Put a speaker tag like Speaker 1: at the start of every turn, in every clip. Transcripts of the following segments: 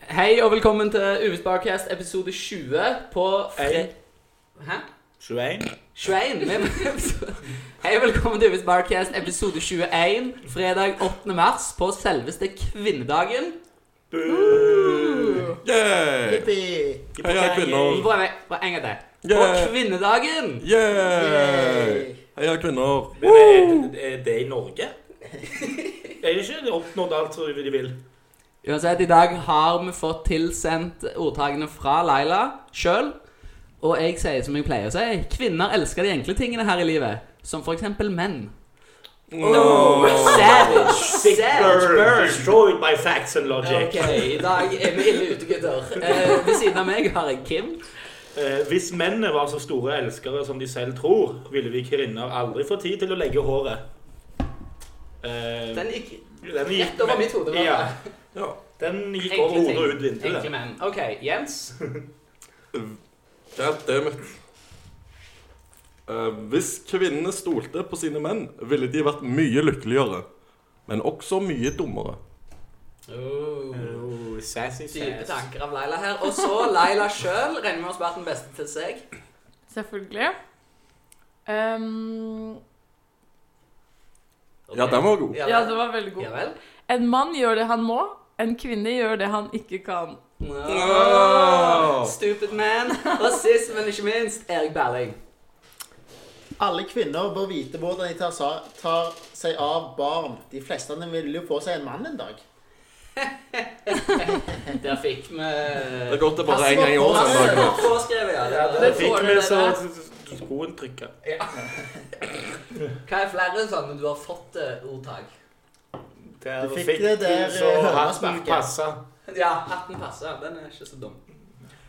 Speaker 1: Hei og velkommen til Uves Barcast episode 20 på fre...
Speaker 2: Hei.
Speaker 1: Hæ?
Speaker 2: 21.
Speaker 1: 21? Vi er på episode- Hei og velkommen til Uves Barcast episode 21, fredag 8. mars på selveste kvinnedagen.
Speaker 3: Yeah!
Speaker 2: Yippee.
Speaker 3: Heia
Speaker 1: Vi
Speaker 3: kvinner!
Speaker 1: prøver på en gang til. På
Speaker 3: Yeah!
Speaker 1: kvinnedagen!
Speaker 3: Yeah! Heia kvinner!
Speaker 2: Men er, er det i Norge? Er det ikke oppnådd alt som de vil?
Speaker 1: Uansett, i dag har vi fått tilsendt ordtakene fra Laila sjøl. Og jeg sier som jeg pleier å si, kvinner elsker de enkle tingene her i livet. Som for eksempel menn.
Speaker 3: Åh.
Speaker 1: Savage!
Speaker 2: Sick
Speaker 1: Savage
Speaker 2: bird,
Speaker 1: bird!
Speaker 2: destroyed by facts and logic.
Speaker 1: Ok, i dag er vi ille ute, gutter. Eh, ved siden av meg har jeg Kim.
Speaker 2: Eh, hvis mennene var så store elskere som de selv tror, ville vi kvinner aldri få tid til å legge håret. Eh,
Speaker 1: Den gikk
Speaker 2: den
Speaker 1: rett over mitt hode. var det?
Speaker 2: Ja,
Speaker 3: Ja.
Speaker 2: den gikk
Speaker 1: Enkle
Speaker 2: over hodet
Speaker 1: ting.
Speaker 2: og ut vinduet.
Speaker 1: Enkle menn. Ok, Jens.
Speaker 3: God damn it. Eh, hvis kvinnene stolte på sine menn, ville de vært mye lykkeligere. Men også mye dummere.
Speaker 1: Oh.
Speaker 2: Oh, sassy
Speaker 1: Dype
Speaker 2: sass.
Speaker 1: tanker av Laila her. Og så Laila sjøl. Regner med å ha spart den beste til seg.
Speaker 4: Selvfølgelig. Ehm,
Speaker 3: Ja, den var god.
Speaker 4: ja, det var veldig
Speaker 1: Ja
Speaker 4: god.
Speaker 1: vel.
Speaker 4: En mann gjør det han må, en kvinne gjør det han ikke kan.
Speaker 3: Wow.
Speaker 1: Stupid man. Og sist, men ikke minst, Erik Berling.
Speaker 5: Alle kvinner bør vite hvordan de tar, sa- tar seg av barn. De fleste av dem vil jo få seg en mann en dag.
Speaker 1: Der fikk vi
Speaker 3: Det er godt det bare er én gang i året. en dag.
Speaker 1: Påskrevet, ja.
Speaker 2: Ja,
Speaker 1: det
Speaker 2: det
Speaker 1: var-
Speaker 4: får
Speaker 2: fikk
Speaker 4: du
Speaker 2: vi
Speaker 4: det
Speaker 2: så
Speaker 4: der.
Speaker 2: så- så skoen trykka.
Speaker 1: Hva er flere sånne du har fått eh, ordtak?
Speaker 2: Der
Speaker 5: Du fikk det der,
Speaker 2: så
Speaker 5: eh,
Speaker 2: hatten
Speaker 5: hønesparket.
Speaker 2: passa.
Speaker 1: Ja, 18 passer. Den er ikke så dum.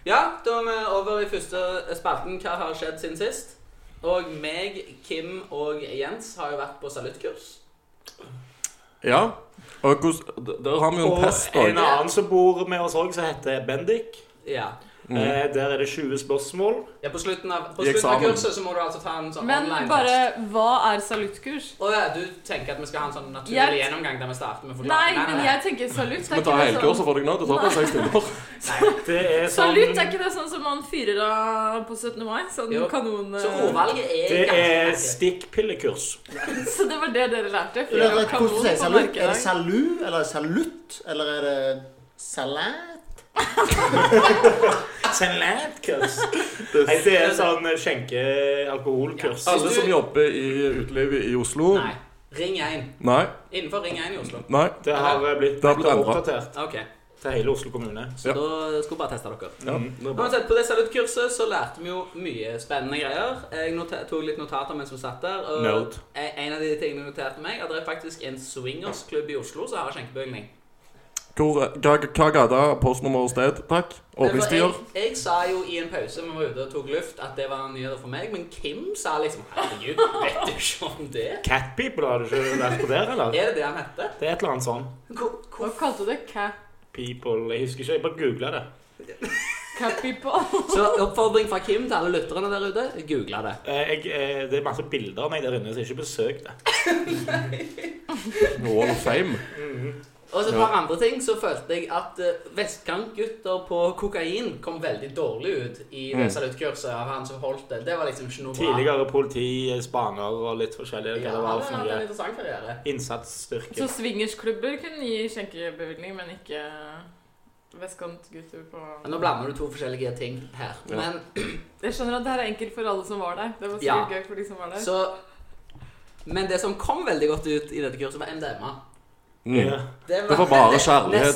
Speaker 1: Ja, da er vi over i første spalten. Hva har skjedd siden sist? Og meg, Kim og Jens har jo vært på saluttkurs.
Speaker 3: Ja. Og hvordan- d- Der har vi jo en test,
Speaker 2: Og en
Speaker 3: da.
Speaker 2: annen som bor med oss òg, som heter Bendik.
Speaker 1: Ja.
Speaker 3: Mm.
Speaker 2: Eh, der er det 20 spørsmål.
Speaker 1: ja på slutten av, på
Speaker 3: I
Speaker 1: slutten av
Speaker 3: eksamen.
Speaker 1: kurset så må du altså ta en sånn
Speaker 4: Men
Speaker 1: online-test.
Speaker 4: bare hva er saluttkurs?
Speaker 1: Å ja, du tenker at vi skal ha en sånn naturlig
Speaker 4: Jeg-
Speaker 1: gjennomgang der vi starter med å
Speaker 4: Nei, men jeg tenker salutt.
Speaker 3: Skal vi ta hele
Speaker 4: sånn-
Speaker 3: kurset for deg nå? Det tar bare seks timer.
Speaker 2: Det er sånn
Speaker 4: Salutt, er ikke det sånn som man fyrer av på 17. mai? Sånn
Speaker 1: Jo.
Speaker 4: kanon...
Speaker 1: Så ordvalget er
Speaker 2: Det er
Speaker 1: ganske
Speaker 2: stikkpillekurs.
Speaker 4: Så det var det dere lærte?
Speaker 5: Eller,
Speaker 4: Fyrer av
Speaker 5: hvordan
Speaker 4: kanon
Speaker 5: sier
Speaker 4: på
Speaker 5: salut? Er det
Speaker 4: merkedag.
Speaker 5: salu, eller salutt, eller er det salat?
Speaker 2: Salatkurs.
Speaker 3: Det
Speaker 2: Nei, det er sånn eh, skjenkealkoholkurs.
Speaker 1: Ja.
Speaker 3: Alle som jobber i utelivet i Oslo
Speaker 1: Nei. Ring 1.
Speaker 3: Nei.
Speaker 1: Innenfor Ring 1 i Oslo.
Speaker 3: Nei.
Speaker 2: Det har eh, blitt
Speaker 3: Det har blitt endret.
Speaker 2: oppdatert
Speaker 1: OK.
Speaker 2: til hele Oslo kommune.
Speaker 1: Så
Speaker 3: Ja.
Speaker 1: da skulle jeg bare teste dere.
Speaker 3: Ja.
Speaker 2: Mm.
Speaker 3: det er bra.
Speaker 1: Uansett, På det saluttkurset så lærte vi jo mye spennende greier. Jeg noter, tok litt notater mens vi satt der. Og
Speaker 3: Nerd.
Speaker 1: en en av de tingene jeg noterte meg, at det er faktisk en swingersklubb i Oslo som har skjenkebevilgning.
Speaker 3: Hvor, hva, hva gata, postnummer og sted, takk?
Speaker 1: For Jeg,
Speaker 3: Åpningstider?
Speaker 1: jeg sa jo i en pause vi var ute og tok luft, at det var nyheter for meg, men Kim sa liksom Herregud, vet du ikke om det?
Speaker 2: Cat people, har du ikke vært på der, eller?
Speaker 1: Er det det han heter?
Speaker 2: Det er et eller annet sånn.
Speaker 1: Hvor, hvor
Speaker 4: Hva kalte du det? Ca-
Speaker 2: People Jeg husker ikke, jeg bare googla det.
Speaker 4: Capipal?
Speaker 1: Så oppfordring fra Kim til alle lytterne der ute, google det.
Speaker 2: Eh, Jeg, eh, det er masse bilder av meg der inne, så jeg har ikke besøkt det.
Speaker 3: Wall of Fame?
Speaker 1: Og så et par andre ting, så følte jeg at eh, vestkantgutter på kokain kom veldig dårlig ut i det
Speaker 3: Mm.
Speaker 1: saluttkurset av han som holdt det. Det var liksom ikke noe bra.
Speaker 2: Tidligere politi, spaner og litt forskjellig.
Speaker 1: Ja,
Speaker 2: Hva det
Speaker 1: han
Speaker 2: var
Speaker 1: hadde
Speaker 2: for
Speaker 1: hatt en
Speaker 2: noe.
Speaker 1: interessant karriere.
Speaker 2: Innsatsstyrke.
Speaker 4: Så swingersklubber kunne gi skjenkebevilgning, men ikke vestkantgutter på
Speaker 1: Men Nå blander du to forskjellige ting her.
Speaker 3: Ja.
Speaker 1: Men
Speaker 4: Jeg skjønner at det her er enkelt for alle som var der. Det var
Speaker 1: Ja.
Speaker 4: sikkert gøy for de som var der.
Speaker 1: så Men det som kom veldig godt ut i dette kurset, var MDMA.
Speaker 3: Mm.
Speaker 2: Ja.
Speaker 3: Det var bare kjærlighet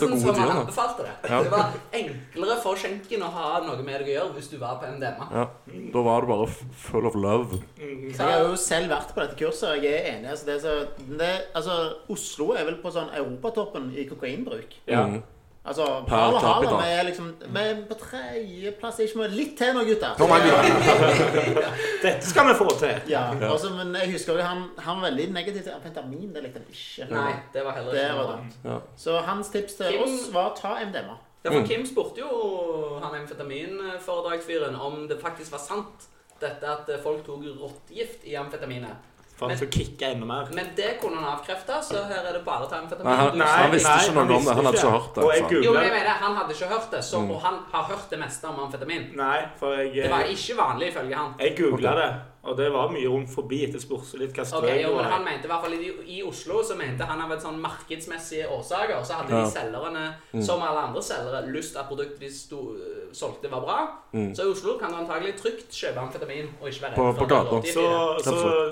Speaker 3: og gode
Speaker 1: Nesten som
Speaker 3: tider,
Speaker 1: han
Speaker 3: da.
Speaker 1: anbefalte det.
Speaker 3: Ja.
Speaker 1: Det var enklere for skjenken å ha noe med deg å gjøre hvis du var på MDMA.
Speaker 3: Ja. Da var det bare f- full of love.
Speaker 2: Mm.
Speaker 5: Så Jeg har jo selv vært på dette kurset, og jeg er enig. Altså, det er så, men det, altså, Oslo er vel på sånn europatoppen i kokainbruk.
Speaker 2: Ja.
Speaker 3: Mm.
Speaker 5: Altså,
Speaker 3: Per
Speaker 5: Harle
Speaker 3: capita.
Speaker 5: Harle, vi er liksom vi er på tredjeplass. Ikke mer. Litt til nå, gutter.
Speaker 3: Kom an, gutter.
Speaker 2: Dette skal vi få til.
Speaker 5: Ja,
Speaker 3: Ja.
Speaker 5: altså, men jeg husker jo han, han var veldig negativ til amfetamin. Det likte han ikke.
Speaker 1: Nei, det var heller
Speaker 5: Det
Speaker 1: ikke
Speaker 5: var
Speaker 1: noe. bra.
Speaker 5: dumt.
Speaker 3: Ja.
Speaker 5: Så hans tips til
Speaker 1: Kim-
Speaker 5: oss var ta MDMA.
Speaker 1: Ja, for
Speaker 3: Mm.
Speaker 1: Kim spurte jo han amfetaminforedragsfyren om det faktisk var sant, dette at folk tok rottegift i amfetaminet.
Speaker 2: For han skal kicke enda mer.
Speaker 1: Men det kunne han avkrefte, så her er det bare
Speaker 3: Nei, han,
Speaker 1: tarmfetamin.
Speaker 2: Nei,
Speaker 3: han visste
Speaker 2: nei,
Speaker 3: ikke
Speaker 2: han
Speaker 3: noe om det. Han hadde
Speaker 2: visste
Speaker 3: ikke
Speaker 2: ikke.
Speaker 3: hørt det.
Speaker 2: Og jeg
Speaker 3: sa han.
Speaker 2: googlet.
Speaker 1: Jo, men jeg mener, han hadde ikke hørt det, så,
Speaker 3: Mm.
Speaker 1: og han har hørt det meste om amfetamin.
Speaker 2: Nei, for jeg
Speaker 1: Det var
Speaker 2: eh,
Speaker 1: ikke vanlig, ifølge han.
Speaker 2: Jeg googla
Speaker 3: Ok.
Speaker 2: det, og det var mye rundt forbi etterspørsel. Litt hva
Speaker 1: Ok,
Speaker 2: strøk
Speaker 1: jo, men
Speaker 2: var.
Speaker 1: han mente i hvert fall i, I Oslo så mente han av et sånn markedsmessige årsaker, så hadde
Speaker 3: Ja. Mm.
Speaker 1: de selgerne, som alle andre selgere, lyst at produktet de sto, øh, solgte, var bra.
Speaker 3: Mm.
Speaker 1: Så i Oslo kan du antagelig trygt kjøpe amfetamin og ikke være redd for
Speaker 3: På- på
Speaker 1: at det er
Speaker 3: gata.
Speaker 1: råtgift i
Speaker 2: Så,
Speaker 1: det.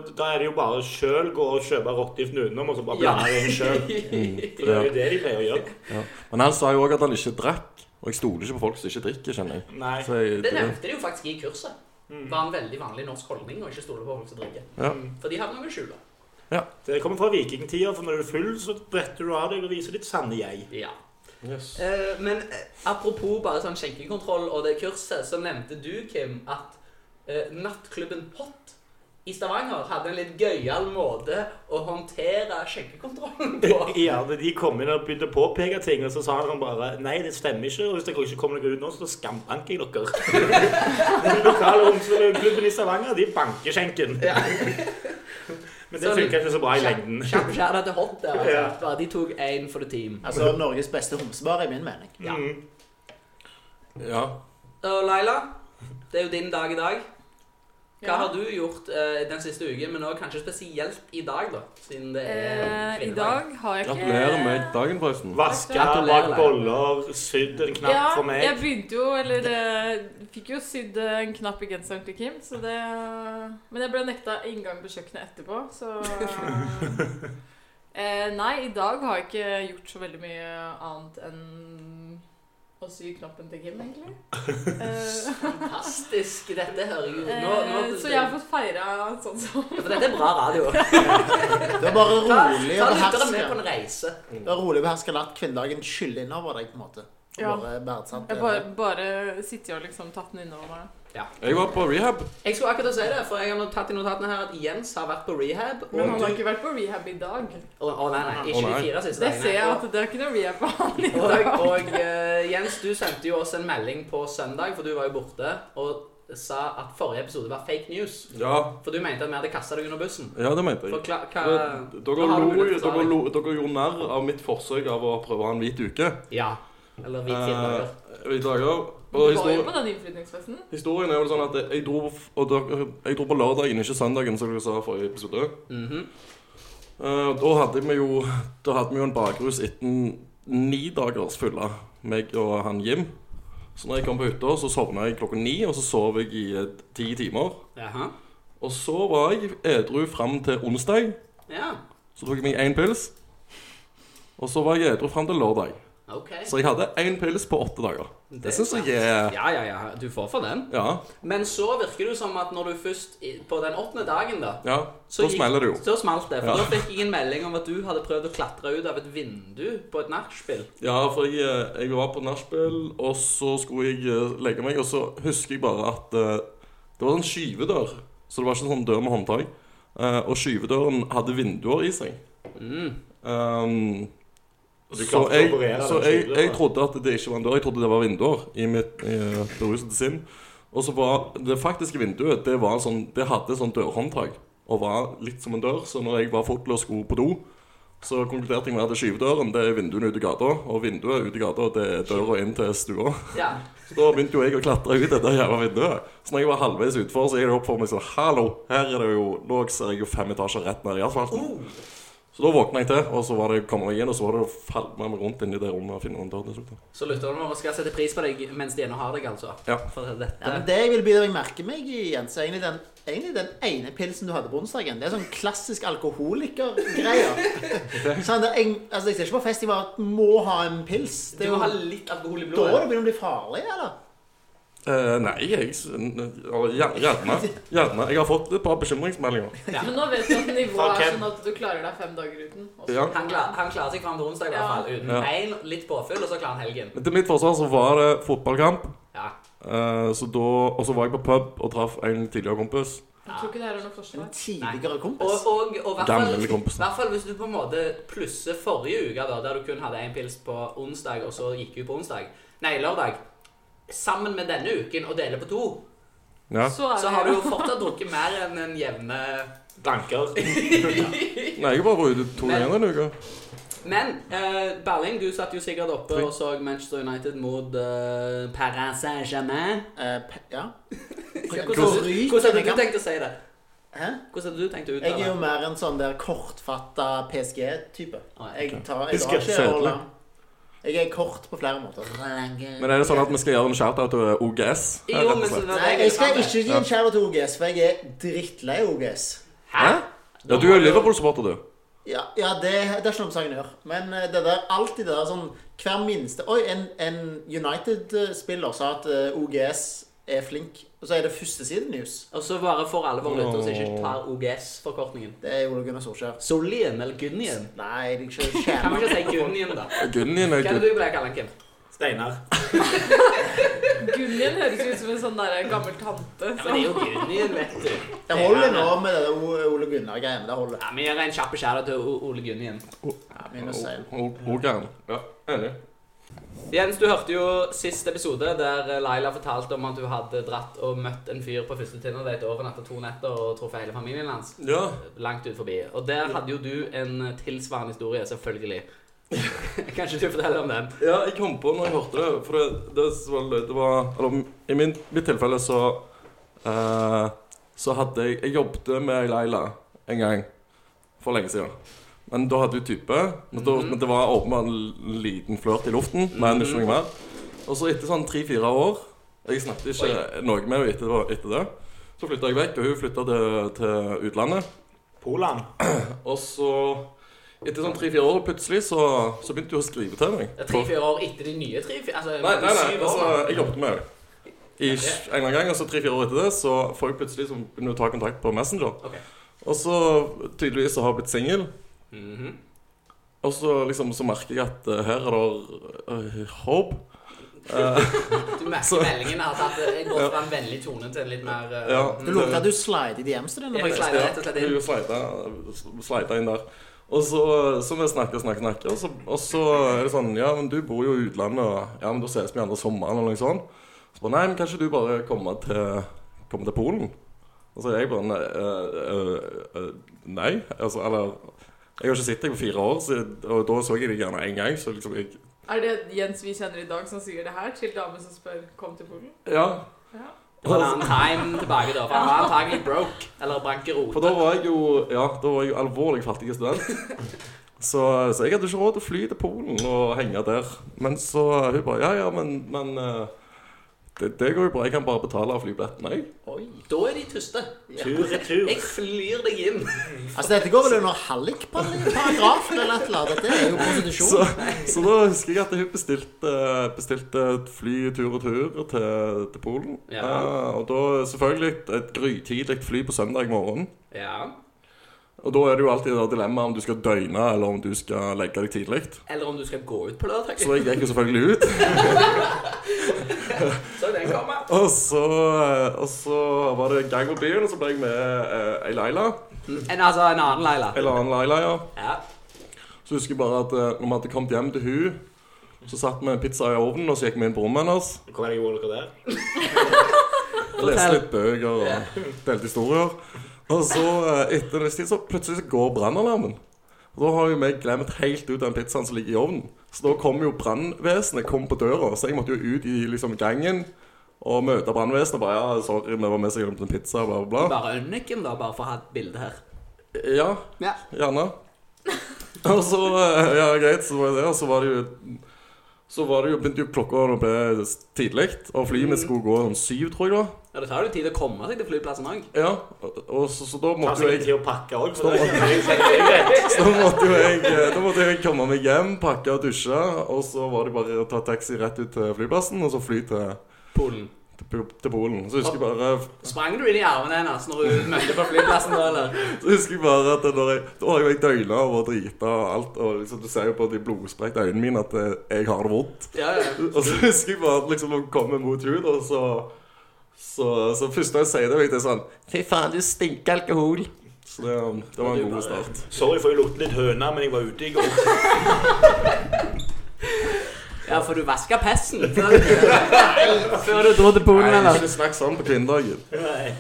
Speaker 2: så da er det jo bare sjøl gå og kjøpe råttgift utenom, og så bare
Speaker 1: Ja.
Speaker 2: blande det inn sjøl.
Speaker 3: Mm.
Speaker 2: For det er jo det de pleier å gjøre.
Speaker 3: Ja. Men han sa jo òg at han ikke drakk. Og jeg stoler ikke på folk som ikke drikker, kjenner jeg.
Speaker 2: Nei.
Speaker 3: Så jeg
Speaker 1: Det nevnte de jo faktisk i kurset. Det var en veldig vanlig norsk holdning å ikke stole på folk som drikker.
Speaker 3: Ja.
Speaker 1: For de har noe å skjule.
Speaker 2: Mm. Det kommer fra vikingtida, for når du er full, så bretter du av deg og viser ditt sanne jeg.
Speaker 1: Ja. Eh, men eh, apropos bare sånn skjenkekontroll og det kurset, så nevnte du, Kim, at eh, nattklubben Pott i Stavanger hadde en litt gøyal måte å håndtere skjenkekontrollen på.
Speaker 2: Ja, men De kom inn og begynte å påpeke ting, og så sa han bare Nei, det stemmer ikke. Og hvis dere ikke kommer dere ut nå, så skambanker jeg dere. Den lokale ungdomsklubben i Stavanger, de banker skjenken.
Speaker 1: Ja.
Speaker 2: Men det funka ikke så bra i lengden.
Speaker 1: Kjapp skjæra til hot der. Altså.
Speaker 2: Ja.
Speaker 1: Bare De tok én for the team.
Speaker 5: Altså Norges beste homsebar, i min mening.
Speaker 1: Ja.
Speaker 2: Mm.
Speaker 3: Ja.
Speaker 1: Og Laila, det er jo din dag i dag. Hva
Speaker 4: Ja.
Speaker 1: har du gjort eh, den siste uken, men også kanskje spesielt i dag, da? Siden det er
Speaker 4: Eh, I
Speaker 1: kvinnedag.
Speaker 4: dag har jeg ikke
Speaker 3: Gratulerer med dagen, forresten.
Speaker 2: Vaska,
Speaker 1: Gratulerer.
Speaker 2: bakt boller, sydd en knapp
Speaker 4: ja,
Speaker 2: for meg.
Speaker 4: jeg begynte jo, eller eh, fikk jo sydd eh, en knapp i genseren til Kim, så det Men jeg ble nekta inngang på kjøkkenet etterpå, så eh, Nei, i dag har jeg ikke gjort så veldig mye annet enn å sy knoppen til Kim, egentlig. Eh,
Speaker 1: Fantastisk. Dette hører jo nå, nå,
Speaker 4: eh, så jeg har fått feira sånn som
Speaker 1: Ja, For dette er bra radio.
Speaker 5: Det var bare
Speaker 1: Ta,
Speaker 5: rolig
Speaker 1: ta
Speaker 5: å
Speaker 1: lytteren med på
Speaker 5: beherske.
Speaker 1: en reise.
Speaker 5: Det var rolig å beherske latt kvinnedagen skylle inn over deg, på en måte. Og
Speaker 4: Ja.
Speaker 5: Bare verdsatt
Speaker 4: Jeg
Speaker 5: det.
Speaker 4: bare, bare sitter og liksom tatt den innover meg.
Speaker 3: Jeg var på rehab.
Speaker 1: Jeg skulle akkurat si det, for jeg har nå tatt i notatene her at Jens har vært på rehab. Og,
Speaker 4: Men han har ikke vært på rehab i dag.
Speaker 1: Å, å, nei, nei, ikke
Speaker 3: Å, nei.
Speaker 1: de fire siste
Speaker 4: Det ser jeg at
Speaker 1: Og,
Speaker 4: det er ikke noe rehab på han i
Speaker 1: og,
Speaker 4: dag.
Speaker 1: og eh, Jens, du sendte jo oss en melding på søndag, for du var jo borte, og sa at forrige episode var fake news.
Speaker 3: Ja,
Speaker 1: For du mente at vi hadde kasta deg under bussen.
Speaker 3: ja det mente jeg.
Speaker 1: For kla, hva,
Speaker 3: Men Dere
Speaker 1: hva har du
Speaker 3: lo,
Speaker 1: mulighet til å
Speaker 3: dere,
Speaker 1: svare?
Speaker 3: lo, dere gjorde narr av mitt forsøk av å prøve å ha en hvit uke.
Speaker 1: Ja. Eller vi
Speaker 3: Eh,
Speaker 1: tildager.
Speaker 3: Hvit dager.
Speaker 4: Du
Speaker 3: Og
Speaker 4: var jo
Speaker 3: histori
Speaker 4: på den innflytningsfesten.
Speaker 3: historien er jo sånn at jeg dro, og dere, jeg dro på lørdagen, ikke søndagen, som dere sa i forrige episode.
Speaker 1: Mhm.
Speaker 3: Eh, og da hadde vi jo Da hadde vi jo en bakrus etter ni dagers fylle, meg og han Jim. Så når jeg kom på hytta, så sovna jeg klokka ni, og så sov jeg i eh, ti timer.
Speaker 1: Jaha.
Speaker 3: Og så var jeg edru fram til onsdag.
Speaker 1: Ja.
Speaker 3: Så tok jeg meg én pils. Og så var jeg edru fram til lørdag.
Speaker 1: OK.
Speaker 3: Så jeg hadde én pils på åtte dager. Det syns jeg er
Speaker 1: Ja, ja, ja. Du får for den.
Speaker 3: Ja.
Speaker 1: Men så virker det jo som at når du først i- På den åttende dagen, da
Speaker 3: ja.
Speaker 1: så
Speaker 3: Da
Speaker 1: gikk-
Speaker 3: smeller det jo.
Speaker 1: Så smalt det. For
Speaker 3: Ja.
Speaker 1: da fikk jeg en melding om at du hadde prøvd å klatre ut av et vindu på et nachspiel.
Speaker 3: Ja, for jeg, eh, jeg var på nachspiel, og så skulle jeg eh, legge meg, og så husker jeg bare at eh, det var en skyvedør. Så det var ikke en sånn dør med håndtak. Eh, og skyvedøren hadde vinduer i seg.
Speaker 1: Mm.
Speaker 3: Um,
Speaker 2: Og du
Speaker 3: så
Speaker 2: klarte å
Speaker 3: jeg,
Speaker 2: operere
Speaker 3: så
Speaker 2: den
Speaker 3: jeg,
Speaker 2: skyvedøren.
Speaker 3: jeg trodde at det ikke var en dør. Jeg trodde det var vinduer i mitt eh, berusede sinn. Og så var det faktiske vinduet Det, var en sånn, det hadde sånn dørhåndtak og var litt som en dør. Så når jeg var fotler og skulle på do, så konkluderte jeg med at skyvedøren det er vinduene ute i gata. Og vinduet ute i gata det er døra inn til stua.
Speaker 1: Ja.
Speaker 3: Så da begynte jo jeg å klatre ut dette jævla vinduet. Så når jeg var halvveis utfor, så gikk det opp for meg sånn Hallo, her er det jo Nå ser jeg jo fem etasjer rett ned i asfalten.
Speaker 1: Oh.
Speaker 3: Så da våkna jeg til, og så var det komme meg igjen, og så var det å falle med meg rundt inni det rommet og finne en dør til slutt.
Speaker 1: Så lytterne våre skal sette pris på deg mens de ennå har deg, altså.
Speaker 3: Ja.
Speaker 1: For dette
Speaker 5: Ja, men det jeg vil begynne å merke meg i, Jens, er egentlig den, egentlig den ene pilsen du hadde på onsdagen. Det er sånn klassisk alkoholikergreier. sånn, det er en- altså, jeg ser ikke på fest jeg bare må ha en pils. Det
Speaker 1: Du
Speaker 5: er
Speaker 1: må
Speaker 5: jo
Speaker 1: ha
Speaker 5: da
Speaker 1: litt alkohol i
Speaker 5: det
Speaker 1: blodet.
Speaker 5: begynner å bli farlig, eller?
Speaker 3: Eh, nei, jeg s- n- eller, gjer- Gjerne. Gjerne. Jeg har fått et par bekymringsmeldinger.
Speaker 4: Men nå vet du at
Speaker 2: Fra
Speaker 4: nivået er
Speaker 2: Kim.
Speaker 4: sånn at du klarer deg fem dager uten. også.
Speaker 3: Ja.
Speaker 1: Han, klar, han klarer seg fram til onsdag, i hvert fall. Uten
Speaker 3: Ja.
Speaker 1: én, litt påfyll, og så klarer han helgen.
Speaker 3: Men til mitt forsvar så var det fotballkamp,
Speaker 1: Ja.
Speaker 3: eh, så da, og så var jeg på pub og traff en tidligere kompis.
Speaker 4: Jeg tror ikke det her er noe
Speaker 5: En
Speaker 4: forsvar.
Speaker 5: tidligere kompis.
Speaker 1: Og, og, og hvert
Speaker 3: Gamle
Speaker 1: fall-
Speaker 3: kompisen.
Speaker 1: hvert fall hvis du på en måte plusser forrige uke, da, der du kun hadde én pils på onsdag, og så gikk du på onsdag, nei, lørdag, sammen med denne uken og deler på to,
Speaker 3: Ja.
Speaker 4: Så er
Speaker 1: Så
Speaker 4: det
Speaker 1: har du jo fortsatt drukket mer enn en jevne
Speaker 2: Danker.
Speaker 3: Nei, jeg har bare vært ute to
Speaker 1: Men-
Speaker 3: ganger denne uka.
Speaker 1: Men eh, Berling, du satt jo sikkert oppe
Speaker 3: Oi.
Speaker 1: og så Manchester United mot eh, Paris Saint-Germain.
Speaker 5: Eh, pe- ja.
Speaker 1: Hvordan, hvordan hadde du tenkt å si det?
Speaker 5: Hæ?
Speaker 1: Hvordan hadde du tenkt å
Speaker 5: Jeg er
Speaker 1: uttale
Speaker 5: jo
Speaker 1: det?
Speaker 5: mer en sånn der kortfatta PSG-type.
Speaker 1: Ah, ja,
Speaker 5: Jeg tar jeg
Speaker 3: Husker
Speaker 5: har ikke
Speaker 3: jeg
Speaker 5: Orla. Jeg er kort på flere måter.
Speaker 3: Men er det sånn at vi skal gjøre en shout-out til eh, OGS? her,
Speaker 1: Jo,
Speaker 3: rett og
Speaker 1: men så
Speaker 3: slett?
Speaker 1: var det
Speaker 5: Nei, jeg skal
Speaker 1: hadde.
Speaker 5: ikke gi en kjære til OGS, for jeg er drittlei OGS.
Speaker 1: Hæ?
Speaker 3: Ja, du er jo Liverpool-supporter, du.
Speaker 5: Ja, ja det, det er ikke noe saken gjør. Men eh, det der, alltid det der sånn Hver minste Oi, en, en United-spiller sa at eh, OGS er flink. Og så er det førstesidenews.
Speaker 1: Og så bare for alle våre lyttere som ikke tar OGS-forkortningen.
Speaker 5: Det er Ole Gunnar Solskjær.
Speaker 1: Solien eller Gunnien?
Speaker 5: Nei, det er ikke
Speaker 1: Kan vi
Speaker 5: skjerma.
Speaker 1: ikke si Gunnien, da?
Speaker 3: Gunnien er
Speaker 1: Hva er
Speaker 3: gutt.
Speaker 1: det du pleier å kalle den, Kim?
Speaker 2: Steinar.
Speaker 4: Gunnien høres ut som en sånn der gammel tante.
Speaker 1: Ja, men det er jo Gunnien, vet du.
Speaker 5: Det holder nå med det der O- Ole Gunnar-greiene. Det holder.
Speaker 1: Ja, Vi gjør en kjapp skjæra til O- Ole Gunnien.
Speaker 5: Ja, minus én.
Speaker 3: Organ. Ja, enig.
Speaker 1: Jens, du hørte jo sist episode der Laila fortalte om at du hadde dratt og møtt en fyr på første Tinder-date overnatta to netter og truffet hele familien hans.
Speaker 3: Ja.
Speaker 1: Langt ut forbi. Og der hadde jo du en tilsvarende historie, selvfølgelig. Kanskje du forteller om den?
Speaker 3: ja, jeg kom på når jeg hørte det, for det, det, var, det var Eller i min, mitt tilfelle så eh, Så hadde jeg Jeg jobbet med Leila en gang for lenge siden. Men da hadde hun type. Men, da, men det var åpenbart en liten flørt i luften. Men ikke noe mer. Og så etter sånn tre-fire år Jeg snakket ikke noe med henne etter, etter det. Så flytta jeg vekk, og hun flytta til, til utlandet.
Speaker 2: Poland.
Speaker 3: Og så Etter sånn tre-fire år plutselig så, så begynte hun å skrive til meg.
Speaker 1: Tre-fire år etter de nye tre? fire- Altså,
Speaker 3: Nei, nei, nei,
Speaker 1: syv år,
Speaker 3: altså,
Speaker 1: da.
Speaker 3: jeg jobbet med det. I en eller annen gang, altså tre-fire år etter det, så får jeg plutselig så begynner jeg å ta kontakt på Messenger.
Speaker 1: Ok.
Speaker 3: Og så tydeligvis så har jeg blitt singel.
Speaker 1: Mhm.
Speaker 3: Og så liksom, så merker jeg at eh, her er det eh, håp. Eh,
Speaker 1: Du merker
Speaker 3: Så-
Speaker 1: meldingen har tatt det gått fra en vennlig tone til en litt mer eh,
Speaker 3: Ja.
Speaker 1: mm.
Speaker 5: Du lovte at du slider i DMs til denne.
Speaker 1: Jeg
Speaker 5: faktisk.
Speaker 1: slider rett og slett inn.
Speaker 3: Hun slida- slida inn der. Og så, så vi snakker og snakker, snakker og så, og så er det sånn Ja, men du bor jo i utlandet, og ja, men da ses vi andre sommeren, eller noe sånt. Så bare Nei, men kanskje du bare kommer til, komme til Polen? Og så er jeg bare Nei. eh, eh, eh, nei. Altså, eller Jeg har ikke sett deg på fire år, så, og da så jeg deg gjerne én gang, så liksom jeg
Speaker 4: Er det Jens vi kjenner i dag som sier det her til damen som spør 'kom til Polen'?
Speaker 3: Ja.
Speaker 4: Ja.
Speaker 1: Det var en annen time tilbake da, for han var antagelig broke, eller bankerot.
Speaker 3: For da var jeg jo Ja, da var jeg jo alvorlig fattig student. Så, så jeg hadde ikke råd til å fly til Polen og henge der. Men så hun bare Ja, ja, men, men eh, det, det går jo bra. Jeg kan bare betale av flybilletten, jeg.
Speaker 5: Oi.
Speaker 1: Da er de tyste.
Speaker 2: Tur-retur.
Speaker 1: Jeg flyr deg inn.
Speaker 5: Altså, dette går vel under hallikparagrafen eller et eller annet. Dette er jo prostitusjon.
Speaker 3: Så, så da husker jeg at hun bestilte, bestilte et fly tur og tur til, til Polen.
Speaker 1: Ja.
Speaker 3: Eh, og da selvfølgelig et grytidlig fly på søndag morgen.
Speaker 1: Ja.
Speaker 3: Og da er det jo alltid det dilemmaet om du skal døgne, eller om du skal legge deg tidlig.
Speaker 1: Eller om du skal gå ut på lørdag.
Speaker 3: Så jeg gikk jo selvfølgelig ut.
Speaker 1: Så den kommer.
Speaker 3: Og så, eh, og så var det gang på byen, og så ble jeg med eh, ei Leila.
Speaker 1: En, altså en annen Leila.
Speaker 3: Eller annen Leila, ja.
Speaker 1: Ja.
Speaker 3: Så husker jeg bare at eh, når vi hadde kommet hjem til hun, så satt vi en pizza i ovnen, og så gikk vi inn på rommet hennes.
Speaker 2: Hvor er det gjorde dere der?
Speaker 3: og Leste litt bøker og delte historier. Og så, eh, etter en viss tid, så plutselig så går brannalarmen. Og da har jo vi glemt helt ut den pizzaen som ligger i ovnen. Så da kom jo brannvesenet kom på døra, så jeg måtte jo ut i liksom, gangen og møte brannvesenet. Bare ja, sorry, vi var med så jeg glemte en pizza, bla, bla, bla.
Speaker 1: Bare Ønniken, da, bare for å ha et bilde her.
Speaker 3: Ja,
Speaker 1: Ja.
Speaker 3: Gjerne. Og så eh, Ja, greit, så var det det. Og så var det jo Så var det jo, begynte jo klokka å bli tidlig, og flyet mitt skulle gå om syv, tror jeg det var.
Speaker 1: Ja, Det tar jo tid å komme seg til flyplassen òg.
Speaker 3: Ja, og, og så, så da
Speaker 2: Ta
Speaker 3: måtte jo
Speaker 2: seg litt
Speaker 3: jeg
Speaker 2: tid å pakke òg.
Speaker 3: da måtte, så da måtte jo jeg eh, Da måtte jeg komme meg hjem, pakke og dusje, og så var det bare å ta taxi rett ut til flyplassen, og så fly til,
Speaker 1: Polen.
Speaker 3: til, til Polen. Så husker jeg bare
Speaker 1: Sprang du inn i armene hennes altså, når hun møtte på flyplassen? da, eller?
Speaker 3: Så husker jeg bare at når jeg, da har jo jeg døgna og drita og alt, og liksom, du ser jo på de blodsprekte øynene mine at eh, jeg har det vondt.
Speaker 1: Ja, ja.
Speaker 3: Og så husker jeg bare at liksom, når hun kommer mot huden, og så Så, så først når jeg sier det, vet jeg sånn Fy faen, du stinker alkohol. Så det, um, det var
Speaker 1: Du
Speaker 3: en god
Speaker 1: bare-
Speaker 3: start.
Speaker 2: Sorry for jeg lukter litt høne, men jeg var ute i går.
Speaker 1: Ja, for du vasker pesten før før du dro til Polen,
Speaker 3: Nei,
Speaker 1: eller?
Speaker 3: ikke snakk sånn på kvinnedagen.
Speaker 2: Nei.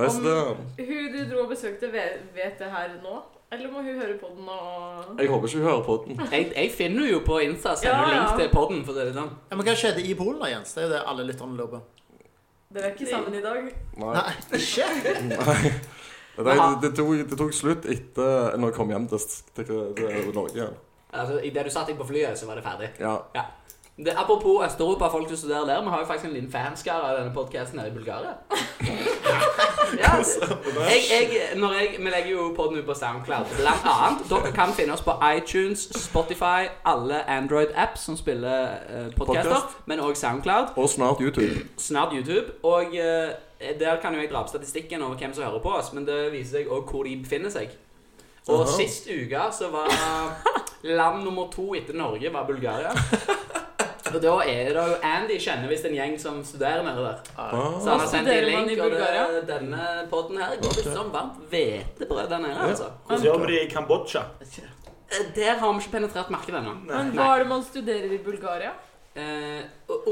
Speaker 3: Nei, så det, um,
Speaker 4: Hun du dro og besøkte, vet vet det her nå? Eller må hun høre på den og
Speaker 3: jeg håper ikke hun hører på den.
Speaker 1: Jeg, jeg finner jo på Insta sender
Speaker 4: Ja, ja.
Speaker 1: link til podden, for å si det er sånn.
Speaker 5: Ja, men hva skjedde i Polen da, Jens? Det er jo det alle lytterne lurer på.
Speaker 4: Dere er ikke sammen i dag?
Speaker 3: Nei.
Speaker 5: Nei, ikke?
Speaker 3: Nei. Det, det,
Speaker 1: Aha.
Speaker 3: det, tok, det tok slutt etter når jeg kom hjem til, til, til Norge igjen.
Speaker 1: Altså, Idet du satte deg på flyet, så var det ferdig.
Speaker 3: Ja.
Speaker 1: Det, apropos Øst-Europa, folk som studerer der. Vi har jo faktisk en liten fanskare av denne podkasten nede i Bulgaria. ja, jeg, jeg, når jeg, vi legger jo podden ut på SoundCloud. Blant annet. Dere kan finne oss på iTunes, Spotify, alle Android-apps som spiller eh, podcaster,
Speaker 3: Podcast.
Speaker 1: men òg SoundCloud.
Speaker 3: Og snart YouTube.
Speaker 1: Snart YouTube. Og eh, der kan jo jeg dra opp statistikken over hvem som hører på oss, men det viser seg òg hvor de befinner seg. Og
Speaker 3: Aha.
Speaker 1: sist uke så var land nummer to etter Norge var Bulgaria. Og da er det jo Andy kjenner visst en gjeng som studerer nede der. Så
Speaker 3: Ah.
Speaker 1: han har sendt en
Speaker 4: Studerer man i
Speaker 1: link, og det,
Speaker 4: Bulgaria?
Speaker 1: denne podden her går visst som varmt hvetebrød der nede, altså.
Speaker 2: Hvordan gjør vi det i Kambodsja?
Speaker 1: Eh, Der har vi ikke penetrert markedet ennå.
Speaker 4: Men hva er det man studerer i Bulgaria?
Speaker 1: Eh,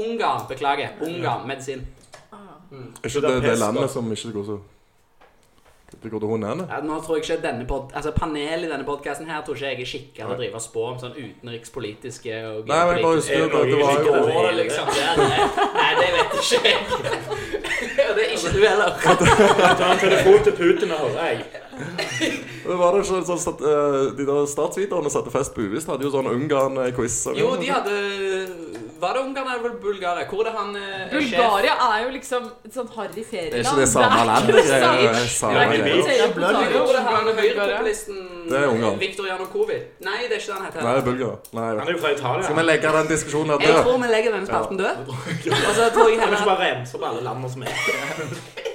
Speaker 1: Ungarn, beklager. Ungarn, medisin.
Speaker 3: Er ikke det det landet som ikke går så Det går til hundene?
Speaker 1: Ja, nå tror jeg ikke denne pod altså Panelet i denne podkasten her tror ikke jeg er skikka til å drive og spå om sånn utenrikspolitiske og
Speaker 3: Nei, men jeg bare husker at det var jo
Speaker 1: Åh, liksom, det er det. Nei, det vet ikke jeg. Og det er ikke du
Speaker 3: Altså,
Speaker 1: heller.
Speaker 2: Ta en telefon til Putin og høre, jeg.
Speaker 3: Det var det ikke sånn at eh, De der statsviterne satte fest på Uvisst, hadde jo sånn Ungarn-quiz. eller
Speaker 1: Jo,
Speaker 3: noe
Speaker 1: de
Speaker 3: sånt.
Speaker 1: hadde Var det Ungarn eller Bulgaria? Hvor er det han eh, er sjef?
Speaker 4: Bulgaria er jo liksom et sånt harry ferieland.
Speaker 3: Det er ikke det samme landet.
Speaker 4: Det
Speaker 3: Det
Speaker 4: er
Speaker 3: er
Speaker 4: ikke
Speaker 3: jo
Speaker 4: det
Speaker 3: samme
Speaker 2: Nei,
Speaker 3: greie.
Speaker 2: det
Speaker 4: samme.
Speaker 5: er blødd.
Speaker 1: Hvor er det han
Speaker 4: Bulgaria.
Speaker 1: høyrepopulisten
Speaker 3: Det er Ungarn.
Speaker 1: Viktor Janukovic? Nei, det er ikke det han heter.
Speaker 3: Nei, det er Bulgaria. Nei, jeg
Speaker 2: Han
Speaker 3: vet
Speaker 2: er jo fra
Speaker 3: ikke.
Speaker 2: Italia.
Speaker 3: Skal vi legge den diskusjonen her
Speaker 1: Jeg
Speaker 3: død?
Speaker 1: tror vi legger denne spalten død.
Speaker 2: Kan
Speaker 1: Og så tror jeg
Speaker 2: vi
Speaker 1: heller
Speaker 2: ikke bare rense opp alle landene som er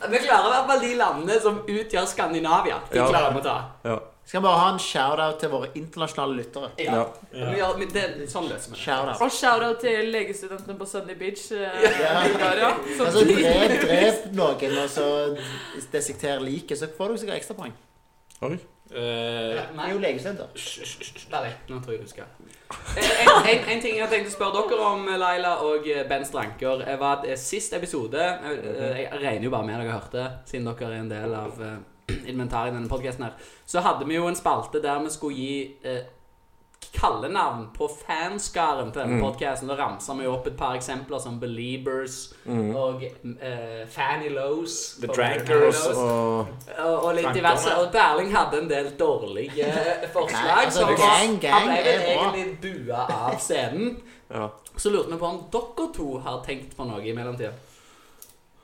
Speaker 1: Vi klarer i hvert fall de landene som utgjør Skandinavia. De
Speaker 3: Ja.
Speaker 1: klarer vi å ta.
Speaker 3: Ja.
Speaker 5: Skal vi bare ha en shout-out til våre internasjonale lyttere?
Speaker 1: Ja.
Speaker 3: ja.
Speaker 1: Men ja, men det, sånn løser vi det.
Speaker 5: Shout-out.
Speaker 4: Og shout-out til legestudentene på Sunny Beach eh, i Bulgaria. Som
Speaker 5: Altså, drep, drep noen, og så desikter liket, så får du sikkert ekstrapoeng.
Speaker 3: Oi.
Speaker 2: med.
Speaker 5: Det er jo legestudenter.
Speaker 1: Bare litt, nå tror jeg du skal. Eh, En, en, en ting jeg tenkte å spørre dere om, Laila og eh, Ben Stranker, eh, var at eh, sist episode eh, eh, Jeg regner jo bare med dere hørte, siden dere er en del av eh, inventaret i denne podkasten her. Så hadde vi jo en spalte der vi skulle gi eh, kallenavn på fanskaren til
Speaker 3: Mm.
Speaker 1: denne podcasten Da ramsa vi jo opp et par eksempler som Beliebers
Speaker 3: Mm.
Speaker 1: og eh, Fanny Lows.
Speaker 2: The
Speaker 1: For-
Speaker 2: Drankers.
Speaker 1: Fanny Lows.
Speaker 3: Og
Speaker 1: Eh, Og, og litt diverse. Og Berling hadde en del dårlige eh,
Speaker 5: Nei,
Speaker 1: forslag.
Speaker 5: altså,
Speaker 1: Så han
Speaker 5: gang,
Speaker 1: var-
Speaker 5: gang
Speaker 1: han ble vel
Speaker 5: er bra.
Speaker 1: egentlig bua av scenen.
Speaker 3: Ja.
Speaker 1: Så lurte vi på om dere to har tenkt på noe i mellomtida.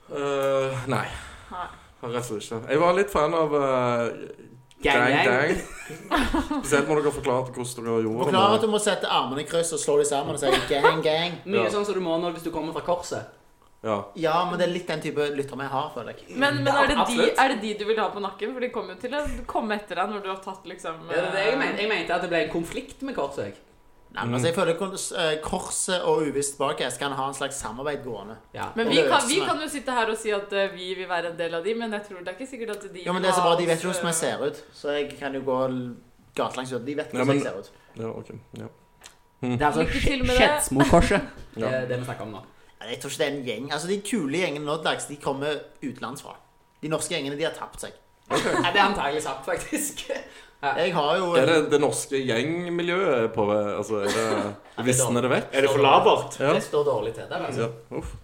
Speaker 3: Eh, nei.
Speaker 4: Nei.
Speaker 3: Rett og slett ikke. Jeg var litt fan av eh,
Speaker 1: Gang, gang.
Speaker 3: Spesielt når dere forklarte hvordan dere gjorde
Speaker 5: Forklar at
Speaker 3: det.
Speaker 5: du må sette armene i kryss og slå dem sammen og si gang, gang.
Speaker 1: Mye
Speaker 3: Ja.
Speaker 1: sånn som du må når hvis du kommer fra korset.
Speaker 3: Ja.
Speaker 5: Ja, men det er litt den type lyttere vi har, føler jeg.
Speaker 4: Men, men
Speaker 1: Ja,
Speaker 4: er, det de,
Speaker 1: absolutt.
Speaker 4: er det de du vil ha på nakken? For de kommer jo til å komme etter deg når du har tatt liksom
Speaker 1: Ja, det er det jeg,
Speaker 4: eh,
Speaker 1: mente. jeg mente at det ble en konflikt med korset. jeg.
Speaker 5: Nei, men altså, jeg føler kons- eh, Korset og Uvisst Bakast kan ha en slags samarbeid gående.
Speaker 1: Ja.
Speaker 4: Men
Speaker 5: Og
Speaker 4: vi kan, vi
Speaker 5: løsene.
Speaker 4: kan jo sitte her og si at eh, vi vil være en del av de, men jeg tror det er ikke sikkert at de
Speaker 5: Jo, men det er så bra, De vet jo
Speaker 4: oss,
Speaker 5: hvordan jeg
Speaker 4: eh,
Speaker 5: ser ut, så jeg kan jo gå l- gatelangs uten. De vet
Speaker 3: Ja,
Speaker 5: hvordan
Speaker 3: men- Mm.
Speaker 5: jeg ser ut.
Speaker 3: ja, ok. Ja.
Speaker 1: Det er altså
Speaker 4: Lykke til med det.
Speaker 1: Skedsmokorset.
Speaker 3: Ja.
Speaker 1: Det er det vi snakker om nå.
Speaker 5: Nei, Jeg tror ikke det er en gjeng. Altså, De kule gjengene nå til dags, de kommer utenlandsfra. De norske gjengene, de har tapt seg.
Speaker 1: Ja, det er antagelig sant, faktisk.
Speaker 5: Jeg har jo eh,
Speaker 3: Er det det norske gjengmiljøet på Altså, er det Visner det vekk?
Speaker 2: Er det for labert?
Speaker 3: Ja.
Speaker 1: Det står dårlig til der. altså.
Speaker 3: ja. Uff.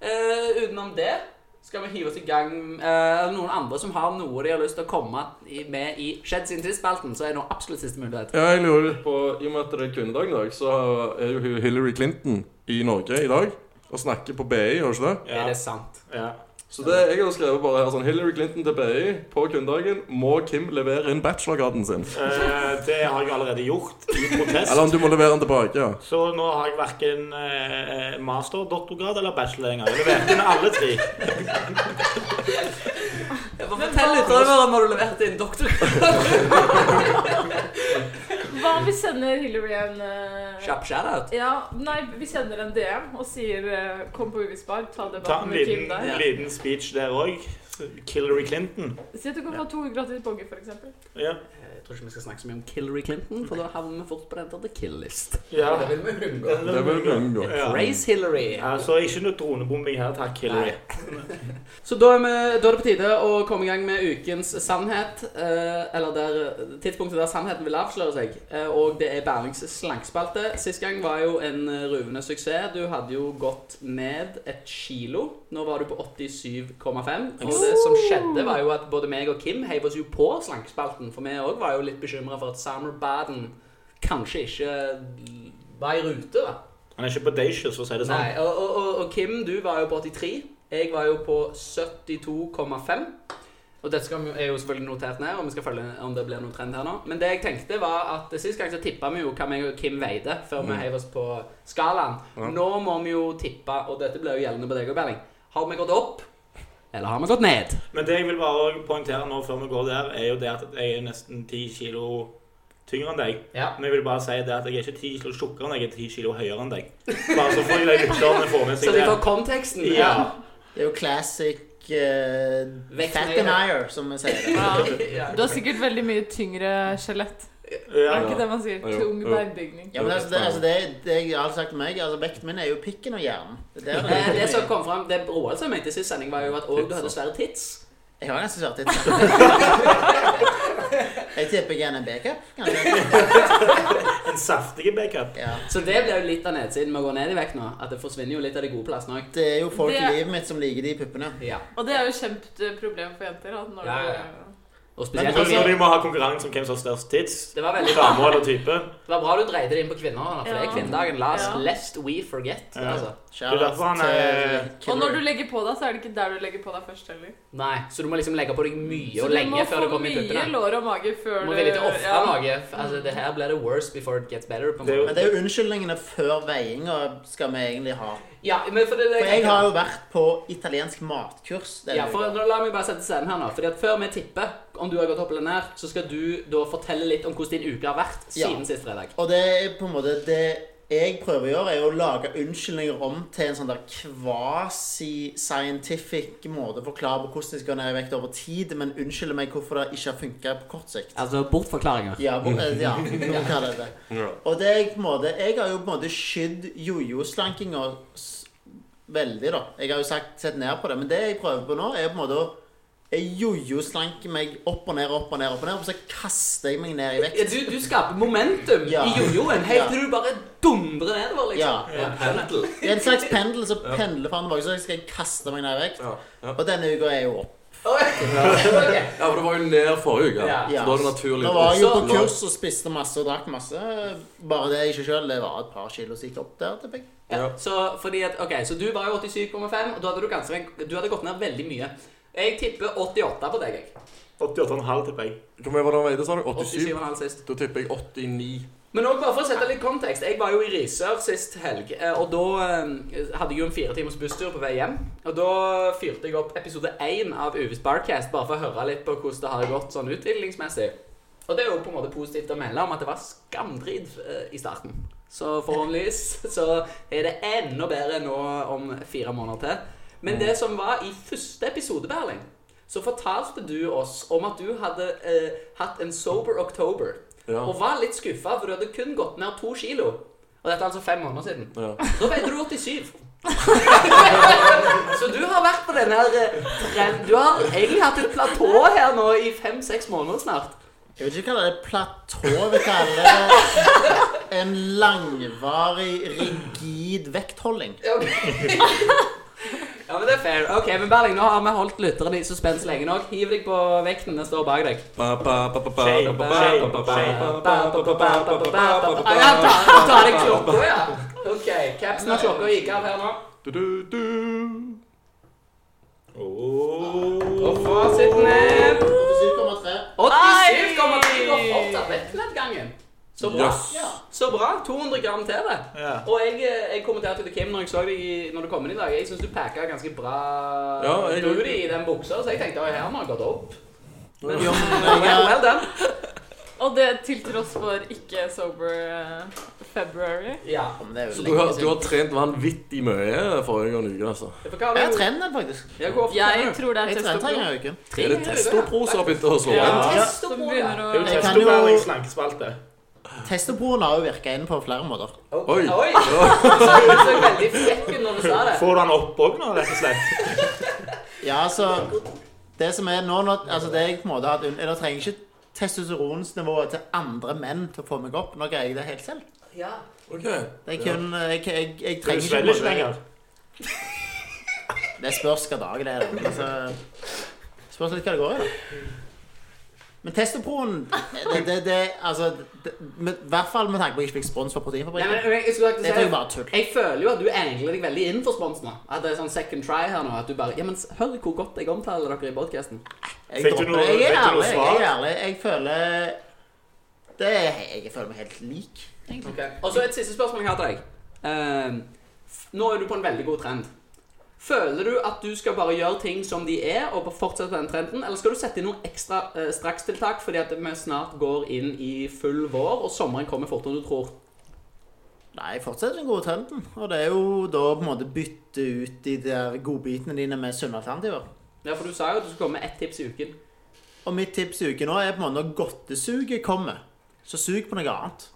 Speaker 1: Eh, utenom det skal vi hive oss i gang. Eh, Er det noen andre som har noe de har lyst til å komme i- med i Skjedd sin tidsspalten, så er nå absolutt siste mulighet.
Speaker 3: Ja, jeg lurer litt på I og med at det er kvinnedagen i dag, så er jo Hillary Clinton i Norge i dag og snakker på BI, gjør hun ikke det?
Speaker 1: Er
Speaker 2: Ja.
Speaker 1: det sant?
Speaker 2: ja.
Speaker 3: Så det jeg har skrevet bare her sånn Hillary Clinton til BI på kvinnedagen. Må Kim levere inn bachelorgraden sin?
Speaker 2: Eh, Det har jeg allerede gjort i protest.
Speaker 3: Eller om du må levere den tilbake? ja.
Speaker 2: Så nå har jeg verken eh, masterdoktorgrad eller bachelor lenger. Jeg leverte inn alle tre.
Speaker 1: Ja, for Eh, Fortell lytterne våre om når du leverte inn doktorgrad.
Speaker 4: Hva om vi sender Hillary en eh,
Speaker 1: Kjapp shout-out.
Speaker 4: Ja, nei, vi sender en DM og sier eh, 'kom på Uvis bar', ta
Speaker 2: Ta
Speaker 4: debatten
Speaker 2: en
Speaker 4: med Kim
Speaker 2: liten,
Speaker 4: der.
Speaker 1: Ja.
Speaker 2: liten speech der òg. Hillary Clinton.
Speaker 4: Si at du kan få to gratis bonger, for eksempel.
Speaker 2: Ja.
Speaker 1: Jeg tror ikke vi skal snakke så mye om Hillary Clinton, for da havner vi fort på den der The Kill-list.
Speaker 2: ja.
Speaker 1: Det vil vi unngå.
Speaker 3: Det er vel unngå.
Speaker 2: Ja.
Speaker 1: Race Hillary.
Speaker 2: Ja, så ikke noe dronebombing her, takk, Hillary.
Speaker 1: Så da er, vi, da er det på tide å komme i gang med ukens sannhet. Eh, eller der, tidspunktet der sannheten vil avsløre seg. Eh, og det er Bernings slankspalte. Sist gang var jo en eh, ruvende suksess. Du hadde jo gått ned et kilo. Nå var du på 87,5. Og det som skjedde, var jo at både meg og Kim heiv oss jo på slankespalten. For vi òg var jo litt bekymra for at Summer Baden kanskje ikke var i rute. da.
Speaker 2: Han er ikke bodacious, for å si det sånn.
Speaker 1: Nei, og, og, og, og Kim, du var jo på 83. Jeg var jo på 72,5. Og dette skal vi- er jo selvfølgelig notert ned, og vi skal følge om det blir noen trend her nå. Men det jeg tenkte, var at sist gang så tippa vi jo hva meg og Kim veide, før
Speaker 2: Mm.
Speaker 1: vi heiv oss på skalaen.
Speaker 3: Ja.
Speaker 1: Nå må vi jo tippe, og dette blir jo gjeldende på deg og Belling. Har vi gått opp, eller har vi gått ned?
Speaker 2: Men det jeg vil bare også poengtere nå før vi går der, er jo det at jeg er nesten 10 kilo tyngre enn deg.
Speaker 1: Ja.
Speaker 2: Men jeg vil bare si det at jeg er ikke 10 kilo tjukkere enn deg, jeg er 10 kilo høyere enn deg. Bare så får de lytterne får med
Speaker 1: Så
Speaker 2: seg
Speaker 1: de
Speaker 2: det.
Speaker 1: får konteksten?
Speaker 2: Ja.
Speaker 5: Det er jo classic eh,
Speaker 1: Vekt
Speaker 5: fat
Speaker 1: ned.
Speaker 5: and iron, som vi sier. det.
Speaker 4: Ja.
Speaker 1: Ja.
Speaker 4: Du har sikkert veldig mye tyngre skjelett.
Speaker 2: Ja.
Speaker 4: Er ikke det man sier?
Speaker 3: Ja, jo,
Speaker 4: Tung
Speaker 3: jo.
Speaker 4: beinbygning.
Speaker 5: Ja, men altså, det, altså, det, det jeg har sagt til meg, altså, vekten min er jo pikken og hjernen. Det er der
Speaker 1: Eh,
Speaker 5: det
Speaker 1: Det som
Speaker 5: er.
Speaker 1: kom fram, det Roald som mente i sist sending, var jo at òg du hadde svære tits.
Speaker 5: Jeg har nesten svart litt. Jeg tipper jeg er en B-cup, kanskje.
Speaker 2: En saftig backup.
Speaker 5: Ja.
Speaker 1: Så det blir jo litt av nedsiden med å gå ned i vekt nå. At det forsvinner jo litt av de gode plassene òg.
Speaker 5: Det er jo folk i
Speaker 4: Det-
Speaker 5: livet mitt som liker de puppene.
Speaker 1: Ja.
Speaker 4: Og det er jo et kjempeproblem for jenter. At når
Speaker 1: Ja, ja, ja.
Speaker 4: du-
Speaker 1: Og
Speaker 5: Men
Speaker 1: spesielt
Speaker 5: altså-
Speaker 2: Når de må ha konkurranse om hvem som har størst tids,
Speaker 1: Det var veldig bra.
Speaker 2: damer eller type.
Speaker 1: Det var bra du dreide det inn på kvinner, da, for det er
Speaker 4: Ja.
Speaker 1: kvinnedagen. La oss
Speaker 4: Ja.
Speaker 1: lest we forget.
Speaker 2: Ja.
Speaker 1: Altså.
Speaker 5: Shout
Speaker 2: Det er derfor han
Speaker 5: out
Speaker 2: er-
Speaker 5: til
Speaker 4: Og når du
Speaker 5: Killer.
Speaker 4: legger på deg, så er det ikke der du legger på deg først heller.
Speaker 1: Nei, så du må liksom legge på deg mye
Speaker 4: Så
Speaker 1: og
Speaker 4: du må
Speaker 1: lenge
Speaker 4: få
Speaker 1: før det kommer i
Speaker 4: mye
Speaker 1: puppene.
Speaker 4: lår og mage før
Speaker 1: Du må villig til å ofre
Speaker 4: ja.
Speaker 1: noe. Altså, det her blir det worse before it gets better. på en
Speaker 2: Det er
Speaker 1: måte.
Speaker 2: jo-
Speaker 5: Men det er jo unnskyldningene før veiinga skal vi egentlig ha.
Speaker 1: Ja, men for det, er det
Speaker 5: For jeg
Speaker 1: tenker.
Speaker 5: har jo vært på italiensk matkurs. denne
Speaker 1: Ja, for
Speaker 5: uka.
Speaker 1: nå La meg bare sette scenen her nå. Fordi at Før vi tipper om du har gått opp eller ned, så skal du da fortelle litt om hvordan din uke har vært
Speaker 5: Ja.
Speaker 1: siden sist fredag.
Speaker 5: Og det er på en måte det jeg prøver å gjøre, er å lage unnskyldninger om til en sånn der quasi-scientific måte å forklare på hvordan de skal gå ned i vekt over tid, men unnskylde meg hvorfor det ikke har funka på kort sikt.
Speaker 1: Altså bortforklaringer.
Speaker 5: Ja, bo- eh, ja noen kaller det det.
Speaker 3: Ja.
Speaker 5: Og det er på en måte Jeg har jo på en måte skydd jojo-slankinga s- veldig, da. Jeg har jo sagt, sett ned på det, men det jeg prøver på nå, er på en måte å Jeg jojo-slanker meg opp og ned, opp og ned, opp og ned, og så kaster jeg meg ned i vekt.
Speaker 1: Ja, du, du skaper momentum
Speaker 5: Ja.
Speaker 1: i jojoen helt
Speaker 5: Ja.
Speaker 1: til du bare dundrer nedover, liksom.
Speaker 5: Ja.
Speaker 1: Det er en pendel.
Speaker 5: Det er en slags pendel som pendler fram og tilbake, så jeg skal kaste meg ned i vekt.
Speaker 3: Ja, ja.
Speaker 5: Og denne uka er jeg jo opp.
Speaker 1: Ok.
Speaker 3: ja, for det var jo ned forrige uke.
Speaker 1: Ja.
Speaker 5: Ja.
Speaker 3: Så da er det naturlig.
Speaker 5: Nå var jeg jo
Speaker 1: Så-
Speaker 5: på kurs og spiste masse og drakk masse. Bare det i seg sjøl, det var et par kilo som gikk opp der. tipper jeg.
Speaker 1: Ja,
Speaker 3: Ja.
Speaker 1: så, fordi at, ok, så du var jo 87,5, og da hadde du ganske Du hadde gått ned veldig mye. Jeg tipper 88 på deg. jeg
Speaker 2: 88,5 tipper jeg.
Speaker 3: Hvor mye var det han veide, sa du? 87?
Speaker 1: 87,5 sist.
Speaker 3: Da tipper jeg 89.
Speaker 1: Men også bare for å sette litt kontekst. Jeg var jo i Risør sist helg, eh, og da eh, hadde jeg jo en fire timers busstur på vei hjem. Og da fyrte jeg opp episode én av Uves Barcast, bare for å høre litt på hvordan det har gått sånn utviklingsmessig. Og det er jo på en måte positivt å melde om at det var skamdrit eh, i starten. Så forhåpentligvis så er det enda bedre nå om fire måneder til. Men det som var i første episode, Berling, så fortalte du oss om at du hadde eh, hatt en sober oktober.
Speaker 3: Ja.
Speaker 1: Og var litt skuffa, for du hadde kun gått ned to kilo. Og dette er altså fem måneder siden.
Speaker 3: Ja.
Speaker 1: Da veide du 87. så du har vært på denne her eh, trend... Du har egentlig hatt et platå her nå i fem-seks måneder snart.
Speaker 5: Jeg vil ikke kalle det platå. Jeg vil kalle det en langvarig, rigid vektholding.
Speaker 1: Ok. ja, men det er fair. Ok, men Berling, nå har vi holdt lytterne i suspens lenge nok. Hiv deg på vekten. Den står bak deg.
Speaker 3: Ba, ba, ba, ba, ba,
Speaker 2: Shame,
Speaker 3: ba, ba,
Speaker 2: shame,
Speaker 3: ba, ba,
Speaker 2: shame.
Speaker 3: ba, ba, ba, ba, ba, ba, ba, ba,
Speaker 1: Ah, Ja, ta, ta deg klokka, ja. Ok, capsen av klokka gikk av her nå.
Speaker 3: Du, du, du.
Speaker 2: Oh.
Speaker 1: Og fasiten er
Speaker 5: 7,3.
Speaker 1: 87,4 og fortsatt vektnedgangen. Så bra.
Speaker 3: Yes.
Speaker 1: Ja, Så bra. 200 gram til det.
Speaker 2: Ja.
Speaker 1: Og jeg, eh, jeg kommenterte til Kim når jeg så deg i- når du kom inn i dag. Jeg syns du packa ganske bra
Speaker 3: Ja, jeg-
Speaker 1: booty i den buksa, så jeg tenkte at her må jeg gått opp. Men
Speaker 5: Jo,
Speaker 1: vel,
Speaker 5: men jeg,
Speaker 1: vel den.
Speaker 4: Og det til tross for ikke sober eh, February.
Speaker 1: Ja.
Speaker 5: Ja, men det er jo
Speaker 3: Så du
Speaker 5: lenge
Speaker 3: har,
Speaker 5: siden.
Speaker 3: du har trent vanvittig mye forrige uke, altså.
Speaker 1: For hva
Speaker 5: Jeg
Speaker 1: har
Speaker 5: har
Speaker 1: du
Speaker 5: trent den, faktisk.
Speaker 1: Ja, hvor ofte trener
Speaker 4: Jeg
Speaker 1: du?
Speaker 4: tror det er
Speaker 5: Jeg trent en
Speaker 4: testosteron.
Speaker 5: gang i uken.
Speaker 3: Er det Testopro som har begynt å slå an?
Speaker 1: Ja.
Speaker 4: Som begynner
Speaker 2: Det
Speaker 4: å
Speaker 2: er jo
Speaker 5: Jeg kan
Speaker 2: testo
Speaker 5: jo-
Speaker 2: i slankespalte.
Speaker 5: Testoproen har jo virka inn på flere måter.
Speaker 1: Ok.
Speaker 3: Oi.
Speaker 1: Oi! Du så ut som veldig frekk ut når du sa det.
Speaker 2: Får du den opp òg nå, rett og slett?
Speaker 5: Ja, altså Det som er nå, nå altså det jeg på en måte har hatt un- Eller trenger ikke testosteronsnivået til andre menn til å få meg opp. Nå greier jeg det helt selv.
Speaker 1: Ja.
Speaker 3: Ok.
Speaker 5: Det er kun, jeg, jeg, jeg
Speaker 2: Du
Speaker 5: trenger
Speaker 2: svelger ikke
Speaker 5: på en måte-
Speaker 2: lenger.
Speaker 5: Det spørs hvilken dag det er. da. Altså, spørs litt hva det går i. da. Men testoproen det, det, det, altså, det, med, I hvert fall med tanke på at jeg ikke fikk spons fra
Speaker 1: Nei, men
Speaker 5: Proteinfabrikken.
Speaker 1: jeg- jeg skulle akkurat
Speaker 5: Dette er jo
Speaker 1: si
Speaker 5: bare tull.
Speaker 1: jeg føler jo at du engler deg veldig inn for spons nå. At det er sånn second try her nå. At du bare Ja, men hør hvor godt jeg omtaler dere i podcasten
Speaker 5: Jeg,
Speaker 2: Fikk du
Speaker 5: dropper-
Speaker 2: noe-
Speaker 5: jeg er
Speaker 2: fikk du noe
Speaker 5: ærlig. Jeg
Speaker 2: svar?
Speaker 5: er ærlig. Jeg føler det, Jeg føler meg helt lik. egentlig.
Speaker 1: Og så et siste spørsmål jeg har til deg. Ehm, f- nå er du på en veldig god trend. Føler du at du skal bare gjøre ting som de er, og bare fortsette på den trenden? Eller skal du sette inn noen ekstra eh, strakstiltak fordi at vi snart går inn i full vår, og sommeren kommer fortere enn du tror?
Speaker 5: Nei, jeg fortsetter den gode trenden. Og det er jo da på en måte bytte ut de der godbitene dine med sunne alternativer.
Speaker 1: Ja, for du sa jo at du skulle komme med ett tips i uken.
Speaker 5: Og mitt tips i uken nå er på en måte når godtesuget kommer, så sug på noe annet.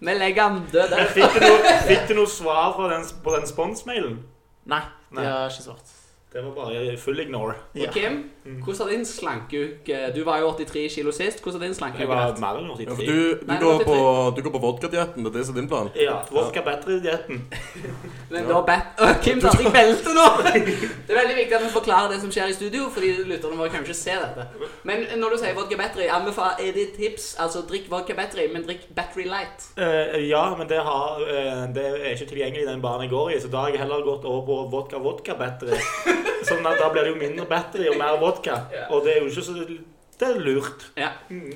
Speaker 1: Vi legger han død
Speaker 2: Men
Speaker 1: der.
Speaker 2: Fikk du noe, fikk du noe svar fra den, på den sponsmailen?
Speaker 5: Nei,
Speaker 2: Nei.
Speaker 5: det har ikke svart.
Speaker 2: Det var bare full ignore.
Speaker 5: Ja.
Speaker 1: Og Kim,
Speaker 2: Mm.
Speaker 1: hvordan har din slankeuke Du var jo 83 kilo sist. Hvordan har din
Speaker 2: Jeg
Speaker 1: slankeuke
Speaker 2: var
Speaker 1: vært?
Speaker 2: mer enn
Speaker 3: Ja, for
Speaker 2: 83.
Speaker 3: du, du,
Speaker 1: Nei,
Speaker 3: går
Speaker 1: det
Speaker 3: på,
Speaker 1: var
Speaker 3: du går på vodkadietten, det er det som er din plan?
Speaker 2: Ja. Vodka battery-dietten.
Speaker 1: Men da bet Øh, Kim satte jeg belte nå! Det er veldig viktig at vi forklarer det som skjer i studio, fordi lytterne våre kan jo ikke se dette. Men når du sier vodka battery, anbefaler er ditt tips altså drikk vodka battery, men drikk battery light.
Speaker 2: Eh, ja, men det, har, eh, det er ikke tilgjengelig i den baren jeg går i, så da har jeg heller gått over på vodka-vodka-battery. sånn at da blir det jo mindre battery og mer vodka. Og det er jo ikke så Det er lurt.
Speaker 1: Ja.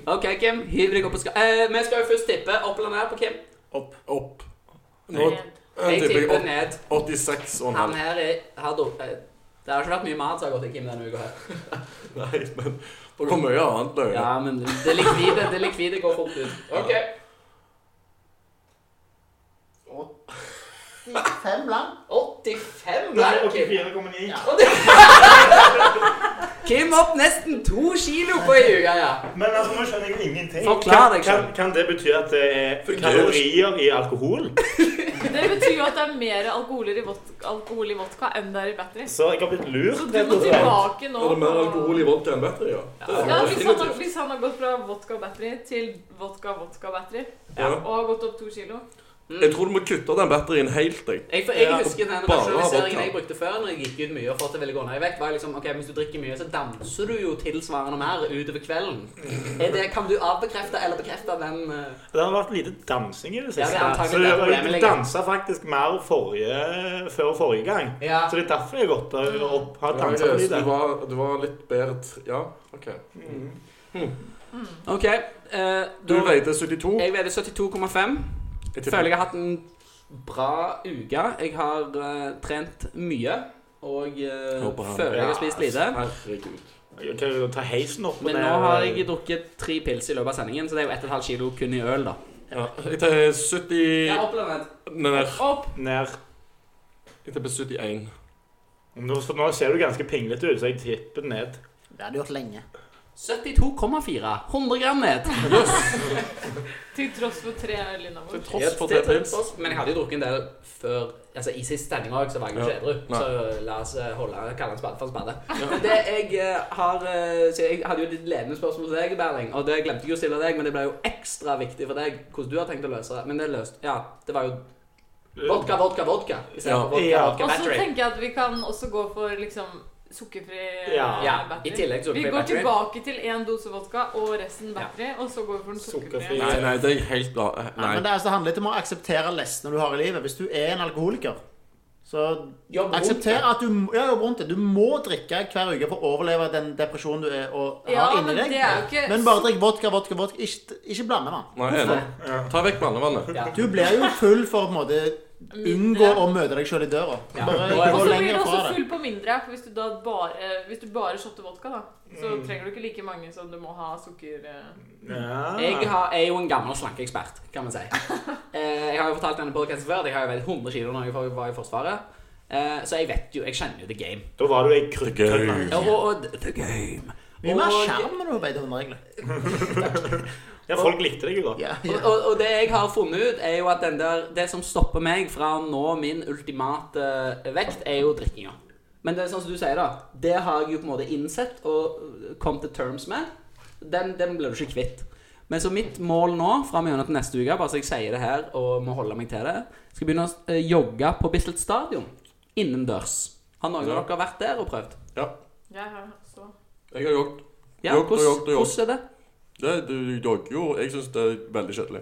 Speaker 1: OK, Kim. Hiv deg opp på ska... Eh, vi skal jo først tippe opp eller ned på Kim.
Speaker 3: Opp. Opp. Nå
Speaker 1: Jeg
Speaker 3: tipper
Speaker 1: tipper
Speaker 3: jeg
Speaker 1: ned.
Speaker 3: 86,5.
Speaker 1: Han her er har do- eh, Det har ikke vært mye mat som har gått til Kim denne uka her.
Speaker 3: Nei, men det går mye annet løye.
Speaker 1: Ja, men det likvide, det likvide går fort ut. OK.
Speaker 5: Fem land.
Speaker 1: 85
Speaker 2: Nei,
Speaker 1: der, Kim.
Speaker 2: 84,9.
Speaker 1: Kim opp nesten to kilo på ei uke, ja.
Speaker 2: Men altså, nå skjønner jeg jo ingenting.
Speaker 1: Forklar deg
Speaker 2: kan,
Speaker 1: selv.
Speaker 2: kan, kan det bety at det er kalorier i alkohol?
Speaker 4: Det betyr jo at det er mer alkoholer i vodka, alkohol i vodka enn det er i battery.
Speaker 2: Så jeg har blitt
Speaker 4: Så
Speaker 2: lurt.
Speaker 4: du må tilbake nå
Speaker 3: Er det mer
Speaker 4: på-
Speaker 3: alkohol i vodka enn battery, ja? Det er det
Speaker 4: Ja, hvis han, har,
Speaker 3: definitivt.
Speaker 4: hvis han har gått fra vodka battery til vodka vodka battery
Speaker 3: Ja.
Speaker 4: og har gått opp to kilo
Speaker 3: Jeg tror du må kutte den batterien helt, jeg.
Speaker 1: Jeg, for, jeg husker den
Speaker 3: Bare
Speaker 1: rasjonaliseringen
Speaker 3: vodka.
Speaker 1: jeg brukte før når jeg gikk ut mye og for at det ville gå ned i vekt, var liksom OK, hvis du drikker mye, så danser du jo tilsvarende mer utover kvelden. Er det, kan du avbekrefte eller bekrefte den eh,
Speaker 2: Det har vært lite dansing i
Speaker 1: Ja,
Speaker 2: det
Speaker 1: det er
Speaker 2: siste.
Speaker 1: antagelig
Speaker 2: så
Speaker 1: der
Speaker 2: jeg,
Speaker 1: problemet
Speaker 2: jeg
Speaker 1: ligger.
Speaker 2: dansa faktisk mer forrige, før forrige gang.
Speaker 1: Ja.
Speaker 2: Så det er derfor jeg har gått opp. Har
Speaker 3: Ja,
Speaker 2: dansa
Speaker 3: så
Speaker 2: for
Speaker 3: du
Speaker 2: lite.
Speaker 3: var, du var litt bedre tr- Ja, OK.
Speaker 2: Mm.
Speaker 4: Mm.
Speaker 1: OK. eh,
Speaker 3: Du
Speaker 1: da-
Speaker 3: veide 72.
Speaker 1: Jeg veide 72,5. Føler
Speaker 3: Jeg tipper
Speaker 1: jeg har hatt en bra uke. Jeg har eh, trent mye. Og eh,
Speaker 3: Håper han-
Speaker 1: føler jeg har
Speaker 2: Ja,
Speaker 1: spist lite.
Speaker 3: Herregud.
Speaker 2: Jeg kan jo ta heisen opp eh,
Speaker 1: Men nå har jeg drukket tre pils i løpet av sendingen, så det er jo 1,5 kilo kun i øl, da.
Speaker 3: Ja, jeg tipper 70
Speaker 1: opplevd
Speaker 3: Ned.
Speaker 4: Opp!
Speaker 2: ned.
Speaker 3: Jeg tipper 71.
Speaker 2: Nå, for nå ser du ganske pinglete ut, så jeg tipper ned.
Speaker 5: Det har du gjort lenge.
Speaker 1: 72,4. 100 gram ned.
Speaker 4: Til tross for tre øl
Speaker 3: Til
Speaker 4: innabords.
Speaker 3: tross for
Speaker 1: Det
Speaker 3: tre
Speaker 1: er
Speaker 3: pils.
Speaker 1: tross, Men jeg hadde jo drukket en del før Altså i sist sending òg, så var jeg jo
Speaker 3: Ja.
Speaker 1: ikke edru.
Speaker 3: Nei.
Speaker 1: Så la oss eh, holde, kalle en spade for en spade. Men det jeg eh, har eh, så Jeg hadde jo litt ledende spørsmål til deg, Berling, og det glemte jeg jo å stille deg, men det ble jo ekstra viktig for deg hvordan du har tenkt å løse det. Men det er løst. Ja, det var jo vodka, vodka, vodka
Speaker 3: Ja.
Speaker 1: istedenfor vodka,
Speaker 2: Ja.
Speaker 1: vodka
Speaker 4: Og så
Speaker 1: battery.
Speaker 4: tenker jeg at vi kan også gå for liksom sukkerfri eh,
Speaker 2: Ja.
Speaker 1: Ja, i
Speaker 4: battery.
Speaker 1: tillegg sukkerfri
Speaker 4: Vi går
Speaker 1: battery.
Speaker 4: tilbake til én dose vodka og resten battery, og så går vi for den
Speaker 2: Sukkerfri.
Speaker 4: sukkerfrie.
Speaker 3: Nei, nei, det er jeg helt bra. eh,
Speaker 5: Nei.
Speaker 3: Nei.
Speaker 5: Men det, er altså, det handler litt om å akseptere lestene du har i livet. Hvis du er en alkoholiker, så
Speaker 1: Jobb rundt
Speaker 5: aksepter at du må- ja, jobb rundt det. Du må drikke hver uke for å overleve den depresjonen du er og har
Speaker 4: Ja,
Speaker 5: inni
Speaker 4: men
Speaker 5: deg.
Speaker 4: det er jo ikke-
Speaker 5: Men bare drikk vodka, vodka, vodka. Ikke, ikke blande den.
Speaker 3: Nei, enig. Ta vekk mannevannet.
Speaker 1: Ja.
Speaker 5: Du blir jo full for på en måte Unngå å møte deg sjøl i døra.
Speaker 1: Ja. Og
Speaker 5: Bare gå
Speaker 4: Og så blir
Speaker 5: lenger
Speaker 4: du
Speaker 5: fra
Speaker 4: også
Speaker 5: det.
Speaker 4: full på mindre, for hvis du da bare, hvis du bare shotter vodka, da, så trenger du ikke like mange som du må ha sukker... eh.
Speaker 1: Jeg
Speaker 2: Ja.
Speaker 1: har, er jo en gammel slankeekspert, kan man si. Eh, jeg har jo fortalt denne podcasten før at jeg har jo veid 100 kilo når jeg var i Forsvaret. Eh, så jeg vet jo, jeg kjenner jo the game.
Speaker 2: Da var du ei
Speaker 1: Ja,
Speaker 2: krykkønne.
Speaker 1: og, og the game.
Speaker 5: Mye mer
Speaker 1: Og-
Speaker 5: skjerm når du har beid hundre, egentlig.
Speaker 2: Ja, folk likte deg jo, da.
Speaker 5: Ja,
Speaker 1: Og,
Speaker 5: ja.
Speaker 1: og, og det jeg har funnet ut, er jo at den der, det som stopper meg fra å nå min ultimate eh, vekt, er jo drikkinga. Men det er sånn som du sier, da. Det har jeg jo på en måte innsett og kom til terms med. Den, den blir du ikke kvitt. Men så mitt mål nå, fram gjennom til neste uke, bare så jeg sier det her og må holde meg til det, skal begynne å eh, jogge på Bislett Stadion. Innendørs. Har noen av
Speaker 3: Ja.
Speaker 1: dere vært der og prøvd?
Speaker 3: Ja.
Speaker 4: Jeg har så...
Speaker 3: Jeg har jogget.
Speaker 1: Ja,
Speaker 3: Jogg og
Speaker 1: hvordan,
Speaker 3: jogg og jogg.
Speaker 1: hvordan er det?
Speaker 3: Det, du jogger jo Jeg syns det er veldig kjedelig.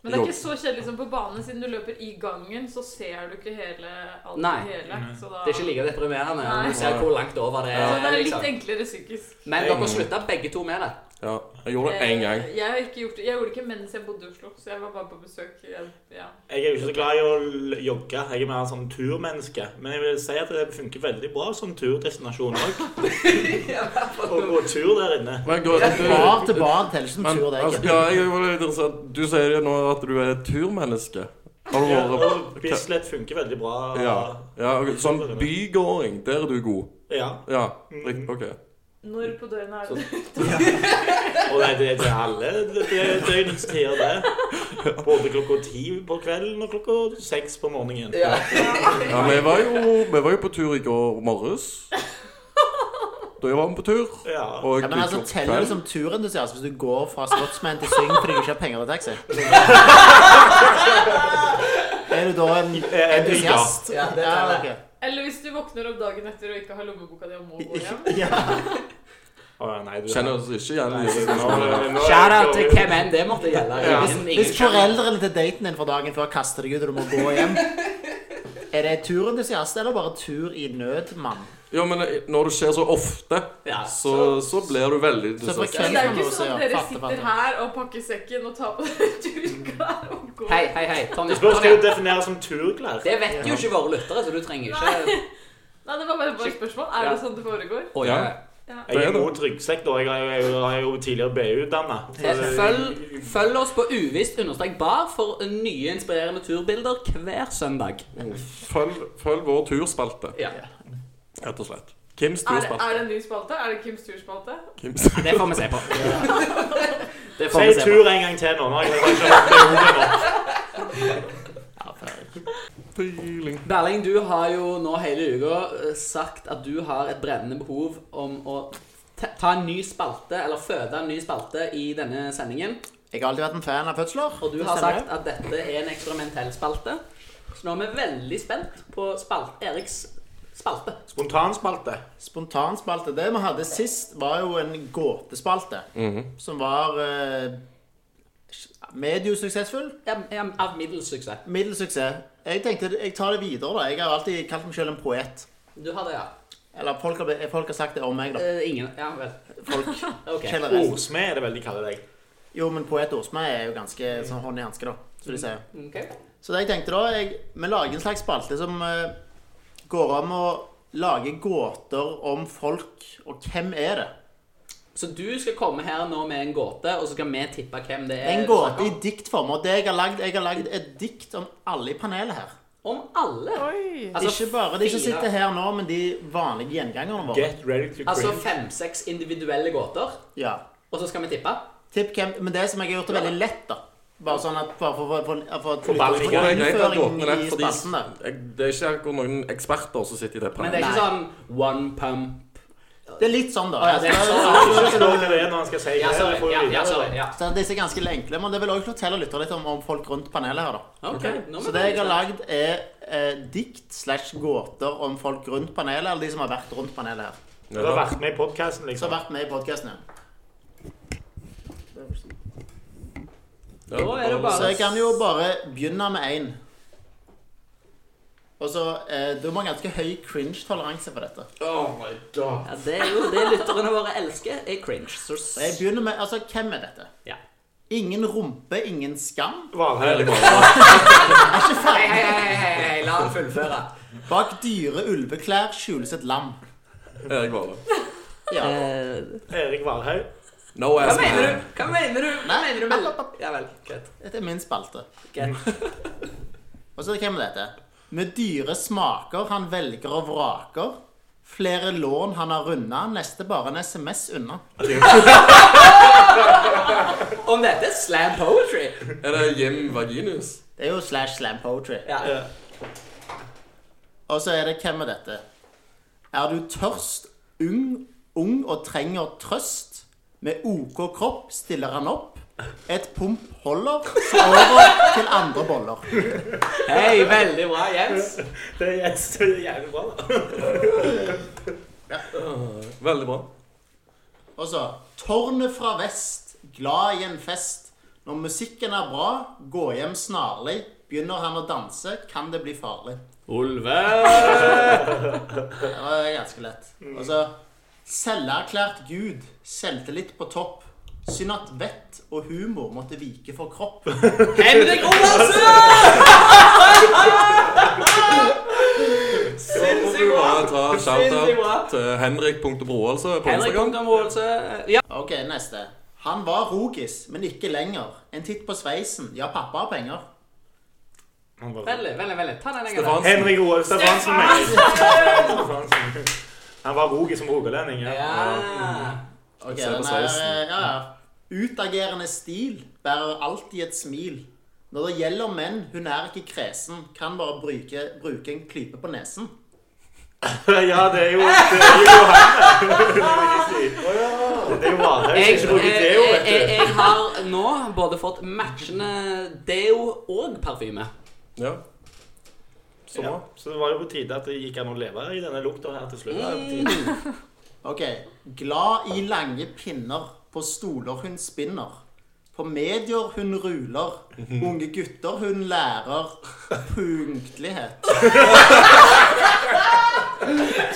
Speaker 4: Men det er
Speaker 3: Jo.
Speaker 4: ikke så kjedelig som på bane, siden du løper i gangen, så ser du ikke hele, alt
Speaker 1: Nei.
Speaker 4: i hele. Så da...
Speaker 1: Det er ikke like deprimerende.
Speaker 4: Nei.
Speaker 1: Du ser hvor langt over det
Speaker 4: Så det
Speaker 1: er.
Speaker 4: er litt
Speaker 1: Liksom.
Speaker 4: enklere psykisk.
Speaker 1: Men dere slutta begge to med det.
Speaker 3: Ja, Jeg gjorde det én gang.
Speaker 4: Eh, Jeg, har ikke gjort, det- jeg gjorde det ikke mens jeg bodde i Oslo, så jeg var bare på besøk. Jeg, ja.
Speaker 2: Jeg er jo ikke så glad i å l- jogge. Jeg er mer en sånn turmenneske. Men jeg vil si at det funker veldig bra som turdestinasjon òg. Å gå tur der inne.
Speaker 3: Men, jeg-
Speaker 5: Bar til bar teller ikke som
Speaker 3: men
Speaker 5: tur, det.
Speaker 3: altså,
Speaker 5: egentlig.
Speaker 3: ja, jeg var litt interessert. Du sier jo nå at du er et turmenneske. Har du
Speaker 2: Ja,
Speaker 3: vært
Speaker 2: og Bislett funker veldig bra.
Speaker 3: ja, ja, ok, Sånn bygåring, der er du god.
Speaker 2: Ja. Mm.
Speaker 3: Ja, riktig. OK.
Speaker 4: Når på døgnet er det?
Speaker 2: Og det, det, det er alle det- det er døgnets tider, det. Både klokka ti på kvelden og klokka seks på morgenen.
Speaker 1: Ja.
Speaker 3: Ja, vi var jo, vi var jo på tur i går morges. Da var vi på tur.
Speaker 2: Ja.
Speaker 3: Og
Speaker 5: Ja, men altså,
Speaker 3: gikk opp
Speaker 5: teller det
Speaker 3: kveld.
Speaker 5: som turentusiast hvis du går fra Slottsmann til Syng fordi du ikke har penger til taxi? Er du da en
Speaker 2: Eh,
Speaker 5: entusiast?
Speaker 1: Ja, det teller.
Speaker 5: ok.
Speaker 4: Eller hvis du våkner opp dagen etter og ikke har lommeboka di og må gå hjem.
Speaker 5: Ja.
Speaker 2: Å, nei, du-
Speaker 3: Kjenner oss ikke igjen. i
Speaker 2: Nå- nå- nå-
Speaker 1: Shout out til hvem enn det måtte gjelde.
Speaker 2: Ja.
Speaker 1: Ingen,
Speaker 5: Hvis
Speaker 1: ingen.
Speaker 5: foreldrene til daten din for dagen før kaster deg ut og du må gå hjem Er det turentusiast eller bare tur i nød, mann?
Speaker 3: Ja, men eh, når det skjer så ofte,
Speaker 1: Ja,
Speaker 3: så, så blir du veldig
Speaker 5: Så for
Speaker 4: Men
Speaker 3: interessert.
Speaker 4: det er jo
Speaker 5: Kan du
Speaker 4: ikke sånn at
Speaker 5: se,
Speaker 4: dere
Speaker 5: fatte,
Speaker 4: sitter
Speaker 5: fatte.
Speaker 4: her og pakker sekken og tar på dere turklær og går.
Speaker 1: Hei, hei, hei. Tonje.
Speaker 2: Det spørs hva du
Speaker 1: Tonje.
Speaker 2: definerer som turklær.
Speaker 1: Det vet jo ikke våre lyttere, så du trenger ikke
Speaker 4: Nei, det var bare bare et spørsmål. Er det
Speaker 1: Ja.
Speaker 4: sånn det foregår?
Speaker 1: Å,
Speaker 3: Ja.
Speaker 2: Jeg er imot ryggsekk, da. Jeg er jo, jeg er jo tidligere BU-utdanna.
Speaker 1: Følg, følg oss på uvisst understrek bar for nye inspirerende turbilder hver søndag.
Speaker 3: Følg, følg vår turspalte,
Speaker 1: Ja.
Speaker 3: rett og slett. Kims
Speaker 4: Er det,
Speaker 3: turspalte.
Speaker 4: er det en ny spalte? Er det Kims turspalte?
Speaker 3: Kims.
Speaker 1: Det får vi se på. Det får
Speaker 2: Si
Speaker 1: vi se på.
Speaker 2: tur en gang til nå. nå har jeg ikke hatt behovet nå.
Speaker 3: Feeling.
Speaker 1: Berling, du har jo nå hele uka eh, sagt at du har et brennende behov om å ta ta en ny spalte, eller føde en ny spalte, i denne sendingen.
Speaker 5: Jeg har alltid vært en fan av fødsler.
Speaker 1: Og du
Speaker 5: Det
Speaker 1: har
Speaker 5: stemmer
Speaker 1: sagt at dette er en eksperimentell spalte. Så nå er vi veldig spent på spalt, Eriks spalte.
Speaker 2: Spontanspalte.
Speaker 5: det. Spontanspalte. Det vi hadde sist, var jo en gåtespalte. Som var eh, mediosuksessfull.
Speaker 1: Ja, ja, Av middels suksess.
Speaker 5: Middels suksess. Jeg tenkte, jeg tar det videre, da. Jeg har alltid kalt meg selv en poet.
Speaker 1: Du har det, ja.
Speaker 5: Eller folk har, folk har sagt det om meg, da.
Speaker 1: Eh, ingen Ja vel.
Speaker 5: Folk
Speaker 1: Ok.
Speaker 5: generelt.
Speaker 2: Ordsmed er det vel de kaller deg.
Speaker 5: Jo, men poet og ordsmed er jo ganske sånn hånd i hanske, da. Så de sier.
Speaker 1: Ok.
Speaker 5: Så det jeg tenkte da, jeg, vi lager en slags spalte som eh, går om å lage gåter om folk, og hvem er det?
Speaker 1: Så du skal komme her nå med en gåte, og så skal vi tippe hvem det er?
Speaker 5: En
Speaker 1: du snakker
Speaker 5: gåte i
Speaker 1: om.
Speaker 5: diktform, og det jeg har lagd, jeg har lagd et dikt om alle i panelet her.
Speaker 1: Om alle? Altså
Speaker 4: Oi.
Speaker 5: ikke bare de som
Speaker 1: fire-
Speaker 5: sitter her nå, men de vanlige gjengangerne våre.
Speaker 2: Get ready to
Speaker 1: Altså
Speaker 2: cringe.
Speaker 1: fem-seks individuelle gåter,
Speaker 5: Ja.
Speaker 1: og så skal vi tippe?
Speaker 5: Tipp hvem, men det som jeg har gjort det veldig lett da, bare sånn at bare for, for, for, for,
Speaker 2: ballen i
Speaker 3: Og
Speaker 5: for,
Speaker 3: det er greit at
Speaker 5: innføring
Speaker 3: gåtene er
Speaker 5: i
Speaker 3: fordi
Speaker 5: spalten der.
Speaker 3: jeg, det er ikke akkurat noen eksperter som sitter i det
Speaker 1: Men det er
Speaker 3: panelet.
Speaker 1: ikke
Speaker 5: Nei.
Speaker 1: sånn one pump
Speaker 5: Det er litt sånn da.
Speaker 1: Å, ja, det er sånn.
Speaker 5: Altså,
Speaker 2: Du skjønner hva det er når han skal si det.
Speaker 1: Ja,
Speaker 2: det
Speaker 1: sorry.
Speaker 2: får vi
Speaker 1: Ja, ja,
Speaker 2: videre.
Speaker 1: sorry. Ja.
Speaker 5: Så disse er ganske enkle, men det vil også fortelle lyttere litt om, om folk rundt panelet her da.
Speaker 1: Ok, nå må
Speaker 5: Så
Speaker 1: vi
Speaker 5: det jeg
Speaker 1: begynne.
Speaker 5: har lagd, er eh, dikt slash gåter om folk rundt panelet, eller de som har vært rundt panelet her.
Speaker 2: Du har vært med i podkasten,
Speaker 5: Som
Speaker 2: liksom.
Speaker 5: har vært med i podkasten.
Speaker 3: Ja,
Speaker 1: Da er det
Speaker 5: Så
Speaker 1: bare-
Speaker 5: jeg kan jo bare begynne med én. Og så eh, Du må ha ganske høy cringe-toleranse for dette.
Speaker 3: Oh my god.
Speaker 1: Ja, det er jo det lytterne våre elsker, er cringe. Så
Speaker 5: Så jeg begynner med Altså, hvem er dette?
Speaker 1: Ja.
Speaker 5: Ingen rumpe, ingen skam.
Speaker 2: Valhall.
Speaker 5: Er ikke
Speaker 1: Hei, hei,
Speaker 5: ferdig.
Speaker 1: hei, hei, hei, la han fullføre.
Speaker 5: Bak dyre ulveklær skjules et lam.
Speaker 3: Erik Vale.
Speaker 5: Ja.
Speaker 1: Eh,
Speaker 2: Erik Valhaug.
Speaker 3: No
Speaker 1: Hva
Speaker 3: ass
Speaker 1: mener
Speaker 3: man.
Speaker 1: du? Hva mener du? Hva
Speaker 5: Nei.
Speaker 1: mener du med Ja vel, greit.
Speaker 5: Dette er min spalte.
Speaker 1: greit.
Speaker 5: Og så hvem er dette? Med dyre smaker han velger og vraker. Flere lån han har runda. Neste bare en SMS unna.
Speaker 1: Om dette er slam poetry
Speaker 3: Er det Jim Vaginus?
Speaker 5: Det er jo slash slam poetry.
Speaker 1: Ja.
Speaker 2: Ja.
Speaker 5: Og så er det hvem er dette? Er du tørst, ung, ung og trenger trøst? Med OK kropp stiller han opp. Et pump holder, så over til andre boller.
Speaker 1: Hei, veldig bra, Jens.
Speaker 2: Det er yes, det er jævlig bra, da.
Speaker 3: Veldig bra.
Speaker 5: Og så Tårnet fra vest, glad i en fest. Når musikken er bra, gå hjem snarlig. Begynner han å danse, kan det bli farlig.
Speaker 1: Olve.
Speaker 5: Det var ganske lett. Og så Selverklært Gud, selvtillit på topp. Synd at vett og humor måtte vike for kropp.
Speaker 1: Henrik Olavsen! Sinnssykt bra.
Speaker 3: Bare ta
Speaker 1: Sinnssykt bra.
Speaker 3: shout-out til Henrik.broalse på
Speaker 1: Henrik
Speaker 3: Instagram.
Speaker 1: Omdamholse. Ja.
Speaker 5: Ok, neste. Han var rogis, men ikke lenger. En titt på sveisen. Ja, pappa har penger.
Speaker 2: Han bare-
Speaker 1: Veldig, veldig, veldig. Ta den en gang.
Speaker 3: Stefansen.
Speaker 2: Henrik Roald Stefansen. mener jeg. Stefansen. Han var rolig som rogalending. Ja.
Speaker 1: Ja.
Speaker 5: Ok,
Speaker 3: Se på
Speaker 5: den er, eh,
Speaker 3: sveisen.
Speaker 5: ja, ja. Utagerende stil bærer alltid et smil. Når det gjelder menn, hun er ikke kresen. Kan bare bruke, bruke en klype på nesen.
Speaker 2: ja, det er jo Det er jo han. der. Det er jo Valhaug som
Speaker 1: Jeg,
Speaker 2: ikke
Speaker 1: jeg,
Speaker 2: bruker deo,
Speaker 1: jeg,
Speaker 2: vet
Speaker 1: jeg,
Speaker 2: du.
Speaker 1: jeg har nå både fått matchende deo og parfyme.
Speaker 3: Ja. Så
Speaker 2: Ja,
Speaker 3: bra.
Speaker 2: så det var jo på tide at det gikk an å leve i denne lukta her til slutt. Det er på
Speaker 1: Mm.
Speaker 2: tide.
Speaker 5: Ok. Glad i lange pinner. På stoler hun spinner. På medier hun ruler. Unge gutter hun lærer punktlighet.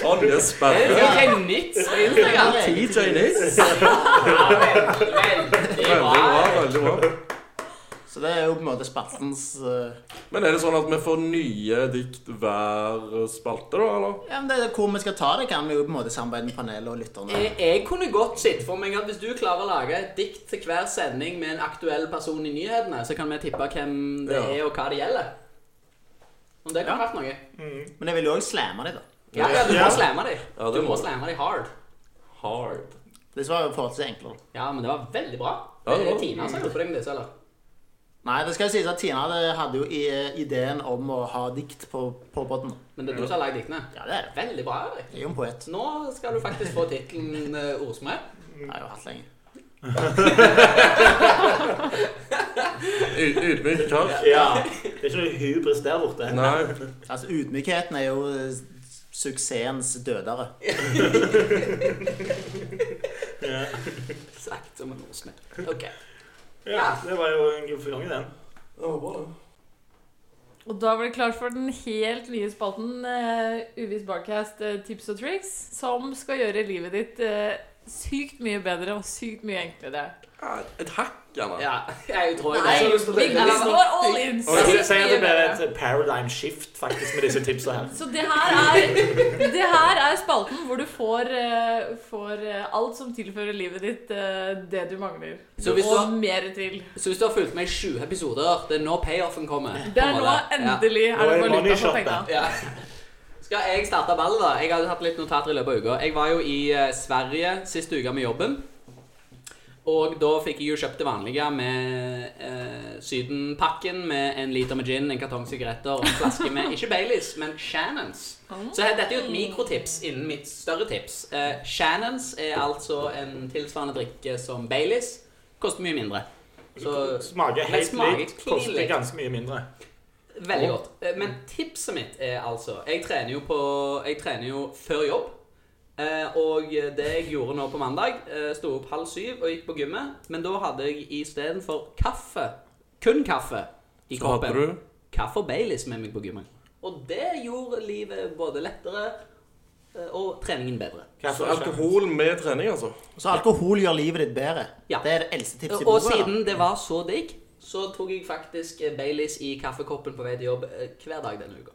Speaker 3: Tonje
Speaker 1: Jeg
Speaker 3: Sperre.
Speaker 1: fikk en nytt sprint, jeg har tid.
Speaker 3: DJ Nis.
Speaker 1: Veldig
Speaker 3: Veldig bra.
Speaker 1: bra.
Speaker 3: veldig bra.
Speaker 5: Så det er jo på en måte spaltens eh,
Speaker 3: Men er det sånn at vi får nye dikt hver spalte, da? eller?
Speaker 5: Ja, men det er hvor vi skal ta det, kan vi jo på en måte samarbeide med panelet og lytterne.
Speaker 1: Jeg, jeg kunne godt sett for meg at hvis du klarer å lage et dikt til hver sending med en aktuell person i nyhetene, så kan vi tippe hvem det
Speaker 3: Ja.
Speaker 1: er, og hva det gjelder. Om det kunne vært noe. Eh.
Speaker 5: Men jeg vil jo òg slamme dem, da.
Speaker 1: Ja, ja, du må
Speaker 2: Ja.
Speaker 1: slamme dem.
Speaker 3: Ja, det
Speaker 1: Du
Speaker 3: må
Speaker 1: må
Speaker 3: du.
Speaker 1: slamme dem hard.
Speaker 3: Hard.
Speaker 5: Disse var jo forholdsvis enklere.
Speaker 1: Ja, men det var veldig bra.
Speaker 3: Ja, det
Speaker 1: det
Speaker 3: var-
Speaker 1: er Tina som har hjulpet deg med disse, eller?
Speaker 5: Nei, det skal jo sies at Tina det hadde jo i- eh, ideen om å ha dikt på, på podden.
Speaker 1: Men det er du som har lagd diktene.
Speaker 5: Ja, det er det.
Speaker 1: Veldig bra, Erik.
Speaker 5: Jeg er jo en poet.
Speaker 1: Nå skal du faktisk få tittelen eh, ordsmed.
Speaker 5: Jeg har jo hatt lenge.
Speaker 3: Y- Ydmyk kar.
Speaker 2: Ja. Det er ikke noe hybris der borte.
Speaker 3: Nei.
Speaker 5: Altså, Ydmykheten er jo eh, suksessens dødere.
Speaker 2: Ja.
Speaker 1: Sagt som en ordsmed. Ok.
Speaker 2: ja, det var jo en god gang, den.
Speaker 4: Og da var det klart for den helt nye spalten eh, Uvis Barcast eh, tips og triks, som skal gjøre livet ditt eh, sykt mye bedre og sykt mye enklere.
Speaker 3: Et hakk, gjerne.
Speaker 1: Ja, jeg tror jeg
Speaker 4: Nei,
Speaker 1: det.
Speaker 4: vi vi går all in!
Speaker 2: Og jeg
Speaker 4: sykt
Speaker 2: sier at det
Speaker 4: mye
Speaker 2: blir
Speaker 4: bedre.
Speaker 2: et paradigm shift faktisk med disse tipsa her.
Speaker 4: Så det her, er, det her er spalten hvor du får, eh, får eh, alt som tilfører livet ditt eh, det du mangler.
Speaker 1: Så hvis du
Speaker 4: og
Speaker 1: har-
Speaker 4: mer til.
Speaker 1: Så hvis du har fulgt med i sju episoder, det er nå payoffen kommer.
Speaker 4: Det er
Speaker 1: på en
Speaker 4: nå
Speaker 1: måte.
Speaker 4: endelig
Speaker 2: Nå
Speaker 4: er
Speaker 2: er
Speaker 4: det
Speaker 2: det money
Speaker 4: valuta for
Speaker 2: shot,
Speaker 4: penga.
Speaker 2: da.
Speaker 1: Ja. Skal jeg starte ballet, da? Jeg har hatt litt notater i løpet av uka. Jeg var jo i eh, Sverige sist uke med jobben. Og da fikk jeg jo kjøpt det vanlige med eh, Sydenpakken med en liter med gin, en kartong sigaretter og en flaske med ikke Baileys, men Shannons. Så her- dette er jo et mikrotips innen mitt større tips. Eh, Shannons er altså en tilsvarende drikke som Baileys. Koster mye mindre. Så
Speaker 2: Smaker
Speaker 1: Men
Speaker 2: helt
Speaker 1: smaker
Speaker 2: likt,
Speaker 1: clean
Speaker 2: koster
Speaker 1: likt.
Speaker 2: ganske mye mindre.
Speaker 1: Veldig godt. Eh, Men tipset mitt er altså Jeg trener jo, på, jeg trener jo før jobb. Eh, Og det jeg gjorde nå på mandag, eh, sto opp halv syv og gikk på gymmet. Men da hadde jeg istedenfor kaffe, kun kaffe, i
Speaker 3: Så hadde
Speaker 1: kroppen.
Speaker 3: du
Speaker 1: Kaffe og Baileys med meg på gymmet. Og det gjorde livet både lettere eh, og treningen bedre.
Speaker 2: Hva
Speaker 3: Så
Speaker 2: for det skjer?
Speaker 3: alkohol med trening, altså.
Speaker 5: Så alkohol gjør livet ditt bedre.
Speaker 1: Ja.
Speaker 5: Det er det eldste tipset
Speaker 1: Og
Speaker 5: i boka. da.
Speaker 1: siden det var så digg, så tok jeg faktisk eh, Baileys i kaffekoppen på vei til jobb eh, hver dag denne uka.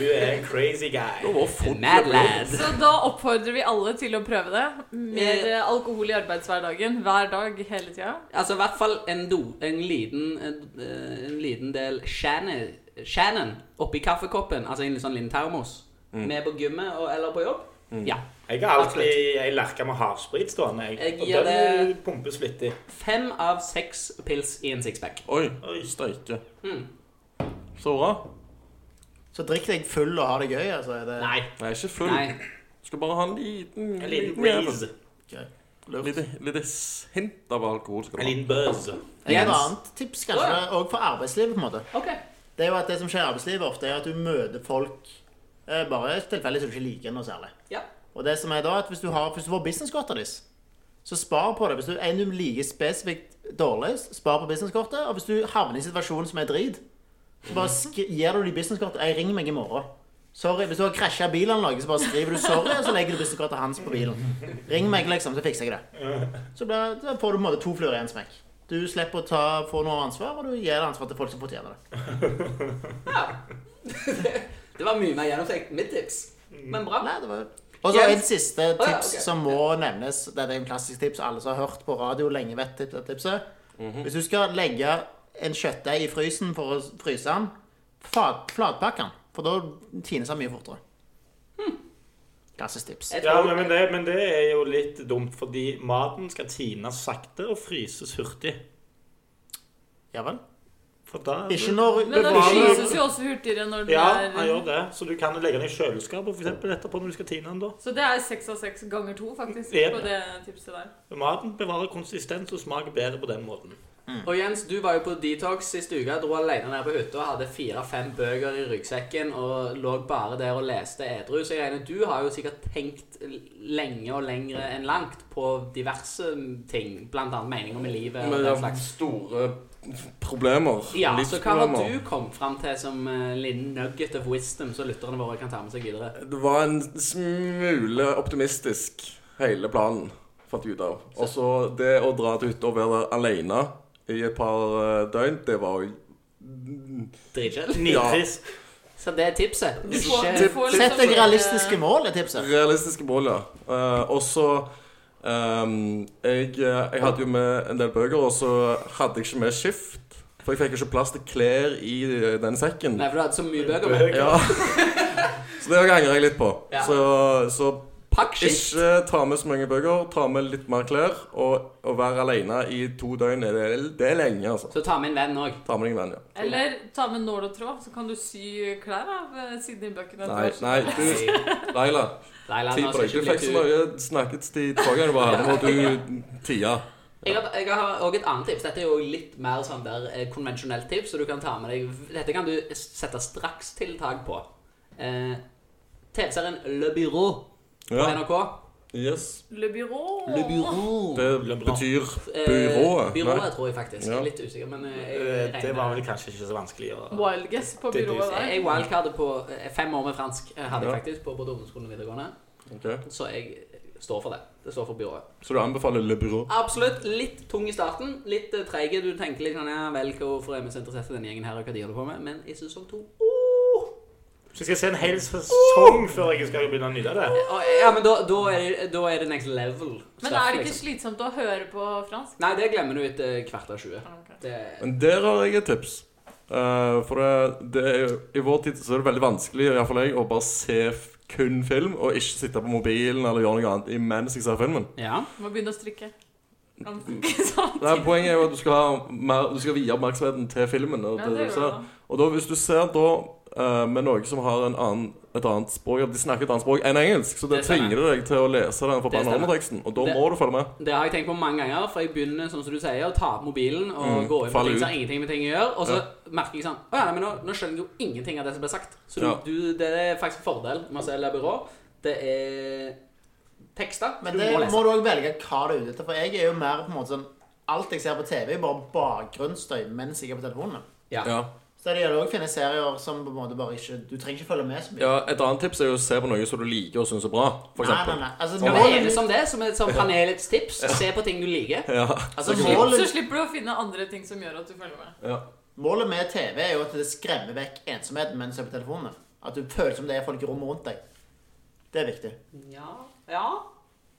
Speaker 2: Du er en crazy
Speaker 3: Det
Speaker 2: guy.
Speaker 3: var full
Speaker 1: Mad lad.
Speaker 4: Så da oppfordrer vi alle til å prøve det. Mer eh, alkohol i arbeidshverdagen hver dag hele tida.
Speaker 1: Altså i hvert fall en do. En liten, eh, en liten del Shannon, Shannon oppi kaffekoppen, altså en litt sånn liten termos, med på gymmet og, eller på jobb. Ja.
Speaker 2: Jeg har alltid ei lerke med havsprit stående. Jeg.
Speaker 1: Jeg
Speaker 2: Og
Speaker 1: gir
Speaker 2: den
Speaker 1: det-
Speaker 2: pumpes flittig.
Speaker 1: Fem av seks pils i en sixpack.
Speaker 3: Oi,
Speaker 2: Oi.
Speaker 3: steike.
Speaker 1: Mm.
Speaker 3: Så bra.
Speaker 5: Så drikk deg full og ha det gøy. Altså. Er det
Speaker 1: Nei.
Speaker 3: Jeg er ikke full.
Speaker 1: Nei.
Speaker 3: Skal bare ha en liten
Speaker 2: En liten
Speaker 3: jævel.
Speaker 2: breeze.
Speaker 5: gøy.
Speaker 3: Lite, lite hint av alkohol. Skal
Speaker 2: En
Speaker 3: du ha.
Speaker 2: liten buzz.
Speaker 5: Jeg har et
Speaker 1: Jens.
Speaker 5: annet tips kanskje,
Speaker 1: Å,
Speaker 5: òg for arbeidslivet. på en måte.
Speaker 1: OK.
Speaker 5: Det er jo at det som skjer i arbeidslivet ofte, er at du møter folk eh, bare tilfeldig som du ikke liker noe særlig.
Speaker 1: Ja.
Speaker 5: Og det som er da, at hvis du, har, hvis du får businesskortet deres, så spar på det. Hvis du er en du liker spesifikt dårlig, spar på businesskortet. Og hvis du havner i en situasjon som er drit, så bare sk gir du dem businesskortet. Jeg ringer meg i morgen. Sorry, Hvis du har krasja bilen eller noe, så bare skriver du 'sorry', og så legger du businesskortet hans på bilen. Ring meg, liksom, så fikser jeg det. Så blir, da får du på en måte to fluer i én smekk. Du slipper å ta, få noe ansvar, og du gir det ansvar til folk som fortjener det.
Speaker 1: ja. det var mye mer gjennomtenkt mitt tips. Men bra.
Speaker 5: Nei, det var og så
Speaker 1: Jens-
Speaker 5: En siste tips
Speaker 1: Å, ja, ok.
Speaker 5: som må nevnes. Det er en klassisk tips alle som har hørt på radio lenge, vet tip- det tipset. Hvis du skal legge en kjøttdeig i frysen for å fryse den, fat, flatpakk den. For da tines den mye fortere. Klassisk tips.
Speaker 1: Jeg
Speaker 2: Ja,
Speaker 1: tror-
Speaker 2: men men det, men det er jo litt dumt, fordi maten skal tines sakte og fryses hurtig.
Speaker 5: Ja vel?
Speaker 2: For da
Speaker 5: Ikke når
Speaker 4: Men den
Speaker 2: Bevarer-
Speaker 4: fryses jo også hurtigere når den
Speaker 2: Ja, han gjør
Speaker 4: er
Speaker 2: det. Så du kan legge den i kjøleskapet for eksempel, etterpå når du skal tine den. da.
Speaker 4: Så det er seks av seks ganger to, faktisk,
Speaker 2: Ja.
Speaker 4: på det tipset der.
Speaker 2: Maten bevarer konsistens og smaker bedre på den måten.
Speaker 1: Og Jens, du var jo på detox sist uke, dro alene ned på hytta, hadde fire-fem bøker i ryggsekken og lå bare der og leste edru. Så jeg regner du har jo sikkert tenkt l- lenge og lengre enn langt på diverse ting, blant annet meninger med livet og
Speaker 3: Men
Speaker 1: den
Speaker 3: jeg har
Speaker 1: eh, slags.
Speaker 3: store problemer.
Speaker 1: Ja, så hva har
Speaker 3: Livsproblemer.
Speaker 1: du kommet fram til som eh, liten nugget of wisdom som lytterne våre kan ta med seg videre?
Speaker 3: Det var en smule optimistisk, hele planen, fant jeg ut av. Og så det å dra til hytta og være alene i et par eh, døgn, det var jo
Speaker 1: Dritkjedelig.
Speaker 2: Nitrist.
Speaker 1: Så det er tipset.
Speaker 4: Du får-
Speaker 1: Ikke
Speaker 4: du får liksom
Speaker 5: Sett deg
Speaker 4: sånn, eh,
Speaker 5: realistiske mål, er tipset.
Speaker 3: Realistiske mål, ja. Eh, og så ehm, jeg, jeg hadde jo med en del bøker, og så hadde jeg ikke med skift. For jeg fikk ikke plass til klær i eh, den sekken.
Speaker 1: Nei, for du hadde så mye bøker med.
Speaker 3: Ja. så det angrer jeg litt på.
Speaker 1: Ja.
Speaker 3: Så, så
Speaker 1: Pakk skift.
Speaker 3: ikke eh, ta med så mange bøker, ta med litt mer klær. Og å være alene i to døgn, er det, det er lenge, altså.
Speaker 1: Så ta med en venn òg.
Speaker 3: Ta med deg en venn, ja.
Speaker 4: Eller ta med nål og tråd, så kan du sy klær av eh, Sydney-bøkene.
Speaker 3: Nei, nei, du, Laila.
Speaker 1: Leila,
Speaker 3: Tid
Speaker 1: nå skal
Speaker 3: på deg.
Speaker 1: altså, ikke
Speaker 3: Du
Speaker 1: bli
Speaker 3: fikk så
Speaker 1: kul.
Speaker 3: mye snakketid forrige gang du var her. Nå må du tie.
Speaker 1: Jeg har, jeg har også et annet tips. Dette er jo litt mer sånn der eh, konvensjonelt tips, så du kan ta med deg Dette kan du s- sette strakstiltak på. Eh, TV-serien Le Bureau på
Speaker 3: Ja.
Speaker 1: NRK. Eh,
Speaker 3: Yes.
Speaker 4: Le Bureau.
Speaker 1: Le Bureau.
Speaker 3: Det betyr byrået.
Speaker 1: byrået,
Speaker 3: Nei.
Speaker 1: eh, tror jeg faktisk. Jeg
Speaker 3: Ja.
Speaker 1: er litt usikker, men eh, jeg
Speaker 2: Eh, Det
Speaker 1: regner-
Speaker 2: var vel kanskje ikke så vanskelig å
Speaker 4: Wild guess på
Speaker 2: Det er
Speaker 4: byrået
Speaker 2: du-
Speaker 4: der.
Speaker 1: Jeg wildcardet på eh, fem år med fransk, eh, hadde jeg
Speaker 3: Ja.
Speaker 1: faktisk, på både ungdomsskolen og videregående.
Speaker 3: Ok.
Speaker 1: Så jeg eh, står for det. Det står for byrået.
Speaker 3: Så du anbefaler Le Byrå?
Speaker 1: Absolutt. Litt tung i starten. Litt eh, treige. Du tenker litt sånn ja, vel, hvorfor er vi så interessert i denne gjengen her, og hva de holder på med? Men i sesong to oh!
Speaker 2: Så skal jeg se en hel sesong før jeg skal begynne å nyte det.
Speaker 1: Å, Ja, men da, da, er det, da er det next level.
Speaker 4: Men
Speaker 1: stuff,
Speaker 4: er det ikke
Speaker 1: liksom.
Speaker 4: slitsomt å høre på fransk?
Speaker 1: Nei, det glemmer du etter hvert av 20. Det,
Speaker 3: Men der har jeg et tips. Eh, for det, det er, jo- I vår tid så er det veldig vanskelig i hvert fall jeg, å bare se f- kun film, og ikke sitte på mobilen eller gjøre noe annet imens jeg ser filmen.
Speaker 1: ja.
Speaker 4: Må begynne å strikke. Kan strikke samtidig.
Speaker 3: Nei, poenget er jo at du skal, ha mer, du skal vie oppmerksomheten til filmen. Og,
Speaker 4: Ja,
Speaker 3: det, du
Speaker 4: det gjør
Speaker 3: ser.
Speaker 4: det.
Speaker 3: og da, hvis du ser da eh, med noe som har en annen, et annet språk at De snakker et annet språk enn engelsk, så det,
Speaker 1: Det stemmer.
Speaker 3: tvinger det deg til å lese den forbanna
Speaker 1: stemmer.
Speaker 3: underteksten. Og da
Speaker 1: Det-
Speaker 3: må du følge med.
Speaker 1: det har jeg tenkt på mange ganger, for jeg begynner sånn som du sier, å ta opp mobilen og
Speaker 3: Mm,
Speaker 1: gå inn på
Speaker 3: faller
Speaker 1: ting som
Speaker 3: ut.
Speaker 1: har ingenting med ting å gjøre, og så merker jeg sånn Å ja, nei, men nå, nå skjønner jeg jo ingenting av det som blir sagt. Så du,
Speaker 3: Ja.
Speaker 1: du, det er faktisk en fordel med å se Le Byrå. Det er tekster.
Speaker 5: Men
Speaker 1: du
Speaker 5: det
Speaker 1: må lese.
Speaker 5: må du òg velge hva du er ute etter. For jeg er jo mer på en måte sånn Alt jeg ser på TV, er bare bakgrunnsstøy mens jeg er på telefonen.
Speaker 1: Ja.
Speaker 3: Ja.
Speaker 5: Så det gjelder også å finne serier som på en måte bare ikke Du trenger ikke følge med så mye.
Speaker 3: Ja, Et annet tips er jo å se på noe som du liker og syns er bra. For
Speaker 5: nei, nei,
Speaker 3: eksempel. Sånn.
Speaker 5: nei. Altså,
Speaker 1: Skal vi
Speaker 5: målet
Speaker 1: enes
Speaker 5: mitt-
Speaker 1: om det som, et, som panelets tips? Se på ting du liker.
Speaker 3: Ja.
Speaker 1: Altså,
Speaker 5: Så
Speaker 1: mål-
Speaker 5: Målet-
Speaker 4: Så slipper du å finne andre ting som gjør at du følger med.
Speaker 3: ja.
Speaker 5: Målet med TV er jo at det skremmer vekk ensomheten mens du er på telefonene. At du føler som det er folk i rommet rundt deg. Det er viktig.
Speaker 1: Ja. ja.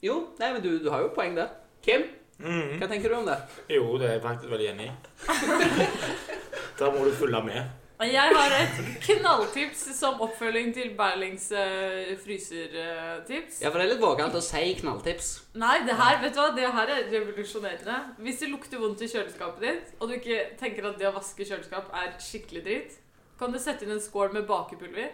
Speaker 1: Jo, nei, men du, du har jo poeng der. Kim, hva tenker du om det?
Speaker 2: Jo, det er jeg faktisk veldig enig i. Da må du følge med.
Speaker 4: Og Jeg har et knalltips som oppfølging til Berlings uh, frysertips.
Speaker 1: Ja, for det er litt vågalt å si knalltips.
Speaker 4: Nei, det her, vet du hva? Det her er revolusjonerende. Hvis det lukter vondt i kjøleskapet ditt, og du ikke tenker at det å vaske kjøleskap er skikkelig dritt, kan du sette inn en skål med bakepulver.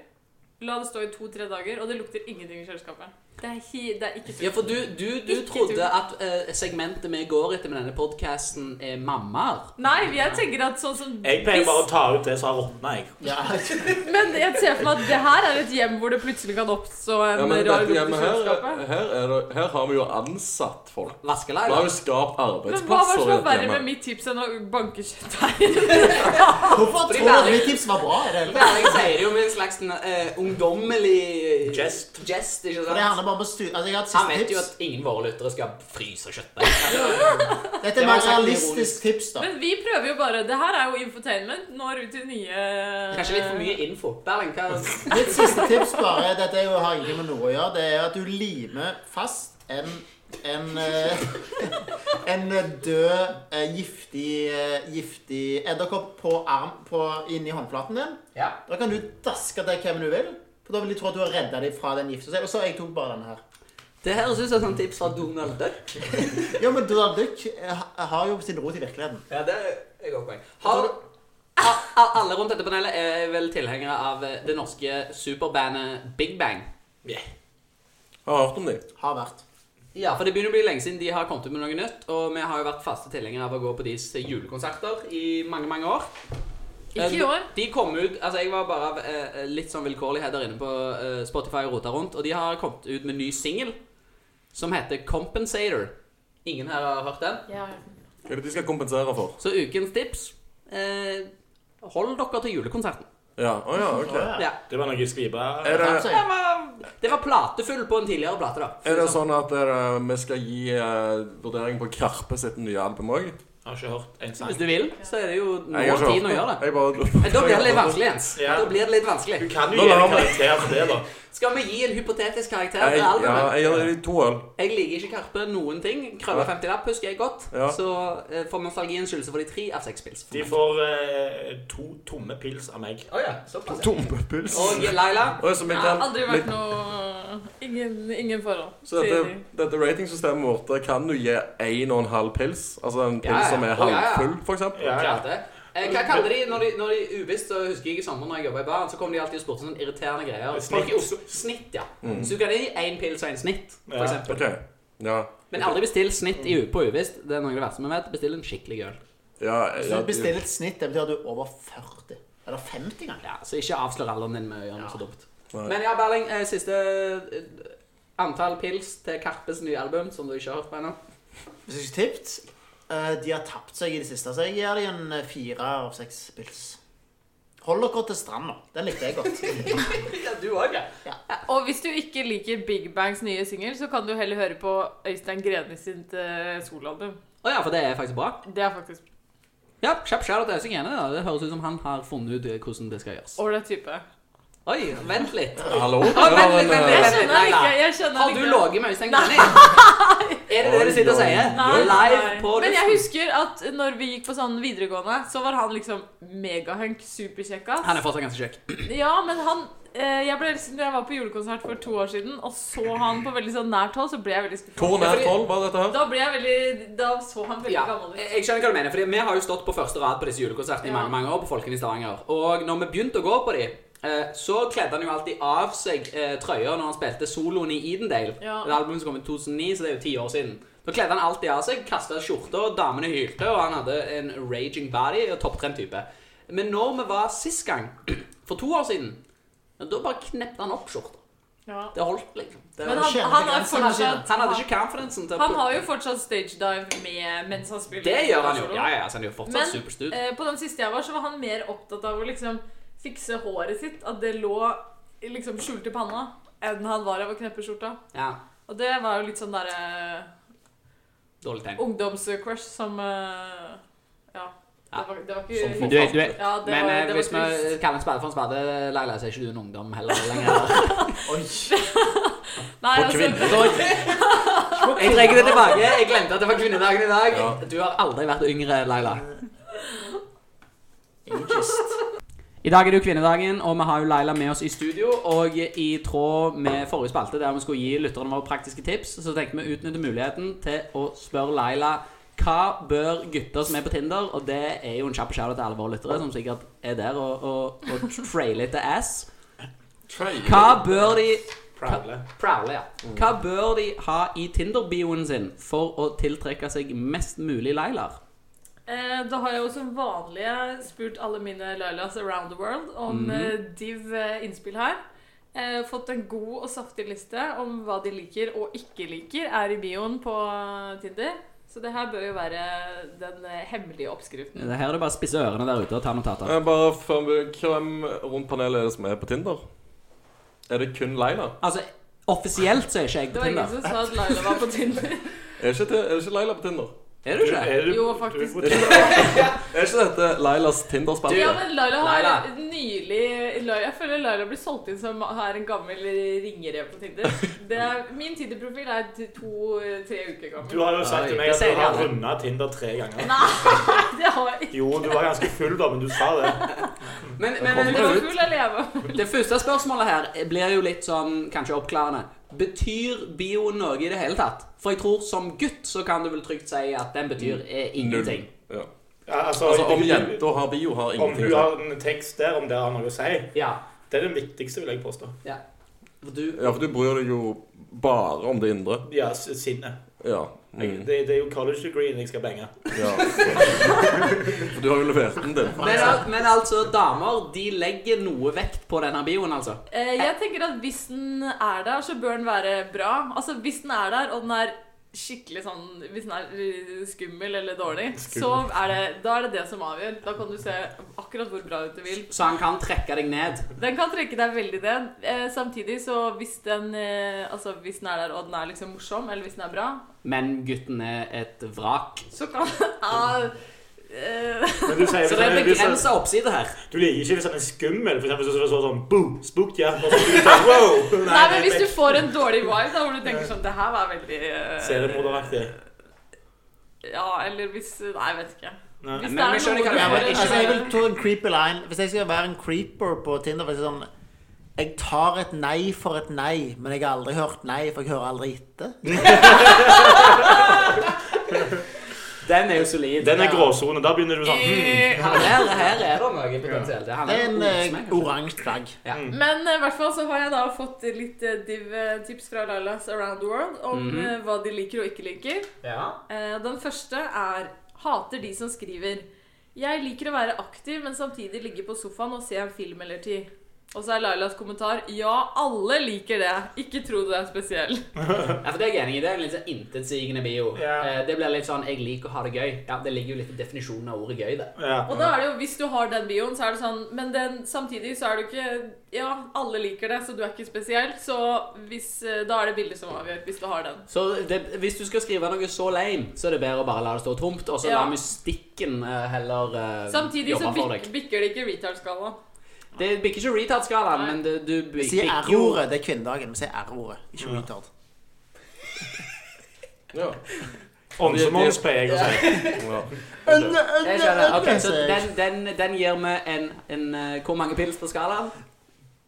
Speaker 4: La det stå i to-tre dager, og det lukter ingenting i kjøleskapet. Det er, hi, det er ikke
Speaker 1: Ja, for du, du, du
Speaker 4: Ikke
Speaker 1: trodde
Speaker 4: tull.
Speaker 1: at eh, segmentet vi går etter med denne podkasten, er mammaer.
Speaker 4: Nei, jeg tenker at sånn som
Speaker 2: Jeg pleier bare å ta ut det som har råtna, jeg.
Speaker 5: Ja,
Speaker 4: Men jeg ser for meg at det her er et hjem hvor det plutselig kan oppstå en
Speaker 3: ja, men
Speaker 4: rar
Speaker 3: dette
Speaker 4: lukt i
Speaker 3: hjemmet her, eh,
Speaker 4: kjøleskapet.
Speaker 3: her, er det, her har vi jo ansatt folk.
Speaker 1: Vaskeleir.
Speaker 3: Vi har jo skapt
Speaker 4: Men hva var det
Speaker 3: arbeidsplasser
Speaker 4: som var
Speaker 3: dette
Speaker 4: verre med
Speaker 3: hjemmet.
Speaker 4: mitt tips enn å banke kjøttdeig?
Speaker 5: Hvorfor
Speaker 1: Fordi
Speaker 5: tror du
Speaker 1: Berling-
Speaker 5: mitt tips var bra? Er det hele tatt?
Speaker 1: Erling sier det jo med en slags eh, ungdommelig
Speaker 2: Jest.
Speaker 1: jest, ikke
Speaker 5: For
Speaker 1: sant?
Speaker 5: det handler bare om å styre Altså, jeg har et
Speaker 1: Han
Speaker 5: siste
Speaker 1: vet jo
Speaker 5: tips.
Speaker 1: at ingen våre lyttere skal fryse kjøttdeig.
Speaker 5: Dette
Speaker 1: Det
Speaker 5: er
Speaker 1: var
Speaker 5: mer
Speaker 1: sagt ironisk.
Speaker 5: realistisk tips, da.
Speaker 4: Men vi prøver jo bare. Det her er jo infotainment. Når ut til nye
Speaker 1: Kanskje litt for mye info. Berling, hva
Speaker 5: Mitt siste tips bare Dette er jo, har ingenting med noe å gjøre. Det er at du limer fast en en, eh, en død, eh, giftig, eh, giftig edderkopp på arm på, inni håndflaten din.
Speaker 1: Ja.
Speaker 5: Da kan du daske til hvem du vil. For da vil de tro at du har redda dem fra den gifta. Og så jeg tok bare denne her.
Speaker 1: Det høres ut som et sånt sånn tips fra Donald Duck.
Speaker 5: Ja, men Donald Duck eh, ha- har jo sin rot i virkeligheten.
Speaker 1: Ja, det er godt poeng. Har a- a- alle rundt dette panelet er vel tilhengere av eh, det norske superbandet Big Bang.
Speaker 2: Yeah.
Speaker 3: Jeg har hørt om dem.
Speaker 5: Har vært.
Speaker 1: Ja, for det begynner å bli lenge siden de har kommet ut med noe nytt, og vi har jo vært faste tilhengere av å gå på deres julekonserter i mange, mange år.
Speaker 4: Ikke i år.
Speaker 1: De kom ut Altså, jeg var bare av eh, litt sånn vilkårlighet der inne på eh, Spotify og rota rundt, og de har kommet ut med en ny singel som heter Compensator. Ingen her har hørt den.
Speaker 4: Ja.
Speaker 3: Hva er det de skal kompensere for?
Speaker 1: Så ukens tips eh, Hold dere til julekonserten.
Speaker 3: Ja, å ja, ok.
Speaker 5: Å, ja.
Speaker 1: Ja.
Speaker 2: Det var noe skrive...
Speaker 3: Er det,
Speaker 5: Tatt seg.
Speaker 1: Det var, det var platefull på en tidligere plate, da.
Speaker 3: er det sånn at eh, vi skal gi eh, vurdering på Karpe sitt nye album òg?
Speaker 2: Jeg har ikke hørt en sang.
Speaker 1: Hvis du vil, så er det jo nå
Speaker 3: sånn? Jeg har ikke
Speaker 1: tiden å gjøre det.
Speaker 3: Jeg bare...
Speaker 1: Men da blir det litt vanskelig, Jens.
Speaker 2: Ja.
Speaker 1: Da blir det litt vanskelig.
Speaker 2: Du kan jo
Speaker 3: Nå
Speaker 2: gi
Speaker 3: lar
Speaker 2: en
Speaker 3: vi-
Speaker 2: karakter for det, da.
Speaker 1: Skal vi gi en hypotetisk karakter
Speaker 3: Jeg,
Speaker 1: til
Speaker 3: ja,
Speaker 1: albumet?
Speaker 3: jeg gir dem to øl.
Speaker 1: Jeg liker ikke Karpe noen ting. Krølla
Speaker 3: Ja.
Speaker 1: 50 lapp husker jeg godt.
Speaker 3: Ja.
Speaker 1: Så eh, for nostalgiens skyld så får de tre av seks pils.
Speaker 2: De får eh, to tomme pils av meg.
Speaker 1: oh, ja. såpass, ja.
Speaker 3: Dumpepuls.
Speaker 1: Og Laila
Speaker 3: Oi, så vi
Speaker 4: Jeg
Speaker 3: kan-
Speaker 4: har aldri
Speaker 3: vi-
Speaker 4: vært noe Ingen, ingen forhold.
Speaker 3: Så
Speaker 4: sier
Speaker 3: dette, dette ratingsystemet vårt det kan jo gi en og en halv pils. Altså en pils
Speaker 1: Ja, ja.
Speaker 3: som er
Speaker 1: Å, ja, ja.
Speaker 3: halvfull, for eksempel.
Speaker 2: Ja, ja.
Speaker 1: klarte det. Eh, Hva kaller de når de, når de uvisst, så husker jeg i sommer når jeg jobbet i baren, så kom de alltid og spurte sånne irriterende greier.
Speaker 2: Snitt.
Speaker 1: Folk i Oslo, snitt, ja.
Speaker 3: Mm.
Speaker 1: Så du kan gi én pils og en snitt, for
Speaker 2: Ja.
Speaker 1: eksempel.
Speaker 3: Ok, ja.
Speaker 1: Men aldri bestill snitt i, u- på uvisst. Det er noe av det verste vi vet. Bestill en skikkelig øl.
Speaker 3: ja,
Speaker 5: Hvis
Speaker 3: ja,
Speaker 5: du bestiller et snitt, det betyr at du er over 40. Eller 50 engang.
Speaker 1: Ja, så ikke avslør alderen din med å gjøre noe så dumt.
Speaker 3: Nei.
Speaker 1: Men ja, Berling, eh, siste eh, antall pils til Karpes nye album, som du ikke har hørt på ennå.
Speaker 5: Hvis du ikke tips eh, De har tapt seg i det siste, så jeg gir dem en eh, fire av seks pils. Hold dere til stranda. Den likte jeg godt.
Speaker 1: Ja, du òg, ja.
Speaker 4: de. Og hvis du ikke liker Big Bangs nye singel, så kan du heller høre på Øystein Greni sitt eh, soloalbum.
Speaker 1: Å ja, for det er faktisk bra.
Speaker 4: Det er faktisk
Speaker 1: Ja, kjapp shout-out til Øystein Grene. da. Det høres ut som han har funnet ut eh, hvordan det skal gjøres.
Speaker 4: ålreit type.
Speaker 1: Oi, vent litt.
Speaker 3: Hallo? eh,
Speaker 1: Å, vent litt, vent
Speaker 4: Jeg
Speaker 1: litt.
Speaker 4: skjønner han ikke. jeg skjønner
Speaker 1: Har
Speaker 4: han
Speaker 1: du
Speaker 4: ikke.
Speaker 1: ligget med Øystein Grene? Er det det du sitter og sier?
Speaker 4: Nei,
Speaker 1: Live
Speaker 4: nei.
Speaker 1: på
Speaker 4: Men jeg
Speaker 1: luften.
Speaker 4: husker at når vi gikk på sånn videregående, så var han liksom megahunk, superkjekkas.
Speaker 1: Han er fortsatt ganske kjekk.
Speaker 4: Ja, men han eh, Jeg ble liksom, når jeg var på julekonsert for to år siden og så han på veldig sånn nært hold, så ble jeg veldig skuffet.
Speaker 3: Hvor nær tolv var dette her?
Speaker 4: Da ble jeg veldig Da så han veldig
Speaker 1: Ja,
Speaker 4: gammel ut.
Speaker 1: jeg skjønner hva du mener, fordi Vi har jo stått på første rad på disse julekonsertene i
Speaker 4: Ja.
Speaker 1: mange mange år på Folken i Stavanger. Og når vi begynte å gå på de, eh, så kledde han jo alltid av seg eh, trøya når han spilte soloen i Edendale.
Speaker 4: Ja.
Speaker 1: Et album som kom i 2009, så det er jo ti år siden. Da kledde han alltid av seg, kasta skjorta, og damene hylte, og han hadde en raging body og topptrent type. Men når vi var sist gang, for to år siden, ja, da bare knepte han opp skjorta.
Speaker 4: Ja.
Speaker 1: Det holdt, liksom. Det
Speaker 4: Men
Speaker 1: var,
Speaker 4: han, han,
Speaker 5: kjempe-
Speaker 4: er
Speaker 5: han hadde
Speaker 4: fortsatt,
Speaker 1: han hadde ikke confidencen til å
Speaker 4: han har jo fortsatt stage dive med mens han spiller.
Speaker 1: Det gjør han jo.
Speaker 4: solo.
Speaker 1: Ja, ja, altså, han er jo fortsatt
Speaker 4: Men,
Speaker 1: superstud.
Speaker 4: Eh, på den siste jeg var, så var han mer opptatt av å liksom fikse håret sitt, at det lå liksom skjult i panna, enn han var av å kneppe skjorta.
Speaker 1: Ja,
Speaker 4: Og det var jo litt sånn derre
Speaker 1: dårlig tegn.
Speaker 4: ungdomscrush som eh, Ja. Det var, det var
Speaker 3: Som
Speaker 4: ikke
Speaker 3: for-
Speaker 1: Du, vet- du, vet-
Speaker 4: ja, det
Speaker 1: men
Speaker 4: var,
Speaker 1: eh,
Speaker 4: det
Speaker 1: hvis
Speaker 4: var trist.
Speaker 1: vi kaller en spade for en spade, Laila, så er ikke du en ungdom heller lenger.
Speaker 4: Nei,
Speaker 3: På
Speaker 4: altså,
Speaker 3: kvinner.
Speaker 1: Jeg trekker det tilbake. Jeg glemte at det var kvinnedagen i dag.
Speaker 3: Ja.
Speaker 1: Du har aldri vært yngre, Laila.
Speaker 5: Ageist.
Speaker 1: I dag er det jo kvinnedagen, og vi har jo Laila med oss i studio. Og i tråd med forrige spalte, der vi skulle gi lytterne våre praktiske tips, så tenkte vi å utnytte muligheten til å spørre Laila hva bør gutter som er på Tinder, og det er jo en kjapp shout til alle våre lyttere, som sikkert er der og, og, og trailer etter ass. Hva bør de
Speaker 2: Prowler.
Speaker 1: Prowler, ja. Hva bør de ha i Tinder-bioen sin for å tiltrekke seg mest mulig Lailaer?
Speaker 4: eh, da har jeg jo som vanlig spurt alle mine Lailas around the world om
Speaker 1: Mhm.
Speaker 4: eh, div eh, innspill her. Eh, fått en god og saftig liste om hva de liker og ikke liker, er i bioen på eh, Tinder. Så det her bør jo være den eh, hemmelige oppskriften.
Speaker 1: Det Her er det bare å spisse ørene der ute og ta notater.
Speaker 3: Eh, Bare før vi Hvem rundt panelet er det som er på Tinder? Er det kun Leila?
Speaker 1: Altså, offisielt så er ikke jeg
Speaker 4: Det
Speaker 1: på
Speaker 4: var ingen
Speaker 1: Tinder.
Speaker 4: som sa at Laila var på Tinder.
Speaker 3: Er ikke, det, er det ikke Leila på Tinder?
Speaker 1: Er du ikke?
Speaker 2: Er du-
Speaker 4: Jo,
Speaker 2: du-
Speaker 4: faktisk.
Speaker 2: du-
Speaker 3: Er ikke, er ikke dette Leilas Tinder-spalte?
Speaker 4: Ja, men Laila har
Speaker 1: Laila.
Speaker 4: nylig Laila, Jeg føler Laila blir solgt inn som er en gammel ringerev på Tinder. Det er, min Tinder-profil er to-tre uker
Speaker 2: Du
Speaker 4: gammel.
Speaker 2: har jo sagt til
Speaker 1: Oi,
Speaker 2: meg
Speaker 1: det
Speaker 2: at
Speaker 1: sier
Speaker 2: du
Speaker 1: de
Speaker 2: har
Speaker 1: alle.
Speaker 2: runda Tinder tre ganger.
Speaker 4: Nei, det har jeg ikke.
Speaker 2: Jo, du var ganske full da, men du sa det.
Speaker 1: Men, men,
Speaker 4: Men
Speaker 1: men
Speaker 4: det var kul å leve.
Speaker 1: det første spørsmålet her blir jo litt sånn kanskje oppklarende. Betyr bio noe i det hele tatt? For jeg tror som gutt så kan du vel trygt si at den betyr eh, ingenting.
Speaker 3: Ja.
Speaker 2: Ja, altså,
Speaker 3: Altså, om
Speaker 2: du-
Speaker 3: jenta har bio, har
Speaker 2: Om
Speaker 3: ingenting
Speaker 2: hun
Speaker 3: å si.
Speaker 2: har en tekst der, om det har noe å si,
Speaker 1: Ja.
Speaker 2: det er det viktigste, vil jeg påstå.
Speaker 1: ja. For Du,
Speaker 3: Ja, for du bryr deg jo bare om det indre.
Speaker 2: Ja, s- sinnet.
Speaker 3: Ja.
Speaker 2: Jeg-
Speaker 3: Mm.
Speaker 2: Det, det er jo college degreen jeg skal bange.
Speaker 3: ja. For du har jo levert den din.
Speaker 1: men, al- men altså, damer de legger noe vekt på denne bioen, altså.
Speaker 4: Eh, Jeg tenker at hvis den er der, så bør den være bra. Altså, hvis den er der, og den er skikkelig sånn Hvis den er eh, skummel eller dårlig, så er det, da er det det som avgjør. Da kan du se akkurat hvor bra ut du vil.
Speaker 1: Så han kan trekke deg ned.
Speaker 4: Den kan trekke deg veldig ned. Eh, samtidig så hvis den, eh, altså hvis den er der, og den er liksom morsom, eller hvis den er bra,
Speaker 1: Men gutten er et vrak.
Speaker 4: så kan ah, eh,
Speaker 2: Men du sier
Speaker 1: Så det er
Speaker 2: hvis han-
Speaker 1: begrensa oppside her.
Speaker 2: Du liker ikke hvis han er skummel, for eksempel hvis du så sånn Boo! Spooked, ja. Og så blir du sånn, wow!
Speaker 4: Nei, men hvis du får en dårlig vibe, da, hvor du tenker sånn Det her var veldig eh,
Speaker 2: Seriemorderaktig.
Speaker 4: Ja, eller hvis Nei, jeg vet ikke.
Speaker 2: Nei.
Speaker 1: Men-
Speaker 4: Hvis det
Speaker 1: men
Speaker 4: er
Speaker 1: skjønner hva
Speaker 4: noe
Speaker 1: du
Speaker 5: Ja,
Speaker 4: du
Speaker 5: men,
Speaker 1: Ikke
Speaker 5: altså, jeg
Speaker 4: vil
Speaker 5: vil ta en creeper line Hvis jeg skal være en creeper på Tinder for jeg, sånn, jeg tar et nei for et nei Men jeg har aldri hørt nei For jeg hører aldri etter
Speaker 1: Den er jo solid.
Speaker 2: Den er gråsone. Da begynner du sånn
Speaker 4: Mm.
Speaker 2: hmm.
Speaker 4: Eh,
Speaker 1: Ja, her, her er det noe potensielt. Han
Speaker 5: Det
Speaker 1: er
Speaker 5: er en eh,
Speaker 1: ordsmed, kanskje.
Speaker 5: oransje flagg
Speaker 4: Men eh, i hvert fall så har jeg da fått litt eh, div-tips fra Lailas Around the World om
Speaker 1: Mhm.
Speaker 4: eh, hva de liker og ikke liker.
Speaker 1: Ja.
Speaker 4: Eh, Den første er Hater de som skriver Jeg liker å være aktiv, men samtidig ligge på sofaen og se en film eller ti. Og så er Lailas kommentar Ja, alle liker det. Ikke tro du er spesiell.
Speaker 1: Ja, for Det er jeg enig i. Det er en litt sånn intetsigende bio.
Speaker 2: Ja.
Speaker 1: Eh, Det blir litt sånn 'jeg liker å ha det gøy'. Ja, Det ligger jo litt i definisjonen av ordet 'gøy'. det.
Speaker 2: Ja.
Speaker 4: Og da er det jo, hvis du har den bioen, så er det sånn Men den, samtidig så er du ikke Ja, alle liker det, så du er ikke spesiell. Så hvis, eh, da er det bildet som avgjør, hvis du har den.
Speaker 1: Så det, hvis du skal skrive noe så lame, så er det bedre å bare la det stå tomt, og så
Speaker 4: Ja.
Speaker 1: la mystikken eh, heller eh,
Speaker 4: Samtidig så
Speaker 1: jobbe for
Speaker 4: bik
Speaker 1: deg.
Speaker 4: bikker det ikke retard-skala.
Speaker 1: Det bikker ikke retard-skalaen,
Speaker 4: Nei.
Speaker 1: men det, du bik-
Speaker 5: Vi sier
Speaker 1: bikker jo-
Speaker 5: R-ordet, det er kvinnedagen Vi sier R-ordet, ikke retard
Speaker 3: Ja.
Speaker 2: Åndsomons, pleier jeg å si.
Speaker 3: Ja.
Speaker 1: Jeg
Speaker 5: sånn,
Speaker 1: skjønner. Ok, så den, den, den gir vi en, en eh, Hvor mange pils på skalaen?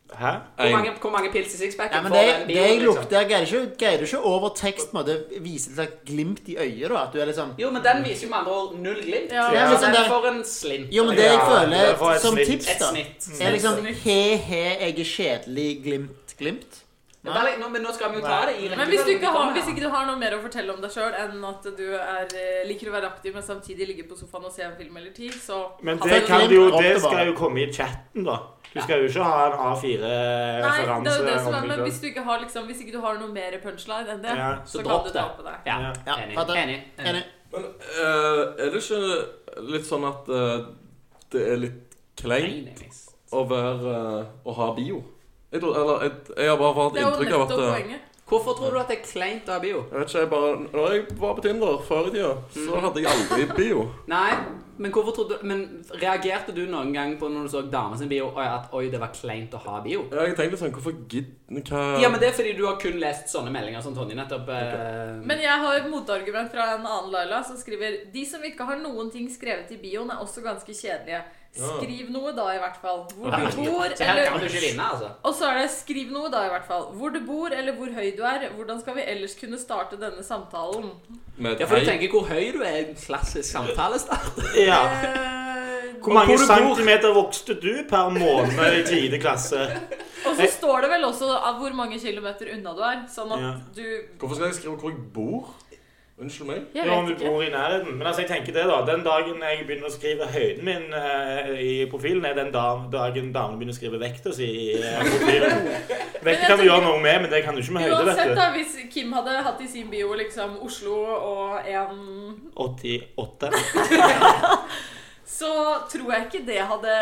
Speaker 2: Hæ?
Speaker 1: Hvor
Speaker 3: En.
Speaker 1: mange, hvor mange pils i sixpacken
Speaker 5: Ja, men
Speaker 1: får
Speaker 5: det,
Speaker 1: den
Speaker 5: det
Speaker 1: bioen,
Speaker 5: jeg
Speaker 1: liksom?
Speaker 5: lukter, jeg greier ikke, greier du ikke over tekst med Det viser et slags glimt i øyet da At du er litt sånn
Speaker 1: Jo, men den viser jo med andre ord null glimt.
Speaker 4: Ja.
Speaker 5: Ja,
Speaker 1: Så
Speaker 5: men sånn
Speaker 1: den
Speaker 5: der-
Speaker 1: får en slint.
Speaker 5: Jo, men det jeg
Speaker 2: Ja, det får
Speaker 5: føler
Speaker 2: et
Speaker 5: som
Speaker 2: snitt.
Speaker 5: tips
Speaker 1: Et
Speaker 5: da
Speaker 1: snitt.
Speaker 5: Er liksom he-he, jeg er kjedelig, glimt, glimt
Speaker 1: Det er bare, litt- nå, men nå skal vi jo ta det i
Speaker 4: Men hvis du, ikke har,
Speaker 1: rekkefølgen.
Speaker 4: hvis ikke du har noe mer å fortelle om deg sjøl enn at du er, eh, liker å være aktiv, men samtidig ligge på sofaen og se en film eller ti, så
Speaker 2: Men
Speaker 4: Ha
Speaker 2: det,
Speaker 4: det
Speaker 2: kan
Speaker 5: fint.
Speaker 2: du jo,
Speaker 5: Dropp
Speaker 2: det
Speaker 5: det bare.
Speaker 2: skal jo komme i chatten, da. Du skal jo ikke ha en
Speaker 4: Nei, det er jo det som er, men
Speaker 2: A4-referanse.
Speaker 4: hvis du ikke har, liksom, hvis ikke du har noe mer punchline enn det,
Speaker 2: Ja.
Speaker 4: så,
Speaker 1: Så
Speaker 4: kan
Speaker 1: dropp
Speaker 4: du
Speaker 1: det.
Speaker 4: ta på deg.
Speaker 1: Ja.
Speaker 2: Ja.
Speaker 5: Ja,
Speaker 1: Enig.
Speaker 5: fatter.
Speaker 1: Enig.
Speaker 5: Enig.
Speaker 3: Men eh, er det ikke litt sånn at eh, det er litt kleint
Speaker 1: Enig.
Speaker 3: å være eh, å ha bio? Jeg, tror, eller, jeg, jeg har bare fått
Speaker 4: Det er jo
Speaker 3: inntrykk av
Speaker 4: nettopp
Speaker 3: at eh,
Speaker 4: poenget.
Speaker 1: Hvorfor tror du at det er kleint å ha bio?
Speaker 3: Jeg vet ikke, jeg bare Når jeg var på Tinder før i tida,
Speaker 4: Mm.
Speaker 3: så hadde jeg aldri bio.
Speaker 1: Nei, men hvorfor trodde Men reagerte du noen gang på når du så damer sin bio, og at oi, det var kleint å ha bio?
Speaker 3: Jeg tenkte sånn Hvorfor gidder Hva
Speaker 1: Ja, men det er fordi du har kun lest sånne meldinger som Tonje nettopp eh,
Speaker 4: Men jeg har et motargument fra en annen Laila som skriver De som ikke har noen ting skrevet i bioen, er også ganske kjedelige. Skriv noe, da, i hvert fall. Hvor du bor,
Speaker 1: Så her kan du
Speaker 4: eller
Speaker 1: ikke vinne, altså.
Speaker 4: Og så er det 'skriv noe', da, i hvert fall. Hvor du bor, eller hvor høy du er. Hvordan skal vi ellers kunne starte denne samtalen?
Speaker 3: Med
Speaker 1: Ja, for du tenker hvor høy du er i en klassisk samtalestart.
Speaker 2: Ja.
Speaker 4: Eh,
Speaker 2: Hvor mange
Speaker 3: Hvor du bor.
Speaker 2: centimeter vokste du per måned i tiende klasse?
Speaker 4: og så står det vel også av hvor mange kilometer unna du er, sånn at
Speaker 2: Ja.
Speaker 4: du
Speaker 3: Hvorfor skal jeg skrive hvor jeg bor? Unnskyld meg?
Speaker 4: Jeg
Speaker 2: Jo, om
Speaker 4: vet
Speaker 2: du
Speaker 4: ikke.
Speaker 2: bor i nærheten. Men altså, jeg tenker det da, den dagen jeg begynner å skrive høyden min eh, i profilen, er den da- dagen damene begynner å skrive vekta si i eh, profilen. Vekta kan du gjøre noe med, men det kan du ikke med høyde,
Speaker 4: Uansett,
Speaker 2: vet du.
Speaker 4: da, hvis Kim hadde hatt i sin bio liksom Oslo og en
Speaker 2: 88.
Speaker 4: Så tror jeg ikke det hadde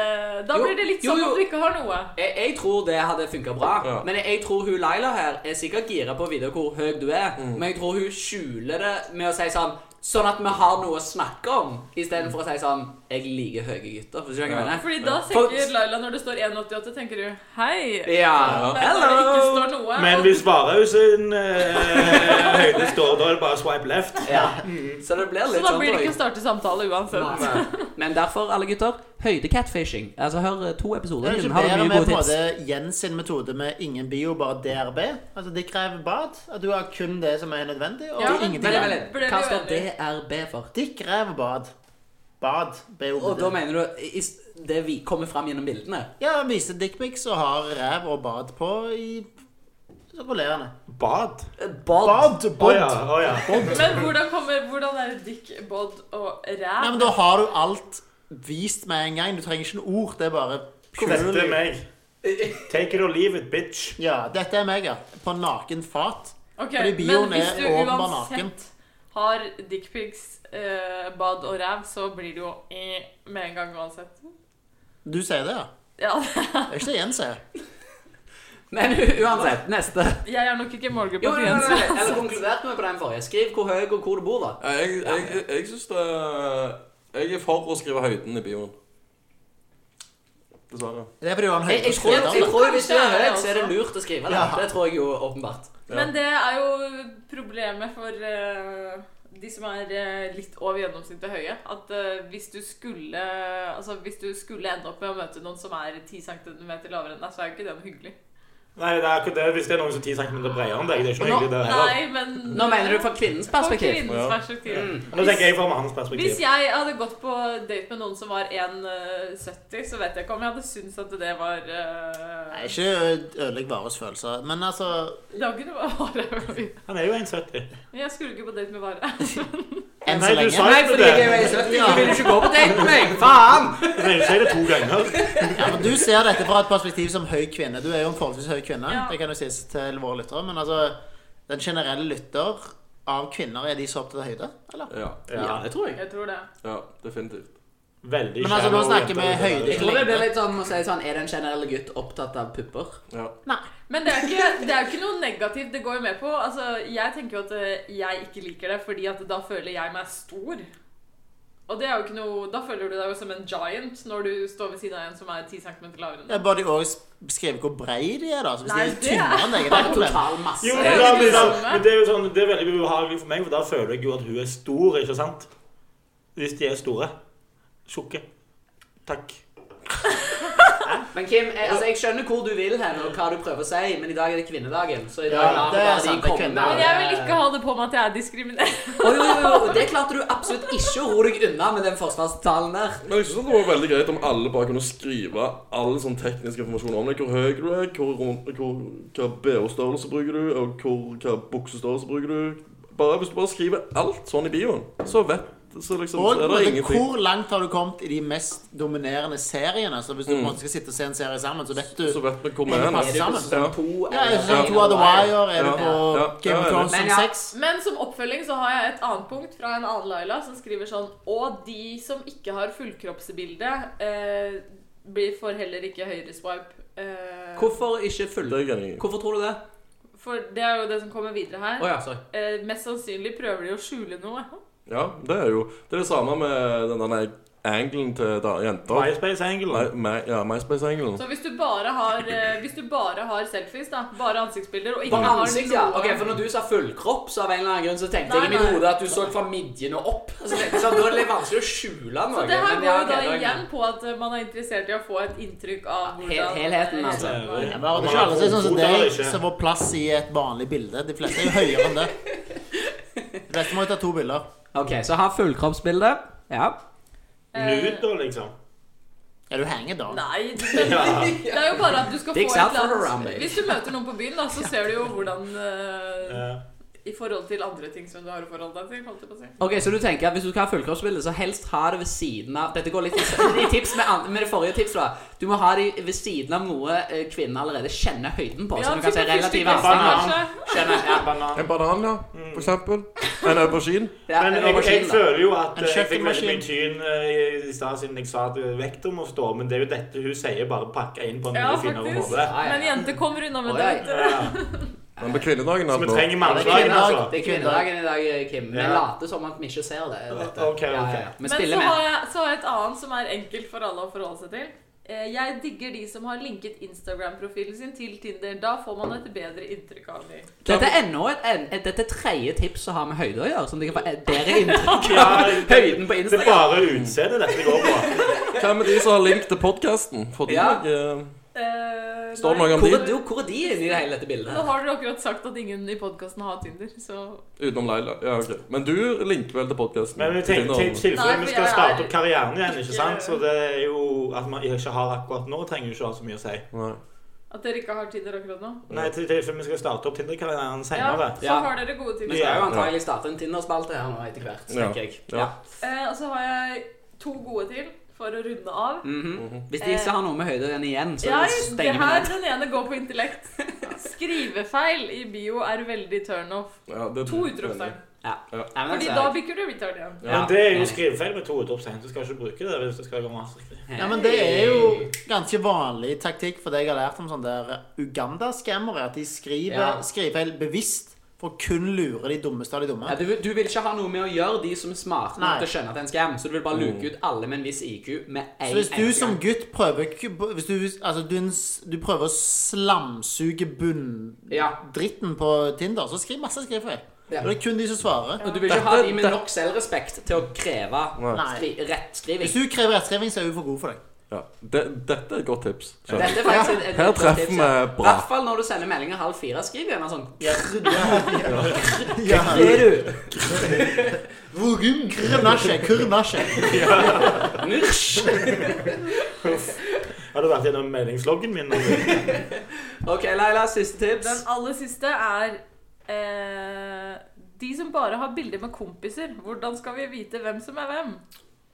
Speaker 4: Da
Speaker 1: Jo,
Speaker 4: blir det litt
Speaker 1: jo,
Speaker 4: sånn
Speaker 1: jo.
Speaker 4: at du ikke har noe.
Speaker 1: Jeg, jeg tror det hadde funka bra,
Speaker 3: Ja.
Speaker 1: men jeg, jeg tror hun Laila her er sikkert gira på å vite hvor høy du er,
Speaker 5: Mm.
Speaker 1: men jeg tror hun skjuler det med å si sånn Sånn at vi har noe å snakke om, istedenfor å si sånn Jeg liker høye gutter. For, ja.
Speaker 4: Fordi da
Speaker 1: For-
Speaker 4: tenker Laila, når det står 1,88, tenker du 'hei'.
Speaker 1: Ja.
Speaker 4: Men når det ikke
Speaker 1: Hello!
Speaker 4: står noe
Speaker 2: Men
Speaker 4: og-
Speaker 2: hvis Varhaug sin eh, høyde står, da er det bare swipe left.
Speaker 1: Ja. Så det blir
Speaker 4: Mm. Så
Speaker 1: litt
Speaker 4: da
Speaker 1: sånn
Speaker 4: blir det ikke å
Speaker 1: drøyt.
Speaker 4: starte samtale uansett.
Speaker 1: Nei. Men derfor, alle gutter, høyde-catfishing. Altså, hør to
Speaker 5: Det
Speaker 1: episoder
Speaker 5: er
Speaker 1: inn.
Speaker 5: ikke
Speaker 1: Har du
Speaker 5: bedre
Speaker 1: mye
Speaker 5: med på
Speaker 1: gode
Speaker 5: en
Speaker 1: tips?
Speaker 5: måte Jens sin metode med ingen bio, bare DRB. Altså, det krever bad. At du har kun det som er nødvendig, og
Speaker 4: Ja, men-
Speaker 5: ingenting
Speaker 1: Vent litt,
Speaker 5: annet.
Speaker 1: vent
Speaker 4: Ble
Speaker 1: litt. Hva
Speaker 4: vi
Speaker 1: står
Speaker 4: uenige?
Speaker 1: DRB for?
Speaker 5: Dick ræv bad. Bad. BOD.
Speaker 1: Og da mener du i- i- det vi kommer fram gjennom bildene?
Speaker 5: Ja, vise dickpics og har ræv og bad på i rullerende.
Speaker 2: Bad.
Speaker 1: Bad.
Speaker 5: Bad!
Speaker 2: Å
Speaker 5: Bod.
Speaker 2: ja. å ja.
Speaker 4: Men hvordan, kommer, hvordan er det dick, bod og ræv?
Speaker 5: Nei, men da har du alt vist med en gang. Du trenger ikke noe ord. Det er bare
Speaker 2: Dette er meg. Take it or leave it, bitch.
Speaker 5: Ja, dette er meg, ja. På naken fat.
Speaker 4: Ok,
Speaker 5: Fordi
Speaker 4: men
Speaker 5: bioen
Speaker 4: hvis
Speaker 5: er
Speaker 4: du
Speaker 5: åpenbar naken.
Speaker 4: uansett har dickpics, eh, bad og ræv, så blir det jo eh, med en gang uansett.
Speaker 5: Du sier det, ja.
Speaker 4: Ja,
Speaker 5: Det er ikke det Jens sier.
Speaker 1: Men u- uansett, neste.
Speaker 4: jeg er nok ikke
Speaker 1: Jo,
Speaker 4: målgruppa
Speaker 1: nei,
Speaker 4: til
Speaker 1: nei,
Speaker 4: Jens.
Speaker 1: nei, Eller konkludert med på den forrige. Skriv hvor høy og hvor du bor, da.
Speaker 3: Nei, Jeg, jeg, jeg syns det Jeg er for å skrive høyden i bioen. Dessverre.
Speaker 5: Det er fordi du har en
Speaker 1: Jeg, jeg, tror,
Speaker 5: høydeskrekk.
Speaker 1: jeg
Speaker 5: altså.
Speaker 1: tror Hvis du er
Speaker 4: Kanskje er
Speaker 1: høy,
Speaker 4: det
Speaker 1: så er det
Speaker 4: også.
Speaker 1: lurt å skrive det.
Speaker 5: Ja.
Speaker 1: Det tror jeg jo åpenbart.
Speaker 4: Men det er jo problemet for eh, de som er eh, litt over gjennomsnittet høye. At eh, hvis du skulle Altså hvis du skulle ende opp med å møte noen som er 10 cm lavere enn deg, så er jo ikke det noe hyggelig.
Speaker 2: Nei, det er akkurat det. Hvis det er noen som er 10 cm bredere enn deg, det er ikke noe
Speaker 1: Nå-
Speaker 2: hyggelig, det heller.
Speaker 4: Nei, men
Speaker 1: Nå mener du fra kvinnens perspektiv. Mm.
Speaker 4: Fra kvinnens perspektiv.
Speaker 2: Nå tenker jeg fra mannens
Speaker 4: Hvis
Speaker 2: perspektiv.
Speaker 4: jeg hadde gått på date med noen som var 1,70, så vet jeg ikke om jeg hadde syntes at det var eh,
Speaker 5: Nei, ikke ødelegg Vares følelser. Men altså
Speaker 4: Da kunne det være vare.
Speaker 2: Han er jo 1,70.
Speaker 4: Jeg skulle ikke på date med vare.
Speaker 5: Enn
Speaker 2: Nei,
Speaker 5: så
Speaker 2: du
Speaker 5: lenge.
Speaker 2: sa-
Speaker 1: Nei, fordi jeg er jo 1,70. Du vil jo ikke gå på date med meg! Faen!
Speaker 2: Du trenger ikke si det to ganger.
Speaker 5: Ja, men du ser dette fra et perspektiv som høy kvinne. Du er jo en forholdsvis høy kvinne.
Speaker 4: Ja.
Speaker 5: Det kan jo sies til våre lyttere. Men altså, den generelle lytter av kvinner, er de så opptatt av høyde? Eller?
Speaker 3: Ja.
Speaker 2: Ja,
Speaker 1: det tror
Speaker 4: Jeg tror det.
Speaker 3: ja definitivt.
Speaker 2: Veldig
Speaker 5: Men altså, nå
Speaker 2: shallow
Speaker 5: snakker vi
Speaker 2: jenter.
Speaker 5: høyde.
Speaker 1: Jeg tror det blir litt sånn å si sånn Er den generelle gutt opptatt av pupper?
Speaker 3: Ja.
Speaker 5: Nei.
Speaker 4: Men det er, ikke, det er jo ikke noe negativt. Det går jo med på. Altså, jeg tenker jo at eh, jeg ikke liker det, fordi at da føler jeg meg stor. Og det er jo ikke noe Da føler du deg jo som en giant når du står ved siden av en som er 10 cm lavere enn
Speaker 5: Det
Speaker 4: deg.
Speaker 5: er bare de også skriver hvor brei de er, da. Så hvis
Speaker 4: Nei,
Speaker 5: de er
Speaker 4: det er-
Speaker 5: tynnere enn deg, det er et problem.
Speaker 1: Total masse.
Speaker 2: Jo,
Speaker 4: det
Speaker 2: men
Speaker 4: er
Speaker 2: da
Speaker 4: jo
Speaker 2: blir det,
Speaker 4: det samme.
Speaker 2: men det er jo sånn, det er veldig ubehagelig for meg, for da føler jeg jo at hun er stor, ikke sant? Hvis de er store. Tjukke. Takk.
Speaker 1: Men Kim, jeg, altså, jeg skjønner hvor du vil hen, og hva du prøver å si, men i dag er det kvinnedagen. Så i dag
Speaker 5: Ja,
Speaker 1: lar vi
Speaker 5: det er
Speaker 1: bare de
Speaker 5: sant, det er
Speaker 1: komme.
Speaker 5: kvinnedagen.
Speaker 4: Men jeg vil ikke ha det på meg at jeg er diskriminerende.
Speaker 1: Å, jo, jo, jo, det klarte du absolutt ikke å roe deg unna med den forsvarstalen der.
Speaker 3: Men jeg synes det var veldig greit om alle bare kunne skrive all sånn teknisk informasjon om deg. Hvor høy du er, hvor, rund- hvor, hva BH-størrelse bruker du, og hvor, hva buksestørrelse bruker du. Bare, hvis du bare skriver alt sånn i bioen, så vet så liksom,
Speaker 5: Og
Speaker 3: så er
Speaker 5: på
Speaker 3: det
Speaker 5: en måte,
Speaker 3: ingenting.
Speaker 5: hvor langt har du kommet i de mest dominerende seriene? Så hvis du på en måte skal sitte og se en serie sammen, så vet du
Speaker 3: Mm. Så vet vi hvor vi
Speaker 5: Men det
Speaker 3: er.
Speaker 5: passer sammen.
Speaker 3: nesten. Ja.
Speaker 1: To
Speaker 5: Ja, er det
Speaker 1: eller
Speaker 5: sånn To of the Wire? Er det
Speaker 3: Ja.
Speaker 5: på
Speaker 3: Ja.
Speaker 5: Game of
Speaker 3: Ja,
Speaker 5: Thrones
Speaker 1: ja.
Speaker 5: som
Speaker 1: Men ja.
Speaker 5: sex?
Speaker 4: Men som oppfølging så har jeg et annet punkt fra en annen Laila som skriver sånn Og de som ikke har fullkroppsbilde, eh, blir får heller ikke høyreswipe. Eh,
Speaker 1: Hvorfor ikke full...
Speaker 3: Det er jeg enig i.
Speaker 1: Hvorfor tror du det?
Speaker 4: for det er jo det som kommer videre her.
Speaker 1: Å ja, sorry.
Speaker 4: Eh, mest sannsynlig prøver de å skjule noe.
Speaker 3: Ja, det er jo det er det samme med den der angelen til da, jenter.
Speaker 2: MySpace-angelen.
Speaker 3: My- my- Ja,
Speaker 1: Mm.
Speaker 3: MySpace-angelen.
Speaker 4: Så hvis du bare har, eh, hvis du bare har selfies, da, bare ansiktsbilder og ikke
Speaker 1: Bare
Speaker 4: har
Speaker 1: ansikt,
Speaker 4: noe
Speaker 1: ja. Ok, For når du sa fullkropp, så av en eller annen grunn så tenkte jeg i
Speaker 4: Nei,
Speaker 1: mitt
Speaker 4: nei.
Speaker 1: hode at du så fra midjene opp. Så jeg tenkte sånn, Da er det litt vanskelig å skjule noe.
Speaker 4: Det her
Speaker 1: men
Speaker 4: går
Speaker 1: ja,
Speaker 4: jo
Speaker 1: ok,
Speaker 4: da
Speaker 1: er jeg
Speaker 4: igjen
Speaker 1: med.
Speaker 4: på at eh, man er interessert i å få et inntrykk av
Speaker 1: hel- helheten, altså.
Speaker 4: Nei.
Speaker 5: Ja, men var det ikke alle som er sånn som deg som får plass i et vanlig bilde? De fleste er jo høyere enn det. De fleste må jo ta to bilder.
Speaker 1: Ok, Så ha fullkroppsbilde. Ja.
Speaker 2: Nude, da, liksom.
Speaker 5: Er du hanger da?
Speaker 4: Nei, du, men, det er jo bare at du skal få
Speaker 1: Dicks
Speaker 4: et
Speaker 1: out for
Speaker 4: eller
Speaker 1: around,
Speaker 4: annet
Speaker 1: baby.
Speaker 4: Hvis du møter noen på byen, da, så ser du jo hvordan eh,
Speaker 2: Ja.
Speaker 4: I forhold til andre ting som du har å forholde deg til, holdt jeg på å si.
Speaker 1: Ok, Så du tenker at hvis du skal ha fullkroppsbilde, så helst ha det ved siden av Dette går litt i i tips med, an- med det forrige tipset. da Du må ha det ved siden av noe eh, kvinnen allerede kjenner høyden på.
Speaker 4: Ja,
Speaker 1: Så du kan se
Speaker 4: type
Speaker 1: relativ
Speaker 4: fyrstikker,
Speaker 1: avstand.
Speaker 4: kanskje.
Speaker 1: Skjønner, ja.
Speaker 2: Banan.
Speaker 3: En banan, ja, for eksempel. En aubergine.
Speaker 1: Ja,
Speaker 2: Men
Speaker 1: en
Speaker 2: jeg, jeg
Speaker 1: aubergine, da.
Speaker 2: føler jo at
Speaker 5: En
Speaker 2: eh, jeg fikk veldig mye
Speaker 5: kjøkkenmaskin.
Speaker 2: tyn eh, i- i stad siden jeg sa at vekta må stå, men det er jo dette hun sier, bare pakka inn på en
Speaker 4: Ja,
Speaker 2: mye finere
Speaker 4: faktisk.
Speaker 2: måte.
Speaker 1: Ja, ja, ja.
Speaker 4: Men jenter kommer unna med
Speaker 1: Oi,
Speaker 4: det.
Speaker 1: oi.
Speaker 4: vet du.
Speaker 2: Ja.
Speaker 3: Men på kvinnedagen
Speaker 2: Så
Speaker 3: er
Speaker 2: vi
Speaker 3: det nå.
Speaker 2: trenger
Speaker 5: Ja, det er
Speaker 2: mannslagen,
Speaker 5: kvinnedag.
Speaker 2: altså.
Speaker 1: Det er kvinnedagen i dag, eh, Kim. Vi
Speaker 2: Ja.
Speaker 1: later som at vi ikke ser det. dette.
Speaker 2: Ok, ok.
Speaker 1: Vi
Speaker 4: Men
Speaker 1: spiller
Speaker 4: så
Speaker 1: med.
Speaker 4: har, jeg, så har jeg et annet som er enkelt for alle å forholde seg til. Eh, Jeg digger de som har linket Instagram-profilen sin til Tinder. Da får man et bedre inntrykk av dem.
Speaker 1: Dette er ennå et, en- et, dette er tredje tips som har med høyde å gjøre, som dere får et bedre inntrykk
Speaker 2: Ja,
Speaker 1: av
Speaker 2: det-
Speaker 1: høyden på
Speaker 2: Det er
Speaker 1: Instagram.
Speaker 2: bare utseendet dette går på.
Speaker 3: Hva med de som har link til podkasten? Får de
Speaker 1: Ja.
Speaker 3: noe-
Speaker 4: Eh,
Speaker 3: Står det
Speaker 4: nei.
Speaker 3: noe om
Speaker 1: Hvor,
Speaker 3: de
Speaker 1: er- jo, hvor er de inne i det hele dette bildet?
Speaker 4: Nå
Speaker 1: her?
Speaker 4: har dere akkurat sagt at ingen i podkasten har Tinder, så
Speaker 3: utenom Leila? Ja, ok. Men du linker vel til podkasten?
Speaker 2: Men vi tenker til tilfelle
Speaker 4: Nei,
Speaker 2: vi
Speaker 4: for
Speaker 2: skal
Speaker 4: jeg
Speaker 2: starte
Speaker 4: er
Speaker 2: opp karrieren igjen, ikke sant?
Speaker 4: ikke-
Speaker 2: Så det er jo at man ikke har akkurat nå, trenger jo ikke ha så mye å si.
Speaker 3: Nei.
Speaker 4: at dere ikke har Tinder akkurat nå.
Speaker 2: Nei, til tilfelle vi skal starte opp Tinder-karrieren
Speaker 4: Ja,
Speaker 2: senere.
Speaker 4: så
Speaker 1: Ja.
Speaker 4: har dere gode tips.
Speaker 1: Vi skal jo antagelig starte en Tinder-spalte her nå etter hvert,
Speaker 3: Ja.
Speaker 1: tenker jeg.
Speaker 3: Ja.
Speaker 1: Ja.
Speaker 4: Eh, og så har jeg to gode til for å runde av.
Speaker 3: Mm.
Speaker 1: Mhm. Hvis de ikke har noe med høyden igjen, så
Speaker 4: Jeg, det
Speaker 1: stenger vi
Speaker 4: her,
Speaker 1: ned.
Speaker 4: den ene går på intellekt. Skrivefeil i bio er veldig turn-off.
Speaker 3: Ja, det-
Speaker 4: To utropstegn.
Speaker 1: Nei, men
Speaker 4: Fordi
Speaker 1: altså,
Speaker 4: da bikker du retard igjen.
Speaker 3: Ja.
Speaker 2: Men det er jo skrivefeil med to utropstegn, så skal ikke bruke det hvis det skal gå masse riktig.
Speaker 5: Ja, men det er jo ganske vanlig taktikk for det jeg har lært om sånne der Uganda-skammere. At de skriver
Speaker 1: Ja.
Speaker 5: skrivefeil bevisst for å kun lure de dummeste av de
Speaker 1: ja,
Speaker 5: dumme.
Speaker 1: du, vil- du vil ikke ha noe med å gjøre de som er smarte nok
Speaker 5: Nei.
Speaker 1: til å skjønne at det er en skam, så du vil bare luke ut alle med en viss IQ med en
Speaker 5: Så hvis du
Speaker 1: eneste
Speaker 5: som
Speaker 1: gang.
Speaker 5: gutt prøver k- Hvis du, altså, du, er en s- du prøver å slamsuge
Speaker 1: Ja.
Speaker 5: bunndritten på Tinder, så skriv masse skrivefeil.
Speaker 1: Ja.
Speaker 5: Og det er kun de som svarer.
Speaker 1: Og du vil ikke
Speaker 3: Dette-
Speaker 1: ha de med
Speaker 3: dette-
Speaker 1: nok selvrespekt til å kreve
Speaker 5: Nei.
Speaker 1: skri rettskriving.
Speaker 5: Hvis du krever rettskriving, så er hun for god for deg.
Speaker 3: Ja. Det, dette er et godt tips. skjønner jeg.
Speaker 1: Dette er faktisk et, et
Speaker 3: Her
Speaker 1: godt
Speaker 3: treffer
Speaker 1: tips,
Speaker 3: vi
Speaker 1: ja.
Speaker 3: bra.
Speaker 1: hvert fall når du sender meldinger halv fire, skriv gjerne sånn
Speaker 5: Ja.
Speaker 1: Er du?
Speaker 5: Vugum kurnasje, kurnasje.
Speaker 1: Nusj!
Speaker 2: Har du vært gjennom meldingsloggen min? nå?
Speaker 1: Ok, Leila, siste tips.
Speaker 4: Den aller siste er eh, De som bare har bilder med kompiser, hvordan skal vi vite hvem som er hvem?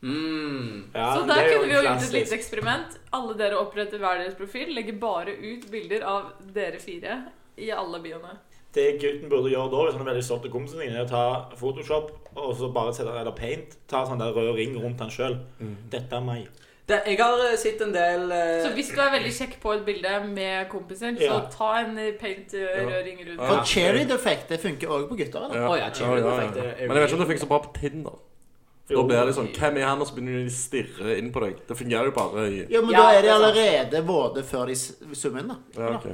Speaker 1: Mm.
Speaker 2: Ja,
Speaker 4: så
Speaker 2: men
Speaker 4: der
Speaker 2: det er jo
Speaker 4: kunne vi jo gjort et
Speaker 2: klassisk.
Speaker 4: lite eksperiment. Alle dere oppretter hver deres profil, legger bare ut bilder av dere fire i alle bioene.
Speaker 2: Det gutten burde gjøre da, hvis han er veldig stolt av kompisen sin, er å ta Photoshop og så bare sette, eller paint, ta sånn der rød ring rundt han sjøl.
Speaker 3: Mm.
Speaker 2: Dette er meg.
Speaker 1: Det, jeg har eh, sett en del eh,
Speaker 4: Så hvis du er veldig kjekk på et bilde med kompiser, så
Speaker 2: Ja.
Speaker 4: ta en paint-røring rundt.
Speaker 5: For cheerlead-effekt, det funker òg på gutter. eller?
Speaker 3: Ja.
Speaker 1: Å ja, Cherry Perfect er- er
Speaker 3: Men jeg vet ikke om det funker så bra på Tinder. For da
Speaker 2: Jo.
Speaker 3: blir det sånn Hvem er han? Og så begynner de å stirre inn på deg. Det fungerer jo bare i
Speaker 5: Ja, men
Speaker 1: Ja,
Speaker 5: da er
Speaker 1: det
Speaker 5: de
Speaker 1: er sant.
Speaker 5: allerede våte før de s- summer inn, da.
Speaker 3: Ja, ok.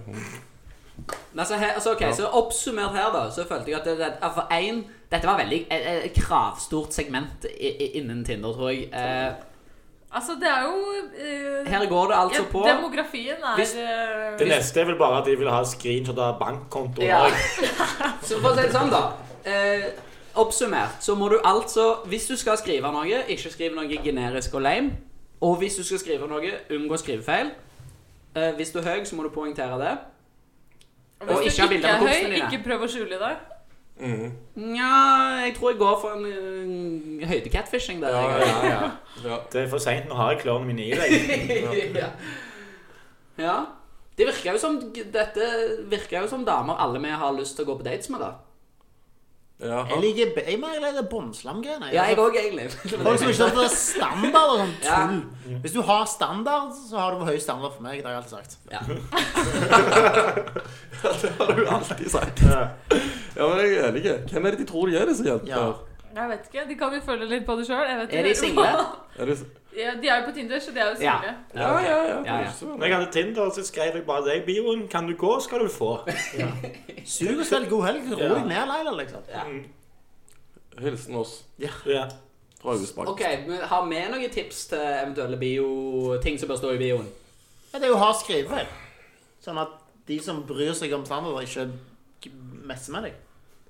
Speaker 1: Nei, så, her, altså, ok, så oppsummert her, da, så følte jeg at det, det, ja, for en, eh, Dette var veldig et, et kravstort segment i, i, innen Tinder, tror jeg. Eh,
Speaker 4: Altså, det er jo eh,
Speaker 1: Her går det altså
Speaker 4: ja,
Speaker 1: på
Speaker 4: Demografien er
Speaker 1: Hvis-
Speaker 4: eh,
Speaker 2: Det neste er vel bare at de vil ha screenshot av bankkontoen.
Speaker 1: Ja.
Speaker 2: også.
Speaker 1: Så for å si det sånn, da. Eh, oppsummert så må du altså Hvis du skal skrive noe, ikke skriv noe generisk og lame. Og hvis du skal skrive noe, unngå skrivefeil. Eh, hvis du er høy, så må du poengtere det.
Speaker 4: Hvis
Speaker 1: Og
Speaker 4: du
Speaker 1: ikke ha bilder av
Speaker 4: er høy,
Speaker 1: kompisene dine.
Speaker 4: Ikke prøv å skjule deg.
Speaker 1: Nja, jeg tror jeg går for en eh, høyde-catfishing der.
Speaker 3: Ja,
Speaker 1: jeg. altså.
Speaker 3: ja, ja. ja.
Speaker 2: Det er for seint. Nå har jeg klørne mine i deg.
Speaker 1: ja. ja. Det virker jo som Dette virker jo som damer alle vi har lyst til å gå på dates med, da.
Speaker 5: Jeg
Speaker 3: Jaha.
Speaker 5: liker be- jeg mer liker båndslamgreiene.
Speaker 1: Ja, jeg òg, egentlig.
Speaker 5: Folk som ikke har fått standard og sånn
Speaker 1: Ja.
Speaker 5: tull. Hvis du har standard, så har du høy standard for meg. Det har jeg alltid sagt.
Speaker 1: Ja.
Speaker 3: Det har du alltid sagt. Ja, men jeg er enig. Hvem er det de tror de er, disse jentene?
Speaker 5: Ja.
Speaker 4: Jeg vet ikke, De kan jo føle litt på det sjøl.
Speaker 1: Er de single?
Speaker 3: Er det...
Speaker 4: Ja, de er jo på Tinder, så de er jo
Speaker 1: Ja.
Speaker 4: single.
Speaker 3: ja,
Speaker 1: ok.
Speaker 3: ja, ja.
Speaker 1: Ja, ja.
Speaker 2: Når jeg hadde Tinder, så skrev jeg bare deg i bioen. Kan du gå, skal du få.
Speaker 5: Sug og spill god helg. Ro deg ned, Leila, liksom.
Speaker 3: Hilsen oss
Speaker 2: Ja.
Speaker 3: fra Augustbakken.
Speaker 1: Ok, men Har vi noen tips til eventuelle bio ting som bør stå i bioen?
Speaker 5: Men det er jo hard skrivefeil. Sånn at de som bryr seg om standard, ikke g- messer med deg.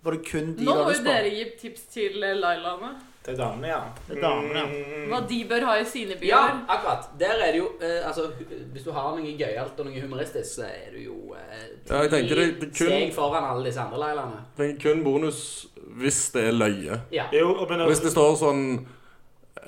Speaker 5: For det er kun de
Speaker 4: Nå må
Speaker 5: du har
Speaker 4: jo
Speaker 5: lyst på.
Speaker 4: dere gi tips til eh, lailaene.
Speaker 2: Til damene, ja. Mm.
Speaker 5: Det er damene, ja.
Speaker 4: Hva de bør ha i
Speaker 1: Ja,
Speaker 4: sine byer.
Speaker 1: akkurat. Der er det jo eh, Altså, hu- hvis du har noe gøyalt og noe humoristisk, så er du jo eh,
Speaker 3: Ja, jeg tenker det- det kun-
Speaker 1: steg foran alle disse andre leilene.
Speaker 3: Trenger kun bonus hvis det er løye.
Speaker 1: Ja.
Speaker 2: Jo, og men,
Speaker 3: Hvis det står sånn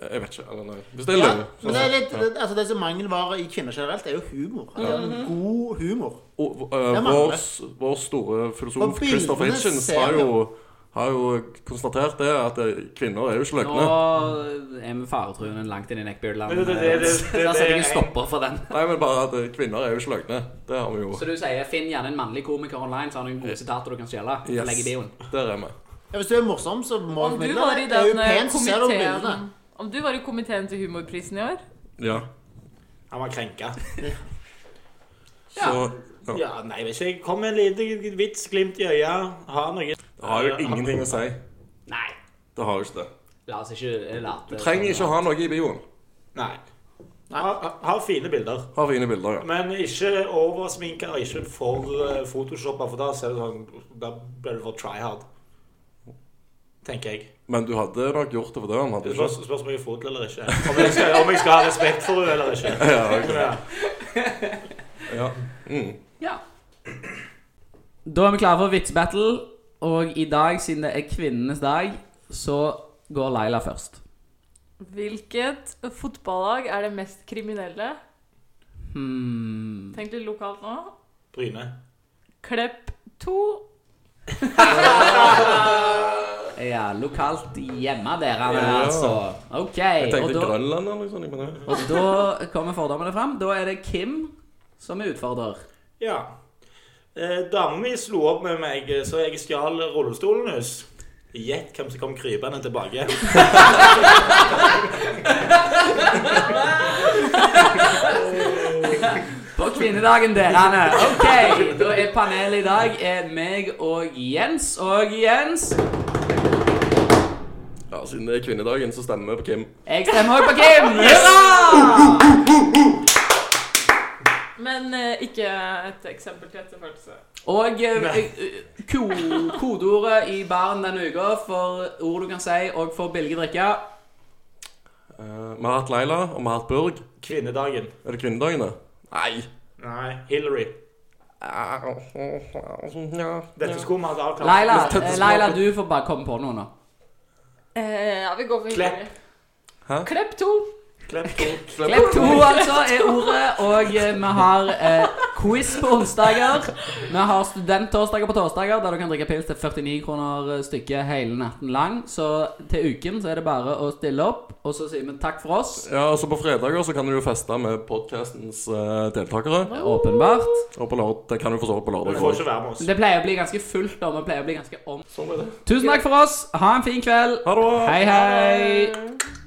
Speaker 3: Jeg vet ikke. Eller nei. Hvis det er
Speaker 5: Ja,
Speaker 3: løye.
Speaker 5: men det er litt, det, altså det som mangelvare i kvinner generelt, er jo humor. Altså,
Speaker 4: Mhm.
Speaker 5: God humor.
Speaker 3: Og, eh,
Speaker 5: Jeg mener
Speaker 3: vår,
Speaker 5: det.
Speaker 3: vår store
Speaker 5: På
Speaker 3: filosof
Speaker 5: bildene
Speaker 3: Christopher Hitchens
Speaker 5: ser
Speaker 3: har
Speaker 5: vi
Speaker 3: jo, har jo konstatert det, at eh, kvinner er jo ikke
Speaker 1: Nå
Speaker 3: løgne.
Speaker 1: er vi faretruende langt inn i neckbeard-land.
Speaker 2: Det- det- det- det- det-
Speaker 1: Da setter jeg en
Speaker 2: det-
Speaker 1: stopper for den.
Speaker 3: Nei, men bare at eh, kvinner er jo ikke løgne. Det har vi jo.
Speaker 1: Så du sier finn gjerne en mannlig komiker online, så har du noen gode sitater du kan stjele.
Speaker 3: Yes.
Speaker 1: Legg i bioen.
Speaker 3: Der er vi.
Speaker 5: Ja, hvis du er morsom, så må
Speaker 4: Om
Speaker 5: du
Speaker 4: du
Speaker 5: formidle
Speaker 4: var i
Speaker 5: det. Det er jo
Speaker 4: den eh,
Speaker 5: pent, så ser du bildene.
Speaker 4: komiteen Om du var i komiteen til Humorprisen i år
Speaker 3: Ja.
Speaker 2: Han var krenka.
Speaker 3: Så ja.
Speaker 2: Ja, nei, hvis jeg kom med en liten vits, glimt i øyet, ha noe
Speaker 3: Det har jo ingenting å si.
Speaker 1: Nei.
Speaker 3: Det har jo ikke det.
Speaker 1: La oss ikke eh, late
Speaker 3: Du trenger ikke å ha noe i bioen.
Speaker 2: Nei. Ha, ha, ha fine bilder.
Speaker 3: Ha fine bilder, ja.
Speaker 2: Men ikke oversminka og ikke for uh, photoshoppa, for da ser du sånn Da blir du for try hard. Tenker jeg.
Speaker 3: Men du hadde nok gjort det for det. Han hadde
Speaker 2: Det
Speaker 3: ikke
Speaker 2: spørs, spørs om jeg er fotel eller ikke. Om jeg, skal, om jeg skal ha respekt for henne eller ikke.
Speaker 3: Ja, ok.
Speaker 2: Ja.
Speaker 3: ja. Mm.
Speaker 1: Ja. Da er vi klare for vitsbattle, og i dag, siden det er kvinnenes dag, så går Laila først.
Speaker 4: Hvilket fotballag er det mest kriminelle?
Speaker 1: Hmm.
Speaker 4: Tenk litt lokalt nå.
Speaker 2: Bryne.
Speaker 4: Klepp 2.
Speaker 1: Ja, lokalt hjemme dere,
Speaker 3: Ja.
Speaker 1: altså. OK.
Speaker 3: Jeg
Speaker 1: og
Speaker 3: tenkte
Speaker 1: da-
Speaker 3: Grønland eller noe sånt. jeg mener.
Speaker 1: Og da kommer fordommene fram. Da er det Kim som er utfordrer.
Speaker 2: Ja. Eh, Damen min slo opp med meg, eh, så jeg stjal rullestolen hennes. Gjett hvem som kom krypende tilbake.
Speaker 1: På kvinnedagen, dere. OK, da er panelet i dag er meg og Jens. Og Jens,
Speaker 3: Ja, Siden det er kvinnedagen, så stemmer vi på Kim.
Speaker 1: jeg stemmer også på Kim. Hurra!
Speaker 4: Men eh, ikke et eksempel til etterfølgelse.
Speaker 1: Og eh,
Speaker 2: Nei.
Speaker 1: eh, ko kodeordet i baren denne uka for ord du kan si, og for billige drikker.
Speaker 3: Eh, vi har hatt Leila, og vi har hatt Burg.
Speaker 2: Kvinnedagen.
Speaker 3: Er det kvinnedagen, da? Nei.
Speaker 2: Nei, Hillary. Dette
Speaker 3: Dette
Speaker 2: skulle vi hatt avklart.
Speaker 1: Leila,
Speaker 3: Dette
Speaker 1: eh,
Speaker 3: smaker-
Speaker 1: Leila du får bare komme på noe nå.
Speaker 4: Eh, ja, vi går for
Speaker 2: Klepp.
Speaker 4: Hillary.
Speaker 3: Hæ?
Speaker 4: Klepp 2.
Speaker 2: Klepp to.
Speaker 1: Klepp to, altså, er ordet. Og eh, vi har eh, quiz på onsdager. Vi har studenttorsdager på torsdager, der du kan drikke pils til 49 kroner eh, stykket hele natten lang. Så til uken så er det bare å stille opp, og så sier vi takk for oss.
Speaker 3: Ja, altså På fredager så kan du jo feste med podkastens eh, deltakere.
Speaker 1: Åpenbart.
Speaker 3: Og på lørdag det kan du for så vidt på
Speaker 2: Du
Speaker 3: lørdag
Speaker 2: får
Speaker 3: også.
Speaker 2: ikke være med oss.
Speaker 1: Det pleier å bli ganske fullt, da. Vi pleier å bli ganske om.
Speaker 3: Sånn er det.
Speaker 1: Tusen takk for oss. Ha en fin kveld.
Speaker 3: Ha det bra.
Speaker 4: Eh,
Speaker 1: Hei, hei.